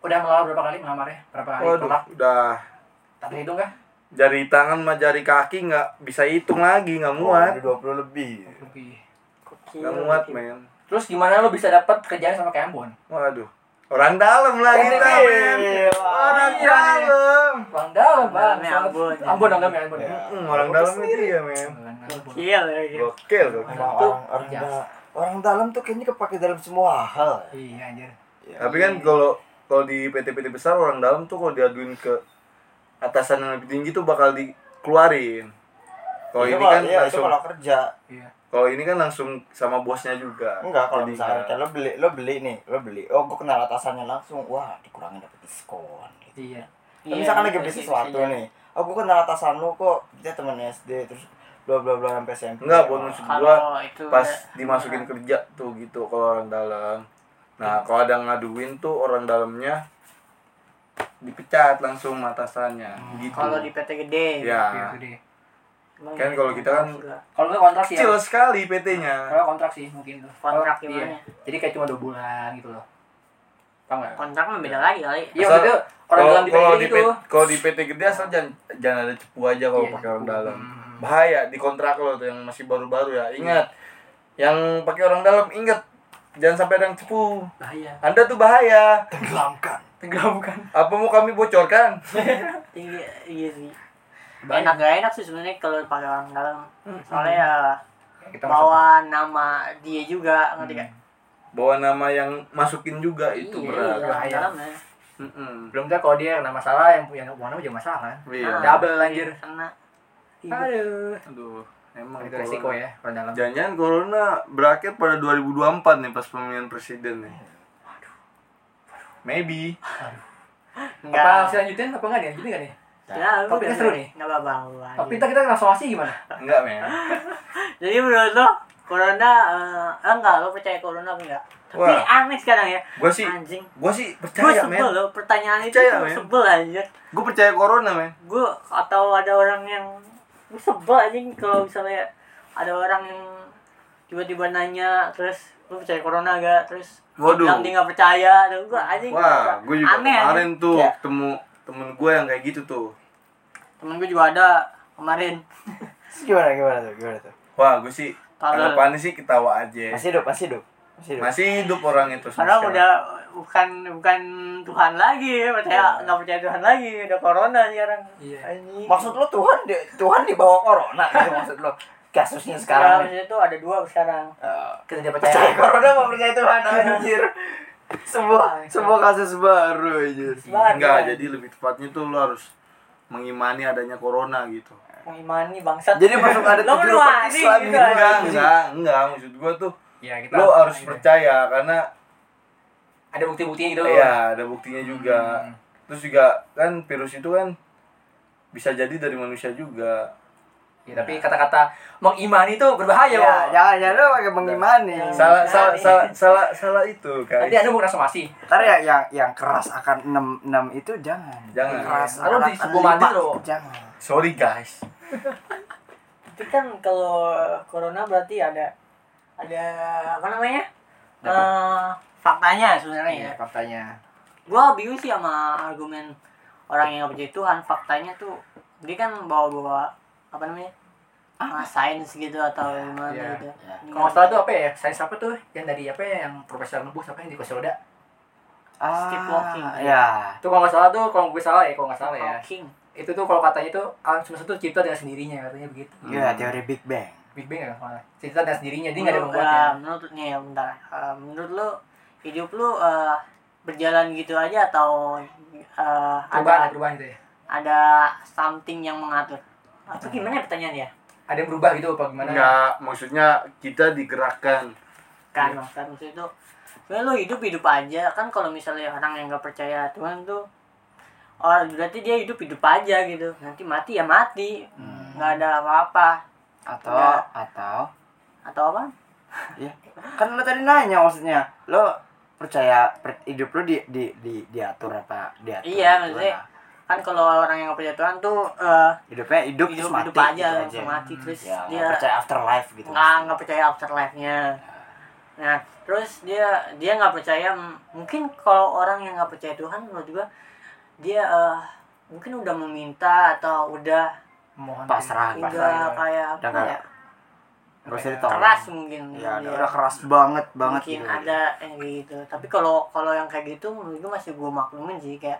[SPEAKER 3] udah melamar berapa kali melamarnya berapa kali
[SPEAKER 4] waduh
[SPEAKER 3] tolak
[SPEAKER 4] udah
[SPEAKER 3] tak terhitung kah
[SPEAKER 4] jari tangan sama jari kaki nggak bisa hitung lagi nggak
[SPEAKER 2] Muat.
[SPEAKER 4] muat
[SPEAKER 2] Udah 20 lebih.
[SPEAKER 3] Rugi.
[SPEAKER 1] Kecil,
[SPEAKER 4] nggak muat
[SPEAKER 1] kecil.
[SPEAKER 4] men
[SPEAKER 3] terus gimana lo bisa dapat kerjaan sama kayak Ambon
[SPEAKER 4] waduh orang dalam lah
[SPEAKER 2] Orang
[SPEAKER 4] kita
[SPEAKER 2] dalam.
[SPEAKER 4] men
[SPEAKER 2] iya,
[SPEAKER 4] orang dalam
[SPEAKER 3] Bang Dalam, Bang.
[SPEAKER 1] Dalamnya
[SPEAKER 3] Soalnya-
[SPEAKER 1] Ambon.
[SPEAKER 3] Ambon, Ambon, Ambon.
[SPEAKER 2] Iya.
[SPEAKER 4] Hmm, orang dalam itu ya men
[SPEAKER 3] Ambon.
[SPEAKER 1] Gokil, ya, gitu. gokil.
[SPEAKER 4] gokil gokil.
[SPEAKER 2] Emang orang, orang,
[SPEAKER 3] Iya.
[SPEAKER 2] da- orang dalam tuh kayaknya kepake dalam semua hal.
[SPEAKER 3] Iya, anjir.
[SPEAKER 4] tapi kan
[SPEAKER 2] iya.
[SPEAKER 4] kalau kalau di PT-PT besar orang dalam tuh kalau diaduin ke atasan yang lebih tinggi tuh bakal dikeluarin kalau
[SPEAKER 2] Itu
[SPEAKER 4] ini kan
[SPEAKER 2] iya, itu
[SPEAKER 4] langsung
[SPEAKER 2] kalau kerja
[SPEAKER 3] Iya.
[SPEAKER 4] kalau ini kan langsung sama bosnya juga
[SPEAKER 2] enggak kalau
[SPEAKER 4] Jadi
[SPEAKER 2] misalnya
[SPEAKER 4] nggak-
[SPEAKER 2] kayak lo beli lo beli nih lo beli oh gue kenal atasannya langsung wah dikurangin dapet diskon gitu.
[SPEAKER 3] Iya.
[SPEAKER 2] Nah,
[SPEAKER 1] Iya,
[SPEAKER 2] misalkan lagi beli
[SPEAKER 1] bisa-
[SPEAKER 2] sesuatu
[SPEAKER 1] bisa jadi.
[SPEAKER 2] nih oh gue kenal atasan lo kok kita temen SD terus bla bla bla sampai SMP
[SPEAKER 4] Enggak, buat maksud gua
[SPEAKER 1] Kalau itu
[SPEAKER 4] pas
[SPEAKER 1] udah-
[SPEAKER 4] dimasukin kerja tuh gitu kalau orang dalam. Nah, kalau ada ngaduin tuh orang dalamnya dipecat langsung sama atasannya
[SPEAKER 3] Oh,
[SPEAKER 4] gitu.
[SPEAKER 1] kalau di PT gede
[SPEAKER 3] Iya,
[SPEAKER 4] ya,
[SPEAKER 3] itu deh.
[SPEAKER 1] emang
[SPEAKER 4] Kan
[SPEAKER 1] ya,
[SPEAKER 4] kalau kita kan-
[SPEAKER 1] juga.
[SPEAKER 3] Kalau nggak kontrak sih ya.
[SPEAKER 4] kecil sekali PT-nya.
[SPEAKER 3] Kalau kontrak sih mungkin tuh.
[SPEAKER 1] kontrak
[SPEAKER 3] Kalau-
[SPEAKER 1] gimana
[SPEAKER 3] iya. Jadi kayak cuma 2 bulan gitu loh. Paham nggak?
[SPEAKER 1] kontrak mah beda lagi kali
[SPEAKER 3] Iya,
[SPEAKER 4] Asal-
[SPEAKER 3] maksudnya orang
[SPEAKER 4] Kalau
[SPEAKER 3] dalam di
[SPEAKER 4] kalau
[SPEAKER 3] PT
[SPEAKER 4] di
[SPEAKER 3] gitu.
[SPEAKER 4] PT kalau di PT gede asal jangan jangan ada cepu aja kalau
[SPEAKER 3] Iya,
[SPEAKER 4] pakai orang
[SPEAKER 3] cepu.
[SPEAKER 4] dalam.
[SPEAKER 3] Hmm.
[SPEAKER 4] Bahaya di kontrak lo tuh yang masih baru-baru ya. Ingat. Yang pakai orang dalam ingat jangan sampai ada yang cepu.
[SPEAKER 3] Bahaya.
[SPEAKER 4] Anda tuh bahaya.
[SPEAKER 2] tenggelamkan
[SPEAKER 3] Tenggelam bukan?
[SPEAKER 4] Apa mau kami bocorkan?
[SPEAKER 1] iya iya sih enak gak enak sih sebenarnya kalau pakai orang dalam soalnya ya
[SPEAKER 3] Kita masuk.
[SPEAKER 1] bawa nama dia juga ngerti gak
[SPEAKER 4] Bawa nama yang masukin juga Hmm. itu
[SPEAKER 3] Iya,
[SPEAKER 4] berat.
[SPEAKER 1] orang
[SPEAKER 3] bahaya.
[SPEAKER 1] dalam ya
[SPEAKER 4] Mm-mm.
[SPEAKER 3] Belum tahu kalau dia kena masalah yang punya warna juga masalah kan.
[SPEAKER 1] Nah,
[SPEAKER 4] Iya.
[SPEAKER 3] Double anjir.
[SPEAKER 1] kena
[SPEAKER 3] Iya. Aduh.
[SPEAKER 4] Aduh, emang
[SPEAKER 3] Itu resiko ya orang dalam.
[SPEAKER 4] Jangan corona berakhir pada 2024 nih pas pemilihan presiden nih. Maybe.
[SPEAKER 1] nggak
[SPEAKER 3] Apa harus lanjutin apa enggak nih? Lanjutin nggak nih?
[SPEAKER 1] ya, lu
[SPEAKER 3] Topiknya
[SPEAKER 1] biasa.
[SPEAKER 3] seru nih.
[SPEAKER 1] nggak apa-apa Iya. bawa
[SPEAKER 3] Tapi
[SPEAKER 1] aja.
[SPEAKER 3] kita kita langsung asli gimana?
[SPEAKER 4] Enggak, men.
[SPEAKER 1] jadi menurut lo corona eh, eh, enggak lo percaya corona apa enggak tapi
[SPEAKER 4] Wah.
[SPEAKER 1] aneh sekarang ya
[SPEAKER 4] Gua sih
[SPEAKER 1] anjing
[SPEAKER 4] gua sih
[SPEAKER 1] gue
[SPEAKER 4] percaya,
[SPEAKER 1] sebel
[SPEAKER 4] men.
[SPEAKER 1] lo pertanyaan itu
[SPEAKER 4] Percaya,
[SPEAKER 1] tuh
[SPEAKER 4] men.
[SPEAKER 1] sebel aja
[SPEAKER 4] Gua percaya corona, men.
[SPEAKER 1] gue atau ada orang yang gue sebel anjing kalau misalnya ada orang yang tiba-tiba nanya terus lu percaya corona gak terus
[SPEAKER 4] Waduh.
[SPEAKER 1] yang dia nggak percaya dan gue anjing
[SPEAKER 4] Wah, gua juga
[SPEAKER 1] aneh
[SPEAKER 4] kemarin
[SPEAKER 1] anjing. Iya,
[SPEAKER 4] tuh
[SPEAKER 2] Ya.
[SPEAKER 4] ketemu temen gua yang kayak gitu tuh.
[SPEAKER 1] temen gue juga ada kemarin
[SPEAKER 2] Terus gimana gimana tuh gimana tuh
[SPEAKER 4] Wah, gua sih
[SPEAKER 1] Parah.
[SPEAKER 4] anggapannya sih ketawa aja.
[SPEAKER 2] masih hidup masih hidup masih hidup
[SPEAKER 4] Eh. Masih hidup orang itu sampai
[SPEAKER 1] karena
[SPEAKER 4] sekarang.
[SPEAKER 1] udah bukan bukan Tuhan lagi ya percaya nggak percaya Tuhan lagi udah corona sekarang
[SPEAKER 3] Iya.
[SPEAKER 1] anjing
[SPEAKER 2] maksud lo Tuhan di, Tuhan dibawa corona gitu maksud lo kasusnya
[SPEAKER 1] sekarang
[SPEAKER 2] sekarang
[SPEAKER 1] maksudnya tuh ada dua sekarang
[SPEAKER 2] Eh,
[SPEAKER 3] Kita tidak
[SPEAKER 2] percaya
[SPEAKER 3] percaya.
[SPEAKER 2] corona mau percaya Tuhan anjir semua semua kasus baru anjir
[SPEAKER 1] Sebar,
[SPEAKER 4] Enggak,
[SPEAKER 1] kan?
[SPEAKER 4] jadi lebih tepatnya tuh lo harus mengimani adanya corona gitu.
[SPEAKER 1] mengimani bangsat
[SPEAKER 2] Jadi maksud ada
[SPEAKER 1] Lo
[SPEAKER 2] tujuh rukun
[SPEAKER 1] menuani
[SPEAKER 2] Islam
[SPEAKER 1] gitu
[SPEAKER 2] gitu
[SPEAKER 1] aja.
[SPEAKER 4] enggak enggak enggak maksud gua tuh
[SPEAKER 3] ya kita
[SPEAKER 4] lo harus
[SPEAKER 3] ada-
[SPEAKER 4] percaya karena
[SPEAKER 3] ada bukti-buktinya gitu
[SPEAKER 4] ya ada buktinya juga
[SPEAKER 3] Hmm.
[SPEAKER 4] terus juga kan virus itu kan bisa jadi dari manusia juga
[SPEAKER 3] Ya, tapi kata-kata mengimani itu berbahaya
[SPEAKER 2] Ya,
[SPEAKER 3] Bang.
[SPEAKER 2] jangan jangan lu pakai mengimani.
[SPEAKER 1] Nah,
[SPEAKER 4] salah salah
[SPEAKER 1] ini.
[SPEAKER 4] salah salah salah itu guys
[SPEAKER 3] nanti anda mau somasi
[SPEAKER 2] Ntar ya yang yang keras akan 6 6 itu jangan.
[SPEAKER 4] Jangan.
[SPEAKER 2] Keras.
[SPEAKER 1] Oh,
[SPEAKER 3] Lalu
[SPEAKER 2] akan
[SPEAKER 3] disuguh
[SPEAKER 2] lima
[SPEAKER 3] mandi lo.
[SPEAKER 2] itu Jangan.
[SPEAKER 4] sorry guys
[SPEAKER 1] tapi kan kalau corona berarti ada ada apa namanya Eh, faktanya
[SPEAKER 2] Iya.
[SPEAKER 1] sebenarnya ya
[SPEAKER 3] faktanya
[SPEAKER 1] gua bingung sih sama argumen orang yang nggak percaya Tuhan faktanya tuh dia kan bawa-bawa apa namanya ah, sains gitu atau gimana
[SPEAKER 3] iya.
[SPEAKER 1] gitu
[SPEAKER 2] Ya.
[SPEAKER 3] kalau nggak salah tuh apa ya saya siapa tuh yang dari apa ya yang profesor nebus apa yang di kursi roda
[SPEAKER 1] Skip walking.
[SPEAKER 2] Ah, Ya.
[SPEAKER 3] itu kalau nggak salah tuh kalau gue salah ya kalau nggak salah ya
[SPEAKER 1] Hawking
[SPEAKER 3] itu tuh kalau katanya tuh alam semesta tuh cipta dengan sendirinya katanya begitu
[SPEAKER 4] Hmm.
[SPEAKER 2] Ya, teori Big Bang.
[SPEAKER 3] big bang ya kalau nggak salah. cipta dengan sendirinya jadi nggak ada yang
[SPEAKER 1] Menurut-
[SPEAKER 3] membuatnya
[SPEAKER 1] eh, menurut nih ya bentar Eh, menurut lu hidup lu eh, berjalan gitu aja atau eh,
[SPEAKER 3] perubahan ada
[SPEAKER 1] ada
[SPEAKER 3] perubahan gitu ya
[SPEAKER 1] ada something yang mengatur atau gimana ya pertanyaannya
[SPEAKER 3] ada yang berubah gitu apa gimana
[SPEAKER 4] enggak maksudnya kita digerakkan
[SPEAKER 1] kan
[SPEAKER 3] Iya.
[SPEAKER 1] kan maksud itu sebenarnya lu hidup hidup aja kan kalau misalnya orang yang nggak percaya Tuhan tuh orang berarti dia hidup hidup aja gitu nanti mati ya mati
[SPEAKER 3] Hmm.
[SPEAKER 1] nggak ada apa-apa
[SPEAKER 2] Atau
[SPEAKER 1] Enggak.
[SPEAKER 2] atau
[SPEAKER 1] atau apa
[SPEAKER 2] kan lu tadi nanya maksudnya lu percaya per- hidup lu di, di, di diatur apa diatur
[SPEAKER 1] Iya,
[SPEAKER 2] gitu
[SPEAKER 1] maksudnya
[SPEAKER 2] lah.
[SPEAKER 1] kan kalau orang yang nggak percaya Tuhan tuh eh,
[SPEAKER 2] hidupnya hidup
[SPEAKER 1] hidup
[SPEAKER 2] terus mati
[SPEAKER 1] hidup aja
[SPEAKER 2] gitu
[SPEAKER 1] langsung mati terus
[SPEAKER 2] ya, nggak
[SPEAKER 1] dia
[SPEAKER 2] percaya afterlife gitu
[SPEAKER 1] nggak nggak percaya afterlife-nya nah terus dia dia nggak percaya m- mungkin kalau orang yang nggak percaya Tuhan menurut gua dia eh, mungkin udah meminta atau udah
[SPEAKER 3] mohon
[SPEAKER 2] Pasrah
[SPEAKER 1] udah
[SPEAKER 2] gitu.
[SPEAKER 3] pasrah gitu.
[SPEAKER 1] kayak apa
[SPEAKER 2] Udah nggak-
[SPEAKER 1] ya
[SPEAKER 2] nggak usah ditolong
[SPEAKER 1] keras mungkin
[SPEAKER 2] ya
[SPEAKER 1] dia.
[SPEAKER 2] udah, udah keras banget banget
[SPEAKER 1] mungkin
[SPEAKER 2] gitu.
[SPEAKER 1] ada yang kayak gitu tapi kalau kalau yang kayak gitu menurut gue masih gue maklumin sih kayak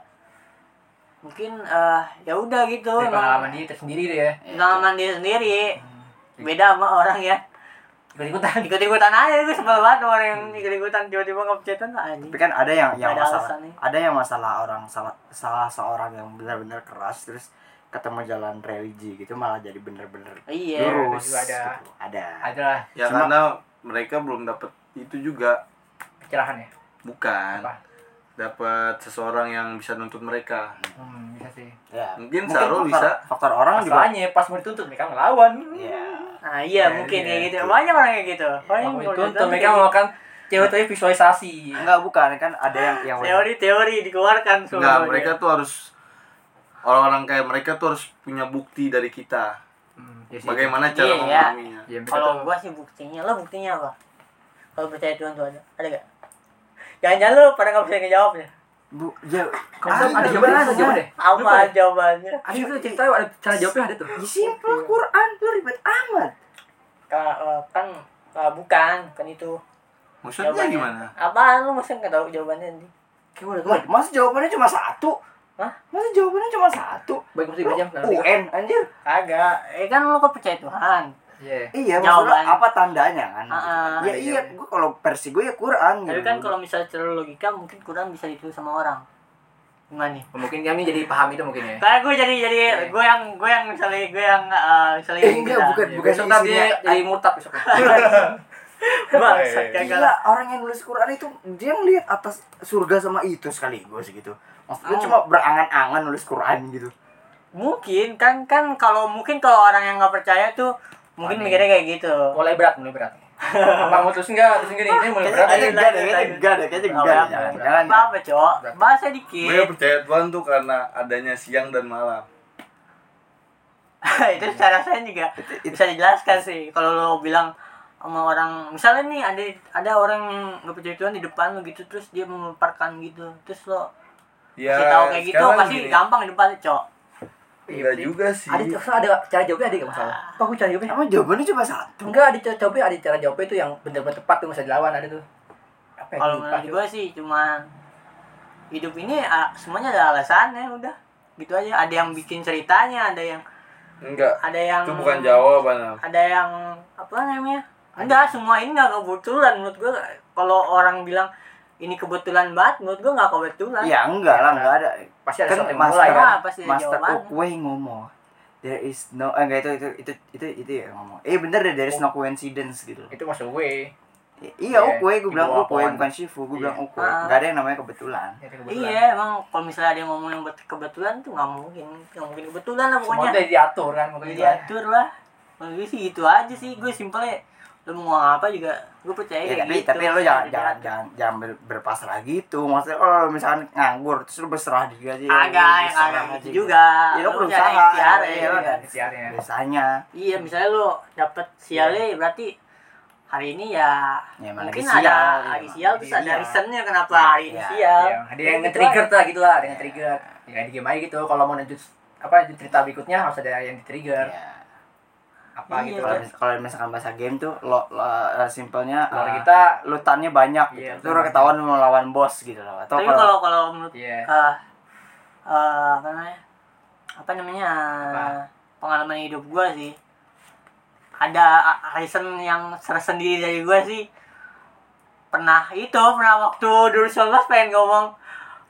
[SPEAKER 1] mungkin eh, ya udah gitu
[SPEAKER 3] dari pengalaman
[SPEAKER 1] emang
[SPEAKER 3] dia tersendiri deh ya Hmm.
[SPEAKER 1] pengalaman dia sendiri
[SPEAKER 2] Iya.
[SPEAKER 1] beda sama orang ya
[SPEAKER 3] ikut ikutan
[SPEAKER 1] ikut ikutan aja gue sebel banget sama orang yang ikut ikutan tiba-tiba ngepcetan anjing
[SPEAKER 2] tapi kan ada yang yang
[SPEAKER 1] Ada
[SPEAKER 2] masalah
[SPEAKER 1] alasan nih.
[SPEAKER 2] ada yang masalah orang salah salah seorang yang benar-benar keras terus ketemu jalan religi gitu malah jadi bener-bener
[SPEAKER 1] iya
[SPEAKER 2] lurus
[SPEAKER 3] juga ada.
[SPEAKER 2] gitu. ada
[SPEAKER 3] ada lah
[SPEAKER 4] ya
[SPEAKER 2] Cuma-
[SPEAKER 4] karena mereka belum dapat itu juga
[SPEAKER 3] pencerahan ya
[SPEAKER 4] bukan
[SPEAKER 3] Apa?
[SPEAKER 4] dapat seseorang yang bisa nuntut mereka
[SPEAKER 3] hmm, bisa sih
[SPEAKER 2] ya.
[SPEAKER 4] Mungkin
[SPEAKER 2] faktor-
[SPEAKER 4] Sarul bisa.
[SPEAKER 2] faktor orang juga
[SPEAKER 3] masalahnya pas mau dituntut mereka melawan
[SPEAKER 2] ya
[SPEAKER 1] nah iya
[SPEAKER 4] Iya,
[SPEAKER 1] mungkin
[SPEAKER 4] iya.
[SPEAKER 1] kayak gitu banyak orang kayak gitu banyak
[SPEAKER 3] Mau
[SPEAKER 1] yang
[SPEAKER 3] dituntut
[SPEAKER 1] kayak
[SPEAKER 3] mereka
[SPEAKER 1] gitu.
[SPEAKER 3] melakukan cewek tapi visualisasi
[SPEAKER 2] enggak bukan kan ada yang yang
[SPEAKER 1] teori-teori dikeluarkan gitu.
[SPEAKER 4] enggak
[SPEAKER 1] semuanya.
[SPEAKER 4] mereka tuh harus orang-orang kayak mereka tuh harus punya bukti dari kita
[SPEAKER 3] Hmm, ya sih.
[SPEAKER 4] bagaimana cara
[SPEAKER 1] Iya.
[SPEAKER 4] memahaminya
[SPEAKER 3] Ya, mereka
[SPEAKER 1] Kalau
[SPEAKER 3] tuh-
[SPEAKER 1] gua sih buktinya, lo buktinya apa? Kalau percaya Tuhan tuh ada, ada gak? Jangan-jangan lo pada gak bisa ngejawab ya?
[SPEAKER 2] Bu, ya,
[SPEAKER 3] Kamu ada jawaban
[SPEAKER 2] ada
[SPEAKER 3] ada
[SPEAKER 2] jawaban
[SPEAKER 3] jawaban deh.
[SPEAKER 1] Apa jawabannya?
[SPEAKER 3] Ada itu cerita ada cara jawabnya ada tuh.
[SPEAKER 2] Ya simple Quran lu ribet amat.
[SPEAKER 1] Ka- eh, kan eh, bukan, kan itu
[SPEAKER 4] maksudnya
[SPEAKER 1] Jawabannya.
[SPEAKER 4] gimana
[SPEAKER 1] Apaan lo masa gak tau jawabannya nanti?
[SPEAKER 3] Kayak
[SPEAKER 2] Lah,
[SPEAKER 3] udah
[SPEAKER 2] masa jawabannya cuma satu?
[SPEAKER 1] Hah?
[SPEAKER 2] Masa jawabannya cuma satu?
[SPEAKER 3] baik mesti
[SPEAKER 2] Lu
[SPEAKER 3] berjam.
[SPEAKER 2] UN anjir.
[SPEAKER 1] Kagak, eh kan lo kok percaya Tuhan
[SPEAKER 3] Iya.
[SPEAKER 2] Iya,
[SPEAKER 1] Jawaban.
[SPEAKER 2] maksudnya apa tandanya kan?
[SPEAKER 1] Ah, ah.
[SPEAKER 2] ya iya, gue kalau versi gue ya Quran
[SPEAKER 1] Tapi kan kalau misalnya secara logika mungkin kurang bisa ditulis sama orang Gimana
[SPEAKER 2] Eh.
[SPEAKER 1] nih?
[SPEAKER 3] Mungkin kami jadi paham itu mungkin ya.
[SPEAKER 1] Kayak gue jadi jadi
[SPEAKER 3] Iya.
[SPEAKER 1] gue yang gue yang misalnya gue yang eh, misalnya
[SPEAKER 2] Eh, enggak,
[SPEAKER 1] kita-
[SPEAKER 2] bukan
[SPEAKER 3] Ya,
[SPEAKER 2] bukan
[SPEAKER 3] besok
[SPEAKER 2] isinya.
[SPEAKER 3] tadi jadi murtad besok.
[SPEAKER 1] Bangsat,
[SPEAKER 4] Eh,
[SPEAKER 1] kagak
[SPEAKER 2] Gila,
[SPEAKER 1] lah.
[SPEAKER 2] orang yang nulis Quran itu dia ngeliat atas surga sama itu sekaligus gitu. Maksudnya
[SPEAKER 1] Oh.
[SPEAKER 2] cuma berangan-angan nulis Quran gitu.
[SPEAKER 1] Mungkin kan kan kalau mungkin kalau orang yang nggak percaya tuh mungkin
[SPEAKER 3] Aneh.
[SPEAKER 1] mikirnya kayak gitu.
[SPEAKER 3] Mulai berat, mulai berat. Apa mau terus enggak? Terus enggak nih, ini mulai berat.
[SPEAKER 2] Kayaknya
[SPEAKER 1] Lanjut,
[SPEAKER 2] enggak deh,
[SPEAKER 1] lanjut,
[SPEAKER 2] kayaknya
[SPEAKER 1] lanjut.
[SPEAKER 2] enggak deh, kayaknya
[SPEAKER 1] Oh,
[SPEAKER 2] enggak.
[SPEAKER 1] iya,
[SPEAKER 2] Jangan,
[SPEAKER 3] iya.
[SPEAKER 2] jangan.
[SPEAKER 1] Apa, Cok? Bahasa
[SPEAKER 4] mereka
[SPEAKER 1] dikit.
[SPEAKER 4] percaya Tuhan tuh karena adanya siang dan malam
[SPEAKER 1] itu secara saya juga bisa dijelaskan sih. Kalau lo bilang sama orang, misalnya nih ada ada orang yang nggak percaya Tuhan di depan lo gitu, terus dia memaparkan gitu, terus lo
[SPEAKER 4] ya
[SPEAKER 1] kasih tahu kayak gitu,
[SPEAKER 4] sekarang
[SPEAKER 1] pasti
[SPEAKER 4] gini,
[SPEAKER 1] gampang di depan, Cok.
[SPEAKER 3] Iya,
[SPEAKER 4] enggak juga sih
[SPEAKER 3] Ada terus ada cara jawabnya ada enggak masalah? Apa aku cara jawabnya?
[SPEAKER 2] Emang jawabannya cuma satu.
[SPEAKER 3] Enggak ada cara jawabnya, ada cara jawabnya itu yang benar-benar tepat tuh enggak usah dilawan ada tuh. Apa yang
[SPEAKER 1] Kalau
[SPEAKER 3] lupa
[SPEAKER 1] menurut
[SPEAKER 3] tuh?
[SPEAKER 1] gue sih cuman hidup ini ah, semuanya ada alasannya udah gitu aja ada yang bikin ceritanya ada yang
[SPEAKER 4] enggak
[SPEAKER 1] ada yang
[SPEAKER 4] itu bukan jawaban Am.
[SPEAKER 1] ada yang apa namanya enggak semua ini nggak kebetulan menurut gue kalau orang bilang ini kebetulan banget menurut gue nggak kebetulan
[SPEAKER 4] Iya,
[SPEAKER 2] Ya enggak lah, enggak ada.
[SPEAKER 3] Pasti ada
[SPEAKER 2] Kan
[SPEAKER 3] sesuatu yang
[SPEAKER 2] master,
[SPEAKER 3] mulai kan.
[SPEAKER 1] Pasti ada
[SPEAKER 2] master
[SPEAKER 1] jawaban.
[SPEAKER 2] Oakway ngomong there is no ah, enggak itu itu itu itu itu ya ngomong eh bener deh there is no coincidence gitu loh
[SPEAKER 6] itu masuk gue
[SPEAKER 3] ya,
[SPEAKER 2] I-
[SPEAKER 6] Iya,
[SPEAKER 2] iya ukwe gue bilang
[SPEAKER 6] dibawa
[SPEAKER 2] ukwe
[SPEAKER 6] pohon.
[SPEAKER 2] bukan shifu gue bilang ukwe
[SPEAKER 1] Ah.
[SPEAKER 2] nggak ada yang namanya kebetulan
[SPEAKER 1] Iya emang kalau misalnya ada yang ngomong yang bet- kebetulan tuh nggak mungkin nggak mungkin kebetulan lah
[SPEAKER 3] Semuanya
[SPEAKER 1] pokoknya
[SPEAKER 3] udah diatur kan pokoknya.
[SPEAKER 1] Udah
[SPEAKER 2] Iya,
[SPEAKER 1] diatur lah Menurut gue sih gitu aja sih gue simpelnya lu mau ngomong apa juga gue percaya kayak
[SPEAKER 2] Ya, tapi
[SPEAKER 1] gitu.
[SPEAKER 2] tapi lo jangan
[SPEAKER 1] Udah
[SPEAKER 2] jangan
[SPEAKER 1] diatur.
[SPEAKER 2] jangan jangan ber- berpasrah gitu maksudnya kalau lo misalnya nganggur terus lo berserah diri
[SPEAKER 1] agak
[SPEAKER 2] aja
[SPEAKER 1] yang
[SPEAKER 2] berserah
[SPEAKER 1] agak
[SPEAKER 2] aja
[SPEAKER 1] gitu juga
[SPEAKER 2] ya lo
[SPEAKER 1] Lu
[SPEAKER 2] berusaha
[SPEAKER 1] jangan ikhtiar
[SPEAKER 2] iya,
[SPEAKER 1] ya,
[SPEAKER 2] lo
[SPEAKER 1] lu
[SPEAKER 2] kan.
[SPEAKER 6] ikhtiarnya.
[SPEAKER 2] biasanya
[SPEAKER 1] Iya, misalnya lo dapet sialnya berarti hari ini ya,
[SPEAKER 2] Ya, emang
[SPEAKER 1] mungkin
[SPEAKER 2] Iya. lagi
[SPEAKER 1] ada
[SPEAKER 2] sial,
[SPEAKER 1] hari
[SPEAKER 2] emang
[SPEAKER 1] sial
[SPEAKER 6] lagi
[SPEAKER 1] terus ada
[SPEAKER 6] sial.
[SPEAKER 1] reasonnya kenapa
[SPEAKER 2] Iya,
[SPEAKER 1] hari ini
[SPEAKER 2] iya,
[SPEAKER 1] sial.
[SPEAKER 6] Iya,
[SPEAKER 3] Ada yang nge-trigger tuh gitu lah, ada yang nge-trigger. Ya di game aja gitu, kalau mau lanjut apa cerita berikutnya harus ada yang di-trigger
[SPEAKER 2] Iya.
[SPEAKER 6] apa
[SPEAKER 1] Iya,
[SPEAKER 6] gitu
[SPEAKER 2] kalau mis- kalau misalkan bahasa game tuh lo, lo eh, simpelnya
[SPEAKER 3] Luar
[SPEAKER 2] eh,
[SPEAKER 3] kita
[SPEAKER 2] lutannya banyak
[SPEAKER 3] Iya,
[SPEAKER 2] gitu. Lu ketahuan mau lawan bos gitu loh. Atau
[SPEAKER 1] Tapi
[SPEAKER 2] kalau
[SPEAKER 1] kalau kalau menurut
[SPEAKER 3] Iya.
[SPEAKER 1] eh, eh, apa namanya? Apa namanya? eh,
[SPEAKER 3] Apa?
[SPEAKER 1] Pengalaman hidup gua sih ada a- reason yang tersendiri dari gua sih pernah itu pernah waktu 2019 pengen ngomong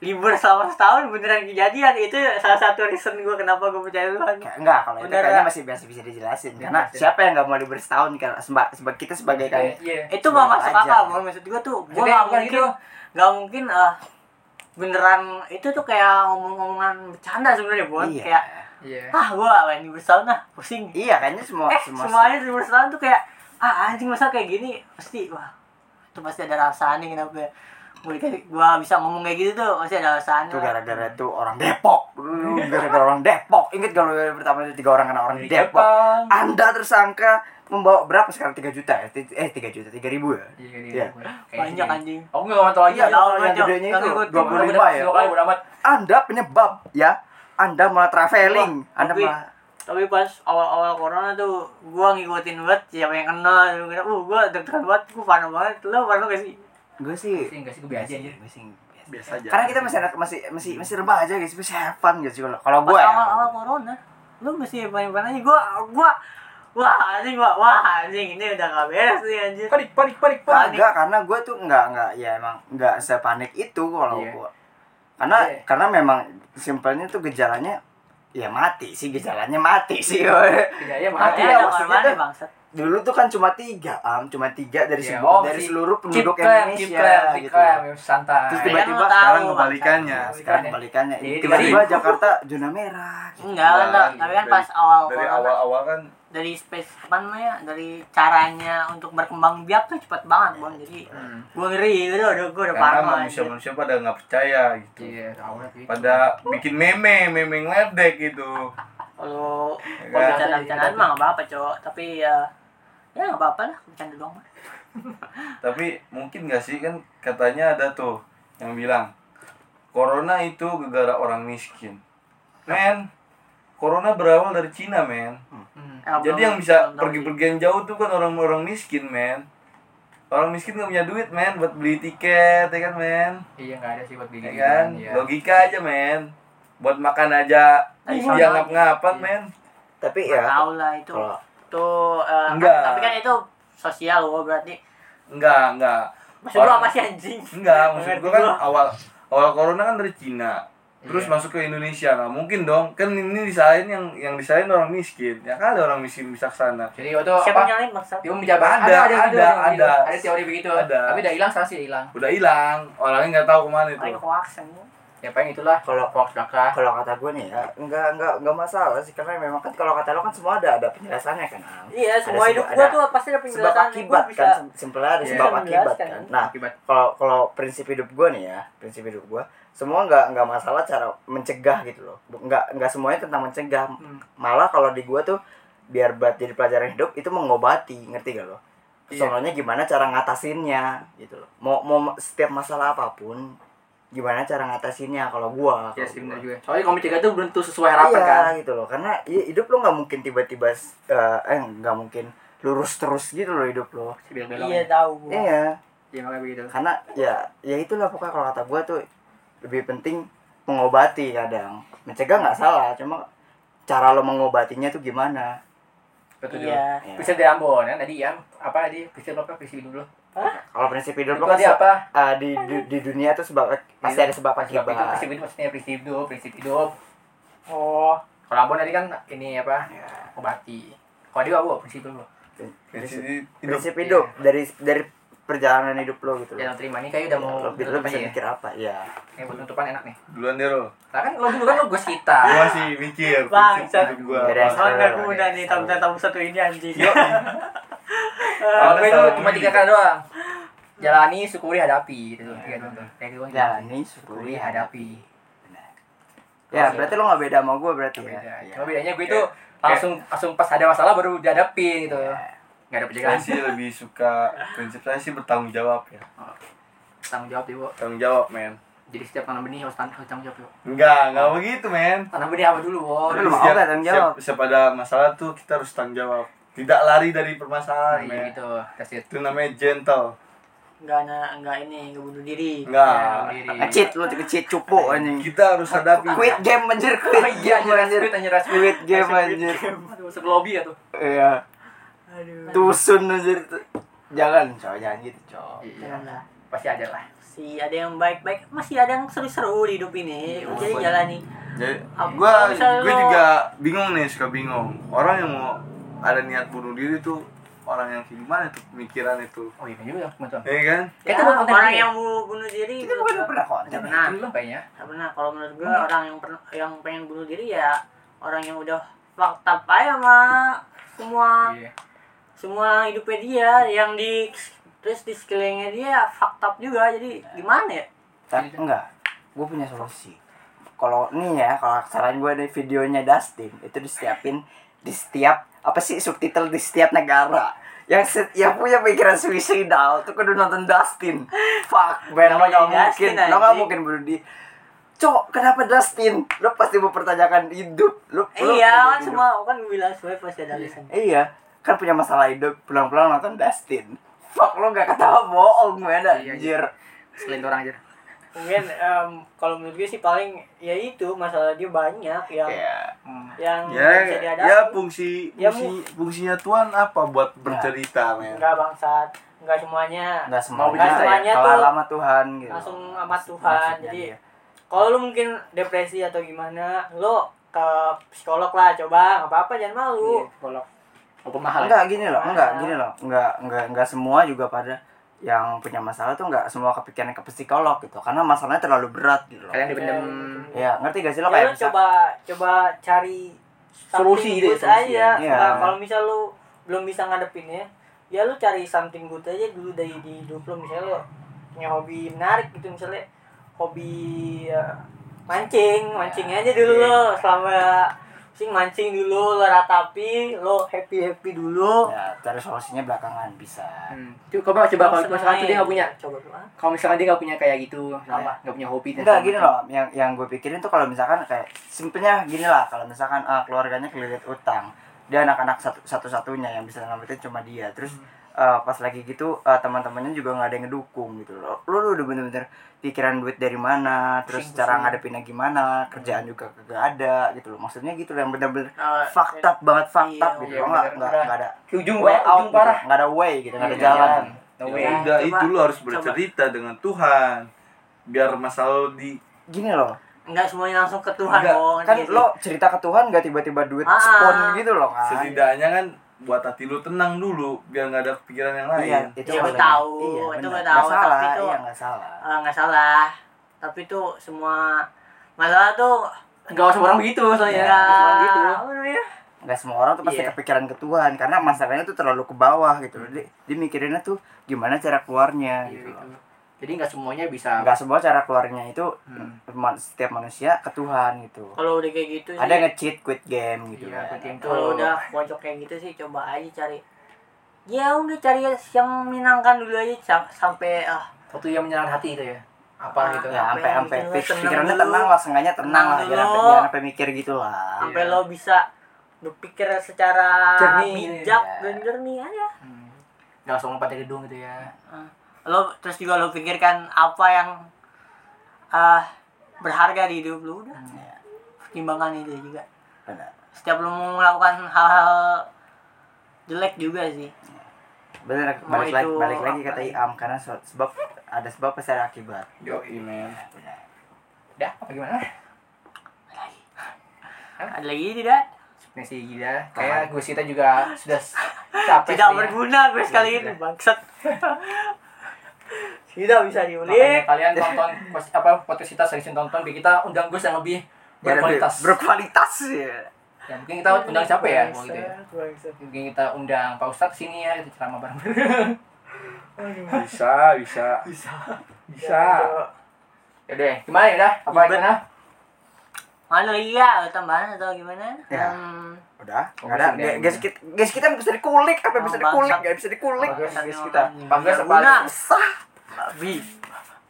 [SPEAKER 1] libur selama setahun beneran kejadian itu salah satu reason gua kenapa gua percaya Tuhan
[SPEAKER 2] kayak enggak kalau itu
[SPEAKER 1] Bener,
[SPEAKER 2] kayaknya
[SPEAKER 1] ya.
[SPEAKER 2] masih biasa bisa dijelasin.
[SPEAKER 3] Iya,
[SPEAKER 2] Karena
[SPEAKER 3] pasti.
[SPEAKER 2] siapa yang nggak mau libur setahun kan Seba- seba- kita sebagai kayak
[SPEAKER 3] Iya.
[SPEAKER 1] itu mah
[SPEAKER 2] Seberapa
[SPEAKER 1] masuk
[SPEAKER 2] aja.
[SPEAKER 1] akal Mon. maksud gua tuh gua
[SPEAKER 3] Maksudnya
[SPEAKER 1] "Eh, nggak
[SPEAKER 3] bukan
[SPEAKER 1] mungkin
[SPEAKER 3] gitu.
[SPEAKER 1] nggak mungkin eh, beneran itu tuh kayak ngomong-ngomongan bercanda sebenarnya bon
[SPEAKER 2] iya.
[SPEAKER 1] kayak
[SPEAKER 3] Iya.
[SPEAKER 1] ah gua main libur setahun lah pusing
[SPEAKER 2] Iya kayaknya semua
[SPEAKER 1] eh
[SPEAKER 2] semua
[SPEAKER 1] semuanya libur setahun tuh kayak ah anjing masa kayak gini pasti wah itu pasti ada rasanya kenapa ya. gua, dikasih- gua bisa ngomong kayak gitu tuh pasti ada rasanya
[SPEAKER 2] itu
[SPEAKER 1] lah.
[SPEAKER 2] gara-gara tuh orang Depok. Lu gara-gara orang Depok. Ingat kalau pertama itu tiga orang karena
[SPEAKER 3] Iya.
[SPEAKER 2] orang Depok. Ah, Anda tersangka membawa berapa sekarang 3 juta ya? Ti- Eh 3 juta, 3 ribu ya?
[SPEAKER 3] Iya,
[SPEAKER 2] Iya.
[SPEAKER 3] iya. Kayak
[SPEAKER 1] banyak
[SPEAKER 3] gini.
[SPEAKER 1] anjing
[SPEAKER 3] Aku nggak nonton lagi.
[SPEAKER 2] Iya,
[SPEAKER 1] tahu
[SPEAKER 2] yang
[SPEAKER 1] gua, Cok.
[SPEAKER 2] gedenya
[SPEAKER 1] Kan
[SPEAKER 2] itu
[SPEAKER 1] gua-
[SPEAKER 2] 25 ya.
[SPEAKER 3] Dua kali bodo amat.
[SPEAKER 2] Anda penyebab ya. Anda malah traveling,
[SPEAKER 1] Wah,
[SPEAKER 2] Anda
[SPEAKER 1] tapi-
[SPEAKER 2] malah
[SPEAKER 1] tapi pas awal-awal corona tuh gua ngikutin banget siapa yang kenal gua kira, uh gua deg-degan banget gua parno banget lo parno gak sih
[SPEAKER 2] gue sih
[SPEAKER 3] Sih, nggak sih, gue biasa aja.
[SPEAKER 2] Gue sih biasa.
[SPEAKER 4] biasa aja
[SPEAKER 2] Iya. Karena kita masih anak masih masih masih rebah aja guys, masih have fun guys kalau kalau
[SPEAKER 1] pas
[SPEAKER 2] gue ya.
[SPEAKER 1] awal-awal corona lu mesti panik-panik aja gua gua wah anjing gua wah anjing ini udah gak beres nih anjir
[SPEAKER 3] Panik, panik, panik, panik.
[SPEAKER 2] Enggak, karena gue tuh enggak enggak ya emang enggak sepanik itu kalau
[SPEAKER 3] Iya.
[SPEAKER 2] gue. Karena
[SPEAKER 3] Iya.
[SPEAKER 2] karena memang simpelnya tuh gejalanya ya mati sih gejalanya mati sih.
[SPEAKER 3] Iya, iya,
[SPEAKER 1] mati
[SPEAKER 3] makanya.
[SPEAKER 2] ya,
[SPEAKER 1] ya
[SPEAKER 2] maksudnya
[SPEAKER 1] maksudnya
[SPEAKER 2] tuh-
[SPEAKER 1] bangsat
[SPEAKER 2] Dulu tuh kan cuma tiga, am cuma tiga dari
[SPEAKER 3] Iya, om
[SPEAKER 2] sebu- dari
[SPEAKER 3] sih.
[SPEAKER 2] seluruh
[SPEAKER 3] Keep
[SPEAKER 2] penduduk
[SPEAKER 3] calm,
[SPEAKER 2] Indonesia
[SPEAKER 3] keep calm, keep
[SPEAKER 2] gitu.
[SPEAKER 3] calm, ya, santai.
[SPEAKER 2] Terus
[SPEAKER 1] Tapi kan
[SPEAKER 2] tiba-tiba
[SPEAKER 1] lu tahu, Iya.
[SPEAKER 2] sekarang
[SPEAKER 1] Bang.
[SPEAKER 4] kebalikannya
[SPEAKER 2] Nah, sekarang kebalikannya.
[SPEAKER 3] Jadi
[SPEAKER 2] Tiba-tiba
[SPEAKER 3] tiba-tiba.
[SPEAKER 2] Jakarta zona merah. gitu.
[SPEAKER 1] enggak kan
[SPEAKER 4] Nah,
[SPEAKER 1] tapi kan
[SPEAKER 4] dari-
[SPEAKER 1] pas awal
[SPEAKER 4] dari
[SPEAKER 1] corona,
[SPEAKER 4] awal-awal kan
[SPEAKER 1] dari space apa namanya dari caranya untuk berkembang biak tuh cepet banget bon jadi
[SPEAKER 4] Hmm.
[SPEAKER 1] gua ngeri gitu udah gua udah
[SPEAKER 4] karena
[SPEAKER 1] parno anjir.
[SPEAKER 4] manusia-manusia pada nggak percaya gitu
[SPEAKER 3] Iya, awalnya gitu.
[SPEAKER 4] pada bikin meme meme ngeledek gitu
[SPEAKER 1] kalau
[SPEAKER 4] Ya
[SPEAKER 1] kalau
[SPEAKER 4] kan?
[SPEAKER 1] bercanda-bercandaan mah nggak apa-apa cowok tapi ya ya nggak apa-apa lah bercanda doang mah
[SPEAKER 4] tapi mungkin nggak sih kan katanya ada tuh yang bilang corona itu gara-gara orang miskin men corona berawal dari Cina men
[SPEAKER 3] Hmm,
[SPEAKER 1] Eh,
[SPEAKER 4] jadi
[SPEAKER 1] belum-
[SPEAKER 4] yang bisa
[SPEAKER 1] belum tahu sih.
[SPEAKER 4] pergi-pergian jauh tuh kan orang-orang miskin men orang miskin nggak punya duit men buat beli tiket ya kan men
[SPEAKER 3] Iya, nggak ada sih buat gini.
[SPEAKER 4] ya kan
[SPEAKER 3] Iya.
[SPEAKER 4] logika aja men buat makan aja
[SPEAKER 3] Nah,
[SPEAKER 1] Tapi
[SPEAKER 3] iya.
[SPEAKER 4] dia
[SPEAKER 1] soalnya-
[SPEAKER 4] ngap-ngapan men
[SPEAKER 2] Tapi
[SPEAKER 1] Nggak
[SPEAKER 2] ya
[SPEAKER 1] tahu lah itu
[SPEAKER 2] kalau
[SPEAKER 1] tuh eh, kan-
[SPEAKER 4] Enggak.
[SPEAKER 1] tapi kan itu sosial gua berarti
[SPEAKER 4] enggak enggak
[SPEAKER 1] maksud lu
[SPEAKER 4] Orang-
[SPEAKER 1] apa sih anjing
[SPEAKER 4] enggak maksud
[SPEAKER 1] Ngerti
[SPEAKER 4] gua kan
[SPEAKER 1] gua.
[SPEAKER 4] awal awal corona kan dari Cina
[SPEAKER 3] Iya.
[SPEAKER 4] terus masuk ke Indonesia nggak mungkin dong kan ini disalahin yang yang disalahin orang miskin ya kali orang miskin bisa ke sana
[SPEAKER 3] Jadi waktu itu
[SPEAKER 1] siapa
[SPEAKER 3] apa?
[SPEAKER 1] nyalain bangsa
[SPEAKER 3] Dia menjabat.
[SPEAKER 4] Ada,
[SPEAKER 3] gitu,
[SPEAKER 4] ada,
[SPEAKER 3] yang gitu.
[SPEAKER 4] ada.
[SPEAKER 3] Ada teori begitu.
[SPEAKER 4] Ada.
[SPEAKER 3] Tapi udah hilang, sekarang sih hilang.
[SPEAKER 4] udah hilang orangnya nggak tahu kemana itu
[SPEAKER 1] paling hoax anjing.
[SPEAKER 3] Ya paling itulah.
[SPEAKER 2] Kalau-
[SPEAKER 3] hoax belaka.
[SPEAKER 2] kalau kata gue nih ya enggak enggak enggak masalah sih karena memang kan kalau kata lo kan semua ada ada penjelasannya kan Am.
[SPEAKER 1] iya semua
[SPEAKER 2] sebuah-
[SPEAKER 1] hidup gua
[SPEAKER 2] ada
[SPEAKER 1] tuh pasti ada
[SPEAKER 2] sebab
[SPEAKER 1] penjelasan
[SPEAKER 2] akibat
[SPEAKER 1] Gua bisa-
[SPEAKER 2] kan Sim- simpelnya ada
[SPEAKER 4] Iya.
[SPEAKER 2] sebab
[SPEAKER 1] Bisa
[SPEAKER 2] akibat
[SPEAKER 1] menjelaskan.
[SPEAKER 2] kan nah
[SPEAKER 3] Akibat.
[SPEAKER 2] kalau kalau prinsip hidup gue nih ya prinsip hidup gue semua nggak nggak masalah cara mencegah gitu loh Bu- nggak nggak semuanya tentang mencegah
[SPEAKER 3] Hmm.
[SPEAKER 2] malah kalau di gue tuh biar buat jadi pelajaran hidup itu mengobati ngerti gak lo
[SPEAKER 3] Iya.
[SPEAKER 2] soalnya gimana cara ngatasinnya gitu loh mau mau setiap masalah apapun gimana cara ngatasinnya kalau gue
[SPEAKER 3] Iya sih benar juga. Soalnya kalau mencegah itu belum tentu sesuai harapan
[SPEAKER 2] iya,
[SPEAKER 3] kan.
[SPEAKER 2] gitu loh karena i- hidup lo nggak mungkin tiba-tiba eh, eh nggak mungkin lurus terus gitu loh hidup lo
[SPEAKER 3] Si belok-belok.
[SPEAKER 1] iya tahu gua
[SPEAKER 2] iya
[SPEAKER 3] Iya, makanya begitu.
[SPEAKER 2] karena ya ya itulah pokoknya kalau kata gue tuh lebih penting mengobati kadang mencegah nggak salah cuma cara lo mengobatinya tuh gimana
[SPEAKER 3] Betul.
[SPEAKER 1] iya
[SPEAKER 2] Ya.
[SPEAKER 3] Bisa dari Ambon kan tadi yang apa tadi bisa apa bisa dulu.
[SPEAKER 2] kalau prinsip hidup
[SPEAKER 3] Itu
[SPEAKER 2] lo kan
[SPEAKER 3] tadi
[SPEAKER 2] se-
[SPEAKER 3] apa?
[SPEAKER 2] eh, di, di di dunia tuh sebab pasti ada sebab
[SPEAKER 3] Sebab itu
[SPEAKER 2] akibat
[SPEAKER 3] prinsip hidup maksudnya prinsip hidup, prinsip hidup.
[SPEAKER 1] oh
[SPEAKER 3] Kalau abon tadi kan ini apa? Obati. Kalau dia aku prinsip dulu.
[SPEAKER 4] Prinsip hidup.
[SPEAKER 3] Iya.
[SPEAKER 2] prinsip hidup dari dari perjalanan hidup lo gitu
[SPEAKER 3] Ya lo
[SPEAKER 2] loh
[SPEAKER 3] terima nih kayak udah mau
[SPEAKER 2] lo, lo
[SPEAKER 3] tutup aja
[SPEAKER 2] bisa
[SPEAKER 3] ya.
[SPEAKER 2] mikir apa ya
[SPEAKER 3] Ini buat penutupan enak nih.
[SPEAKER 4] Duluan deh lo.
[SPEAKER 3] Lah kan lo dulu kan lo gue kita.
[SPEAKER 4] Gua masih mikir prinsip
[SPEAKER 1] Bangsat.
[SPEAKER 4] hidup gua.
[SPEAKER 2] Beres.
[SPEAKER 4] apa.
[SPEAKER 1] Soalnya gue udah nih tamu-tamu satu ini anjing.
[SPEAKER 3] Kalau gue itu
[SPEAKER 4] Salah
[SPEAKER 3] cuma
[SPEAKER 4] milih.
[SPEAKER 3] tiga kata doang. Jalani, syukuri, hadapi. Itu tiga contoh. Kayak gue gitu.
[SPEAKER 2] jalani
[SPEAKER 3] Syukuri,
[SPEAKER 2] syukuri hadap
[SPEAKER 3] hadapi.
[SPEAKER 2] Iya. ya berarti lo nggak beda sama gue berarti ya
[SPEAKER 3] Beda.
[SPEAKER 2] Iya.
[SPEAKER 3] Cuma bedanya gue itu langsung langsung pas ada masalah baru dihadapin
[SPEAKER 2] Iya.
[SPEAKER 3] gitu. Gak ada
[SPEAKER 4] Saya
[SPEAKER 3] penjagaan.
[SPEAKER 4] sih lebih suka prinsip saya sih bertanggung jawab ya.
[SPEAKER 3] Tanggung jawab ibu.
[SPEAKER 4] Tanggung jawab, men.
[SPEAKER 3] Jadi setiap tanam benih harus tan- harus tanggung jawab ibu.
[SPEAKER 4] Enggak, enggak begitu, men.
[SPEAKER 3] Tanam benih apa dulu, Bo?
[SPEAKER 2] Lu mau nggak tanggung jawab?
[SPEAKER 4] siap- siap ada masalah tuh kita harus tanggung jawab. Tidak lari dari
[SPEAKER 3] Nah,
[SPEAKER 4] permasalahan,
[SPEAKER 3] iya
[SPEAKER 4] men.
[SPEAKER 3] gitu. That's it.
[SPEAKER 4] Itu namanya gentle.
[SPEAKER 1] Enggak na- enggak ini, enggak bunuh diri.
[SPEAKER 4] Enggak.
[SPEAKER 3] Sendiri.
[SPEAKER 2] ngecit lo ngecit cupu
[SPEAKER 3] Iya.
[SPEAKER 2] anjing
[SPEAKER 4] Kita harus hadapi.
[SPEAKER 2] quit game anjir quit
[SPEAKER 3] Oh iya,
[SPEAKER 2] game
[SPEAKER 3] anjir,
[SPEAKER 2] anjir
[SPEAKER 3] anjir, anjir, anjir.
[SPEAKER 2] quit game anjir
[SPEAKER 3] Aduh, masuk lobby ya tuh.
[SPEAKER 2] iya
[SPEAKER 1] Aduh.
[SPEAKER 2] tusun anjir jangan coy jangan gitu coy
[SPEAKER 3] Iya.
[SPEAKER 1] Janganlah.
[SPEAKER 3] Pasti ada lah.
[SPEAKER 1] Si ada yang baik-baik, masih ada yang seru-seru di hidup ini. Jadi jalani.
[SPEAKER 4] Jadi,
[SPEAKER 1] Apa-
[SPEAKER 4] gua
[SPEAKER 1] misalnya
[SPEAKER 4] gua
[SPEAKER 1] lo-
[SPEAKER 4] juga bingung nih, suka bingung. Orang yang mau ada niat bunuh diri tuh orang yang kayak gimana tuh pemikiran itu.
[SPEAKER 3] Oh iya juga betul.
[SPEAKER 4] Iya kan?
[SPEAKER 1] Ya,
[SPEAKER 3] Kita buat konten
[SPEAKER 1] orang
[SPEAKER 3] ini.
[SPEAKER 1] yang bu- bunuh diri
[SPEAKER 2] kita bukan pernah konten ya?
[SPEAKER 1] Pernah.
[SPEAKER 3] Itu lah kayaknya.
[SPEAKER 1] Nggak pernah. Kalau menurut gue orang yang pernah, yang pengen bunuh diri ya orang yang udah fucked up aja sama semua
[SPEAKER 3] Iya.
[SPEAKER 1] semua hidupnya dia yang di terus di sekelilingnya dia fucked up juga jadi gimana ya
[SPEAKER 2] Tapi enggak, gue punya solusi. Kalau ini ya, kalau saran gue dari videonya Dustin itu disiapin di setiap apa sih subtitle di setiap negara. Yang se- yang punya pikiran suicidal tuh kudu nonton Dustin. Fuck, Ben
[SPEAKER 1] Namanya
[SPEAKER 2] lo gak mungkin,
[SPEAKER 1] Dustin,
[SPEAKER 2] lo gak
[SPEAKER 1] anjing.
[SPEAKER 2] mungkin bunuh di. Cok, kenapa Dustin? Lo pasti mempertanyakan hidup. Lo, lo-
[SPEAKER 1] iya kan
[SPEAKER 2] hidup.
[SPEAKER 1] semua kan gue bilang semua pasti ada alasan
[SPEAKER 2] Iya, kan punya masalah hidup. Pulang-pulang nonton Dustin. Fuck, lo gak ketawa bohong, mana
[SPEAKER 3] Iya,
[SPEAKER 2] anjir.
[SPEAKER 3] Selain orang aja.
[SPEAKER 1] mungkin em, kalau menurut gue sih paling ya itu masalah dia banyak yang
[SPEAKER 2] Iya.
[SPEAKER 1] yang
[SPEAKER 4] Ya,
[SPEAKER 1] bisa dihadapi
[SPEAKER 4] ya fungsi,
[SPEAKER 1] Ya,
[SPEAKER 4] fungsi fungsinya Tuhan apa buat bercerita, men?
[SPEAKER 1] enggak bangsat enggak semuanya
[SPEAKER 4] Nah.
[SPEAKER 2] nggak semua
[SPEAKER 3] Mau
[SPEAKER 2] bisa
[SPEAKER 3] bisa
[SPEAKER 1] ya?
[SPEAKER 2] ya kalau
[SPEAKER 1] tuh
[SPEAKER 2] lama Tuhan gitu
[SPEAKER 1] langsung sama Tuhan
[SPEAKER 2] Maksudnya
[SPEAKER 1] jadi
[SPEAKER 2] dia.
[SPEAKER 1] kalau lu mungkin depresi atau gimana lu ke psikolog lah coba nggak apa-apa jangan malu
[SPEAKER 3] Kolok. Apa Iya, mahal? ya.
[SPEAKER 2] enggak gini loh enggak
[SPEAKER 1] Masalah.
[SPEAKER 2] gini loh enggak enggak enggak semua juga pada yang punya masalah tuh enggak semua kepikiran ke psikolog gitu karena masalahnya terlalu berat gitu loh
[SPEAKER 3] Kalian dipendem
[SPEAKER 2] ya ngerti gak sih
[SPEAKER 1] ya
[SPEAKER 2] lo
[SPEAKER 1] lu
[SPEAKER 2] kayak bisa
[SPEAKER 1] coba coba cari something
[SPEAKER 3] Solusi gitu ya,
[SPEAKER 1] good
[SPEAKER 3] solusi
[SPEAKER 1] aja
[SPEAKER 2] ya. Iya.
[SPEAKER 1] Nah, kalau misal lu belum bisa ngadepinnya ya lu cari something good aja dulu dari di hidup lu misalnya lu punya hobi menarik gitu misalnya hobi eh, mancing mancing aja dulu lo selama mancing mancing dulu lo ratapi lo happy happy dulu
[SPEAKER 2] ya cari solusinya belakangan bisa
[SPEAKER 3] Hmm. Tuh, coba coba kalau
[SPEAKER 1] Seneng
[SPEAKER 3] misalkan tuh dia
[SPEAKER 1] aja.
[SPEAKER 3] nggak punya
[SPEAKER 1] coba coba.
[SPEAKER 3] kalau misalkan dia nggak punya kayak gitu
[SPEAKER 1] Apa?
[SPEAKER 3] misalnya nggak punya hobi dan
[SPEAKER 2] enggak
[SPEAKER 3] segala
[SPEAKER 2] gini
[SPEAKER 3] macam.
[SPEAKER 2] loh yang yang gue pikirin tuh kalau misalkan kayak simpelnya gini lah kalau misalkan ah, keluarganya kelilit utang dia anak-anak satu satu satunya yang bisa nyelamatin cuma dia terus
[SPEAKER 3] Hmm.
[SPEAKER 2] eh, pas lagi gitu eh, teman-temannya juga nggak ada yang ngedukung gitu loh lu, lu udah bener-bener pikiran duit dari mana terus
[SPEAKER 3] Pusing,
[SPEAKER 2] cara
[SPEAKER 3] pusing.
[SPEAKER 2] ngadepinnya gimana kerjaan juga kagak ada gitu loh maksudnya gitu loh yang bener-bener
[SPEAKER 1] Nah,
[SPEAKER 2] fucked up banget fucked up
[SPEAKER 1] Iya,
[SPEAKER 2] gitu
[SPEAKER 3] iya,
[SPEAKER 2] loh nggak
[SPEAKER 3] bener.
[SPEAKER 2] nggak nggak ada
[SPEAKER 3] Ke ujung
[SPEAKER 2] way
[SPEAKER 3] banget
[SPEAKER 2] out
[SPEAKER 3] ujung
[SPEAKER 2] gitu.
[SPEAKER 3] parah
[SPEAKER 2] nggak ada way gitu nggak ada
[SPEAKER 3] Iya,
[SPEAKER 2] jalan
[SPEAKER 3] jalan. No way.
[SPEAKER 4] Ya udah,
[SPEAKER 1] coba.
[SPEAKER 4] itu lo harus
[SPEAKER 1] Coba.
[SPEAKER 4] bercerita dengan Tuhan. Biar masalah lo di
[SPEAKER 2] gini loh
[SPEAKER 1] Enggak semuanya langsung ke Tuhan
[SPEAKER 4] Enggak,
[SPEAKER 3] Iya,
[SPEAKER 1] dong.
[SPEAKER 2] kan
[SPEAKER 1] Gitu.
[SPEAKER 2] lo cerita ke Tuhan gak tiba-tiba duit
[SPEAKER 1] Ah. iya.
[SPEAKER 2] spawn gitu loh kan
[SPEAKER 4] setidaknya kan buat hati lu tenang dulu biar nggak ada pikiran yang lain.
[SPEAKER 2] Iya, itu
[SPEAKER 1] Iya,
[SPEAKER 2] boleh.
[SPEAKER 1] gua tahu.
[SPEAKER 2] Iya,
[SPEAKER 1] Itu
[SPEAKER 2] benar.
[SPEAKER 1] gua tahu,
[SPEAKER 2] Nggak salah,
[SPEAKER 1] tapi itu-
[SPEAKER 2] iya nggak salah.
[SPEAKER 1] Eh, nggak salah. Tapi tuh semua masalah tuh ya.
[SPEAKER 3] nggak usah orang begitu soalnya
[SPEAKER 1] enggak-
[SPEAKER 3] nggak usah orang gitu
[SPEAKER 1] apa namanya?
[SPEAKER 2] Nggak semua orang tuh pasti
[SPEAKER 3] Iya.
[SPEAKER 2] kepikiran ke Tuhan karena masalahnya tuh terlalu ke bawah gitu. Jadi dia mikirinnya tuh gimana cara
[SPEAKER 3] Iya,
[SPEAKER 2] keluarnya gitu.
[SPEAKER 3] gitu. jadi nggak semuanya bisa
[SPEAKER 2] Enggak semua cara keluarnya itu
[SPEAKER 3] Hmm.
[SPEAKER 2] ma- setiap manusia ke Tuhan gitu.
[SPEAKER 1] Kalau udah kayak gitu
[SPEAKER 2] Ada
[SPEAKER 1] sih,
[SPEAKER 2] nge-cheat quit game gitu.
[SPEAKER 3] Iya,
[SPEAKER 2] kan.
[SPEAKER 3] quit game.
[SPEAKER 1] kalau udah pojok kayak gitu sih coba aja cari ya udah cari yang menyenangkan dulu aja sam- sampai ah
[SPEAKER 3] waktu yang menyerang hati itu ya apa
[SPEAKER 1] Ah.
[SPEAKER 3] gitu
[SPEAKER 2] Ya,
[SPEAKER 1] Apa
[SPEAKER 2] sampai
[SPEAKER 1] yang
[SPEAKER 2] sampai
[SPEAKER 1] bikin lo
[SPEAKER 2] pik-
[SPEAKER 1] tenang
[SPEAKER 2] pikirannya
[SPEAKER 1] dulu.
[SPEAKER 2] tenang lah, sengaja tenang lah,
[SPEAKER 1] Tenang
[SPEAKER 2] jangan sampai-
[SPEAKER 1] dulu.
[SPEAKER 2] jangan sampai mikir gitu lah.
[SPEAKER 1] sampai
[SPEAKER 3] Iya.
[SPEAKER 1] lo bisa berpikir secara
[SPEAKER 3] Jernih.
[SPEAKER 1] bijak
[SPEAKER 2] Iya.
[SPEAKER 1] dan jernih aja.
[SPEAKER 3] Hmm. nggak langsung lompat dari gedung gitu ya
[SPEAKER 1] Ah, Lo terus juga lo pikirkan apa yang ah berharga di hidup lo udah. Ya,
[SPEAKER 2] Iya,
[SPEAKER 1] Pertimbangan itu juga.
[SPEAKER 2] benar.
[SPEAKER 1] setiap lu mau melakukan hal-hal jelek juga sih
[SPEAKER 2] Benar,
[SPEAKER 1] Mau
[SPEAKER 2] balik lagi
[SPEAKER 1] itu
[SPEAKER 2] balik lagi kata
[SPEAKER 1] apa?
[SPEAKER 2] Iam karena so- sebab ada sebab pasti ada akibat.
[SPEAKER 4] Yo, men.
[SPEAKER 3] udah apa gimana
[SPEAKER 1] Ada lagi tidak?
[SPEAKER 3] Ini sih gila. Kayak gue kita juga sudah s- capek.
[SPEAKER 1] Tidak
[SPEAKER 3] sih ya.
[SPEAKER 1] berguna gue sekali ini bangsat. Tidak bisa
[SPEAKER 3] Makanya
[SPEAKER 1] diulik.
[SPEAKER 3] kalian tonton pos- apa podcast kita sering tonton biar kita undang gue yang lebih
[SPEAKER 2] Ya, lebih
[SPEAKER 3] berkualitas.
[SPEAKER 2] berkualitas ya.
[SPEAKER 3] Ya, mungkin kita undang siapa ya? Kalau gitu ya.
[SPEAKER 1] Bangsat, bangsat.
[SPEAKER 3] Mungkin kita undang Pak Ustadz sini ya, kita ceramah bareng-bareng.
[SPEAKER 6] bisa bisa bisa
[SPEAKER 1] Iya,
[SPEAKER 3] ya deh, gimana ya udah? Apa
[SPEAKER 1] Ribet.
[SPEAKER 3] gimana?
[SPEAKER 1] Ada lagi ya tambahan atau gimana?
[SPEAKER 2] Ya.
[SPEAKER 1] Hmm,
[SPEAKER 2] Udah,
[SPEAKER 3] Oh,
[SPEAKER 2] nggak ada.
[SPEAKER 3] sudah,
[SPEAKER 2] Guys kita, guys kita bisa dikulik, apa yang bisa
[SPEAKER 1] Oh,
[SPEAKER 2] dikulik?
[SPEAKER 1] bangsat.
[SPEAKER 2] Nggak bisa dikulik.
[SPEAKER 3] Bagus,
[SPEAKER 1] bangsatnya
[SPEAKER 3] guys kita.
[SPEAKER 1] orang.
[SPEAKER 3] Bagus,
[SPEAKER 1] Nggak
[SPEAKER 3] apa?
[SPEAKER 1] guna.
[SPEAKER 2] Sah.
[SPEAKER 1] Babi.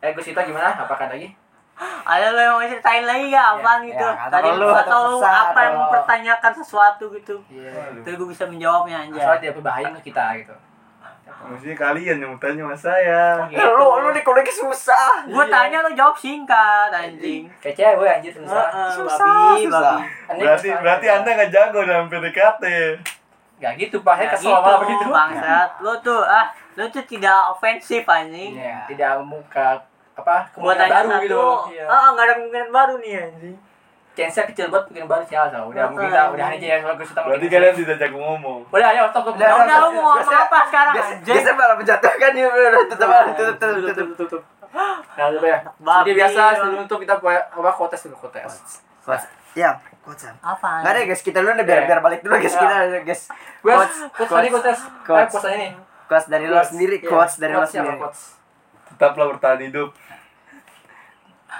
[SPEAKER 3] Eh, Gus kita gimana? Apakah lagi?
[SPEAKER 1] Ada lo yang mau ceritain lagi ya apaan gitu?
[SPEAKER 2] ya, kata
[SPEAKER 1] Tadi
[SPEAKER 2] lo,
[SPEAKER 1] gua
[SPEAKER 2] kata
[SPEAKER 1] atau lu
[SPEAKER 2] besar,
[SPEAKER 1] apa yang
[SPEAKER 3] atau-
[SPEAKER 1] mempertanyakan sesuatu gitu.
[SPEAKER 3] Iya.
[SPEAKER 1] Tapi gue bisa menjawabnya
[SPEAKER 3] Soalnya
[SPEAKER 1] aja.
[SPEAKER 3] tidak berbahaya ke kita gitu.
[SPEAKER 4] Maksudnya kalian yang tanya sama saya.
[SPEAKER 2] Ya, Lu lu dikulik susah.
[SPEAKER 1] Gue tanya lo jawab singkat anjing.
[SPEAKER 3] Kayak cewek
[SPEAKER 1] Ah,
[SPEAKER 3] anjir susah.
[SPEAKER 1] Heeh,
[SPEAKER 2] Susah,
[SPEAKER 1] babi,
[SPEAKER 2] susah.
[SPEAKER 1] babi.
[SPEAKER 3] Aneh,
[SPEAKER 4] Berarti
[SPEAKER 3] susah.
[SPEAKER 4] berarti Anda nggak jago dalam PDKT.
[SPEAKER 3] Gak gitu, Pak. Saya
[SPEAKER 1] Ya
[SPEAKER 3] kesel malah
[SPEAKER 1] gitu,
[SPEAKER 3] begitu.
[SPEAKER 1] bangsat. Lo tuh ah, lo tuh tidak ofensif anjing.
[SPEAKER 3] Iya, tidak membuka apa
[SPEAKER 1] Gua
[SPEAKER 3] kemungkinan
[SPEAKER 1] tanya
[SPEAKER 3] baru
[SPEAKER 1] satu,
[SPEAKER 3] gitu.
[SPEAKER 1] ah ah, nggak ada kemungkinan baru nih anjing.
[SPEAKER 3] Chance-nya kecil banget bikin baru sih Alsa. Udah
[SPEAKER 1] Betul.
[SPEAKER 3] mungkin kita udah aja ya soal gue suka
[SPEAKER 4] Berarti kalian tidak jago ngomong.
[SPEAKER 3] Udah ayo stop stop.
[SPEAKER 1] Ya udah lo mau ngomong
[SPEAKER 2] Biasanya-
[SPEAKER 1] apa sekarang anjing?
[SPEAKER 2] Biasa malah menjatuhkan ya, udah udah, tutup
[SPEAKER 1] Nah,
[SPEAKER 2] tutup tutup tutup.
[SPEAKER 3] tutup tutup. Nah, coba ya.
[SPEAKER 1] Babi.
[SPEAKER 3] Jadi biasa sebelum itu kita buat apa kotes dulu kotes.
[SPEAKER 2] Ya, kocak.
[SPEAKER 1] Apaan?
[SPEAKER 2] Nggak ada gitu. guys, kita dulu deh biar
[SPEAKER 3] Iya.
[SPEAKER 2] biar balik dulu guys
[SPEAKER 3] Iya.
[SPEAKER 2] kita guys.
[SPEAKER 3] Gue
[SPEAKER 2] Quotes,
[SPEAKER 3] kotes tadi
[SPEAKER 2] quotes.
[SPEAKER 3] kotes. Eh
[SPEAKER 2] Quotes.
[SPEAKER 3] quotes aja nih.
[SPEAKER 2] Quotes dari lo sendiri,
[SPEAKER 3] iya.
[SPEAKER 2] quotes dari lo sendiri.
[SPEAKER 4] Tetaplah bertahan hidup.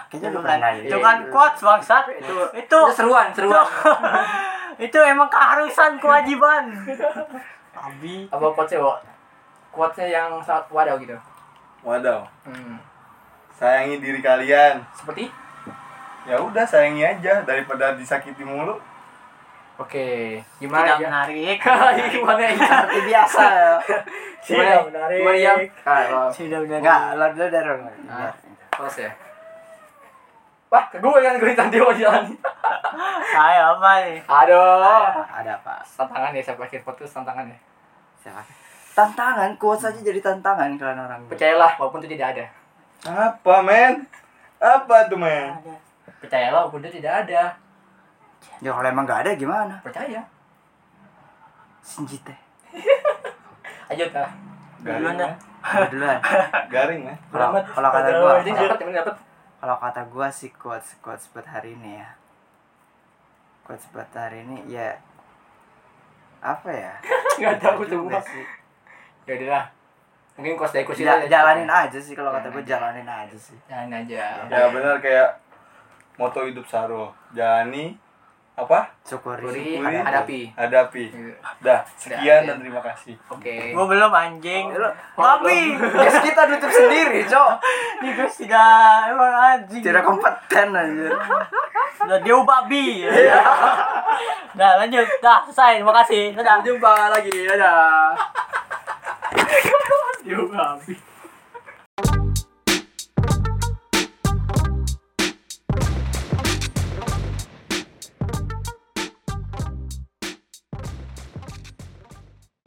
[SPEAKER 2] Kayaknya
[SPEAKER 1] Itu
[SPEAKER 2] lu
[SPEAKER 1] kan,
[SPEAKER 2] pernah
[SPEAKER 1] itu
[SPEAKER 2] deh.
[SPEAKER 1] kan quotes bangsat. Itu itu
[SPEAKER 3] Itu seruan, seruan.
[SPEAKER 1] itu emang keharusan kewajiban.
[SPEAKER 2] Iya.
[SPEAKER 1] Abi.
[SPEAKER 3] Apa quotesnya, Wak? Quotesnya yang sangat wadaw gitu.
[SPEAKER 4] Wadaw.
[SPEAKER 3] Hmm.
[SPEAKER 4] Sayangi diri kalian.
[SPEAKER 3] Seperti
[SPEAKER 4] Ya udah sayangi aja daripada disakiti mulu.
[SPEAKER 3] Oke,
[SPEAKER 1] Tidak
[SPEAKER 3] gimana ya?
[SPEAKER 1] menarik.
[SPEAKER 3] Gimana ya?
[SPEAKER 2] Seperti biasa.
[SPEAKER 3] Gimana? Gimana ya?
[SPEAKER 2] Ah,
[SPEAKER 3] Kalau
[SPEAKER 1] Sudah
[SPEAKER 2] Enggak,
[SPEAKER 1] menarik.
[SPEAKER 2] lo dulu deh Ron.
[SPEAKER 3] Ah. Terus ya. Wah, ke gue kan gue tadi mau jalan.
[SPEAKER 1] Ayo apa nih?
[SPEAKER 3] Aduh.
[SPEAKER 2] Ada apa?
[SPEAKER 3] Tantangan ya, saya akhir podcast tantangan ya.
[SPEAKER 2] Siapa? Tantangan, quotes aja jadi tantangan kalian orang.
[SPEAKER 3] Percayalah, walaupun itu tidak ada.
[SPEAKER 4] Apa men? Apa tuh men?
[SPEAKER 1] Ada.
[SPEAKER 3] Percayalah, walaupun itu tidak ada.
[SPEAKER 2] Ya kalau emang nggak ada gimana?
[SPEAKER 3] Percaya.
[SPEAKER 2] Senji teh.
[SPEAKER 3] Ayo dah.
[SPEAKER 1] Duluan
[SPEAKER 4] Garing ya.
[SPEAKER 1] dah.
[SPEAKER 4] men.
[SPEAKER 2] Gua Duluan.
[SPEAKER 4] Garing men.
[SPEAKER 2] Kalau
[SPEAKER 3] Selamat.
[SPEAKER 2] kalau kata
[SPEAKER 3] Aduh,
[SPEAKER 2] gua,
[SPEAKER 3] Ini
[SPEAKER 2] kalau-
[SPEAKER 3] dapat, ini dapat.
[SPEAKER 2] kalau kata gua sih quotes quotes buat hari ini ya. Quotes buat hari ini ya apa ya?
[SPEAKER 3] Enggak tahu semua.
[SPEAKER 2] Juga sih.
[SPEAKER 3] Ya udahlah. Mungkin kos dari kursi
[SPEAKER 2] Ja-
[SPEAKER 3] aja.
[SPEAKER 2] jalanin aja sih kalau kata gua jalanin aja sih.
[SPEAKER 3] Jalanin aja.
[SPEAKER 4] Ya benar kayak moto hidup Saro. Jalani apa?
[SPEAKER 2] Syukuri.
[SPEAKER 3] Syukuri,
[SPEAKER 2] Ada- ada-
[SPEAKER 3] hadapi.
[SPEAKER 4] Hadapi. Dah, sekian dan terima kasih.
[SPEAKER 3] Oke.
[SPEAKER 2] Oh,
[SPEAKER 1] Gue belum anjing.
[SPEAKER 2] Lu-
[SPEAKER 1] Babi.
[SPEAKER 2] Guys kita nutup sendiri, Cok.
[SPEAKER 1] Ini gue tidak emang anjing.
[SPEAKER 2] Tidak kompeten aja.
[SPEAKER 1] Udah dia babi.
[SPEAKER 2] Iya.
[SPEAKER 1] Dah lanjut. Dah selesai. Terima kasih. Dadah.
[SPEAKER 3] Jumpa lagi. Dadah. Yuk, habis.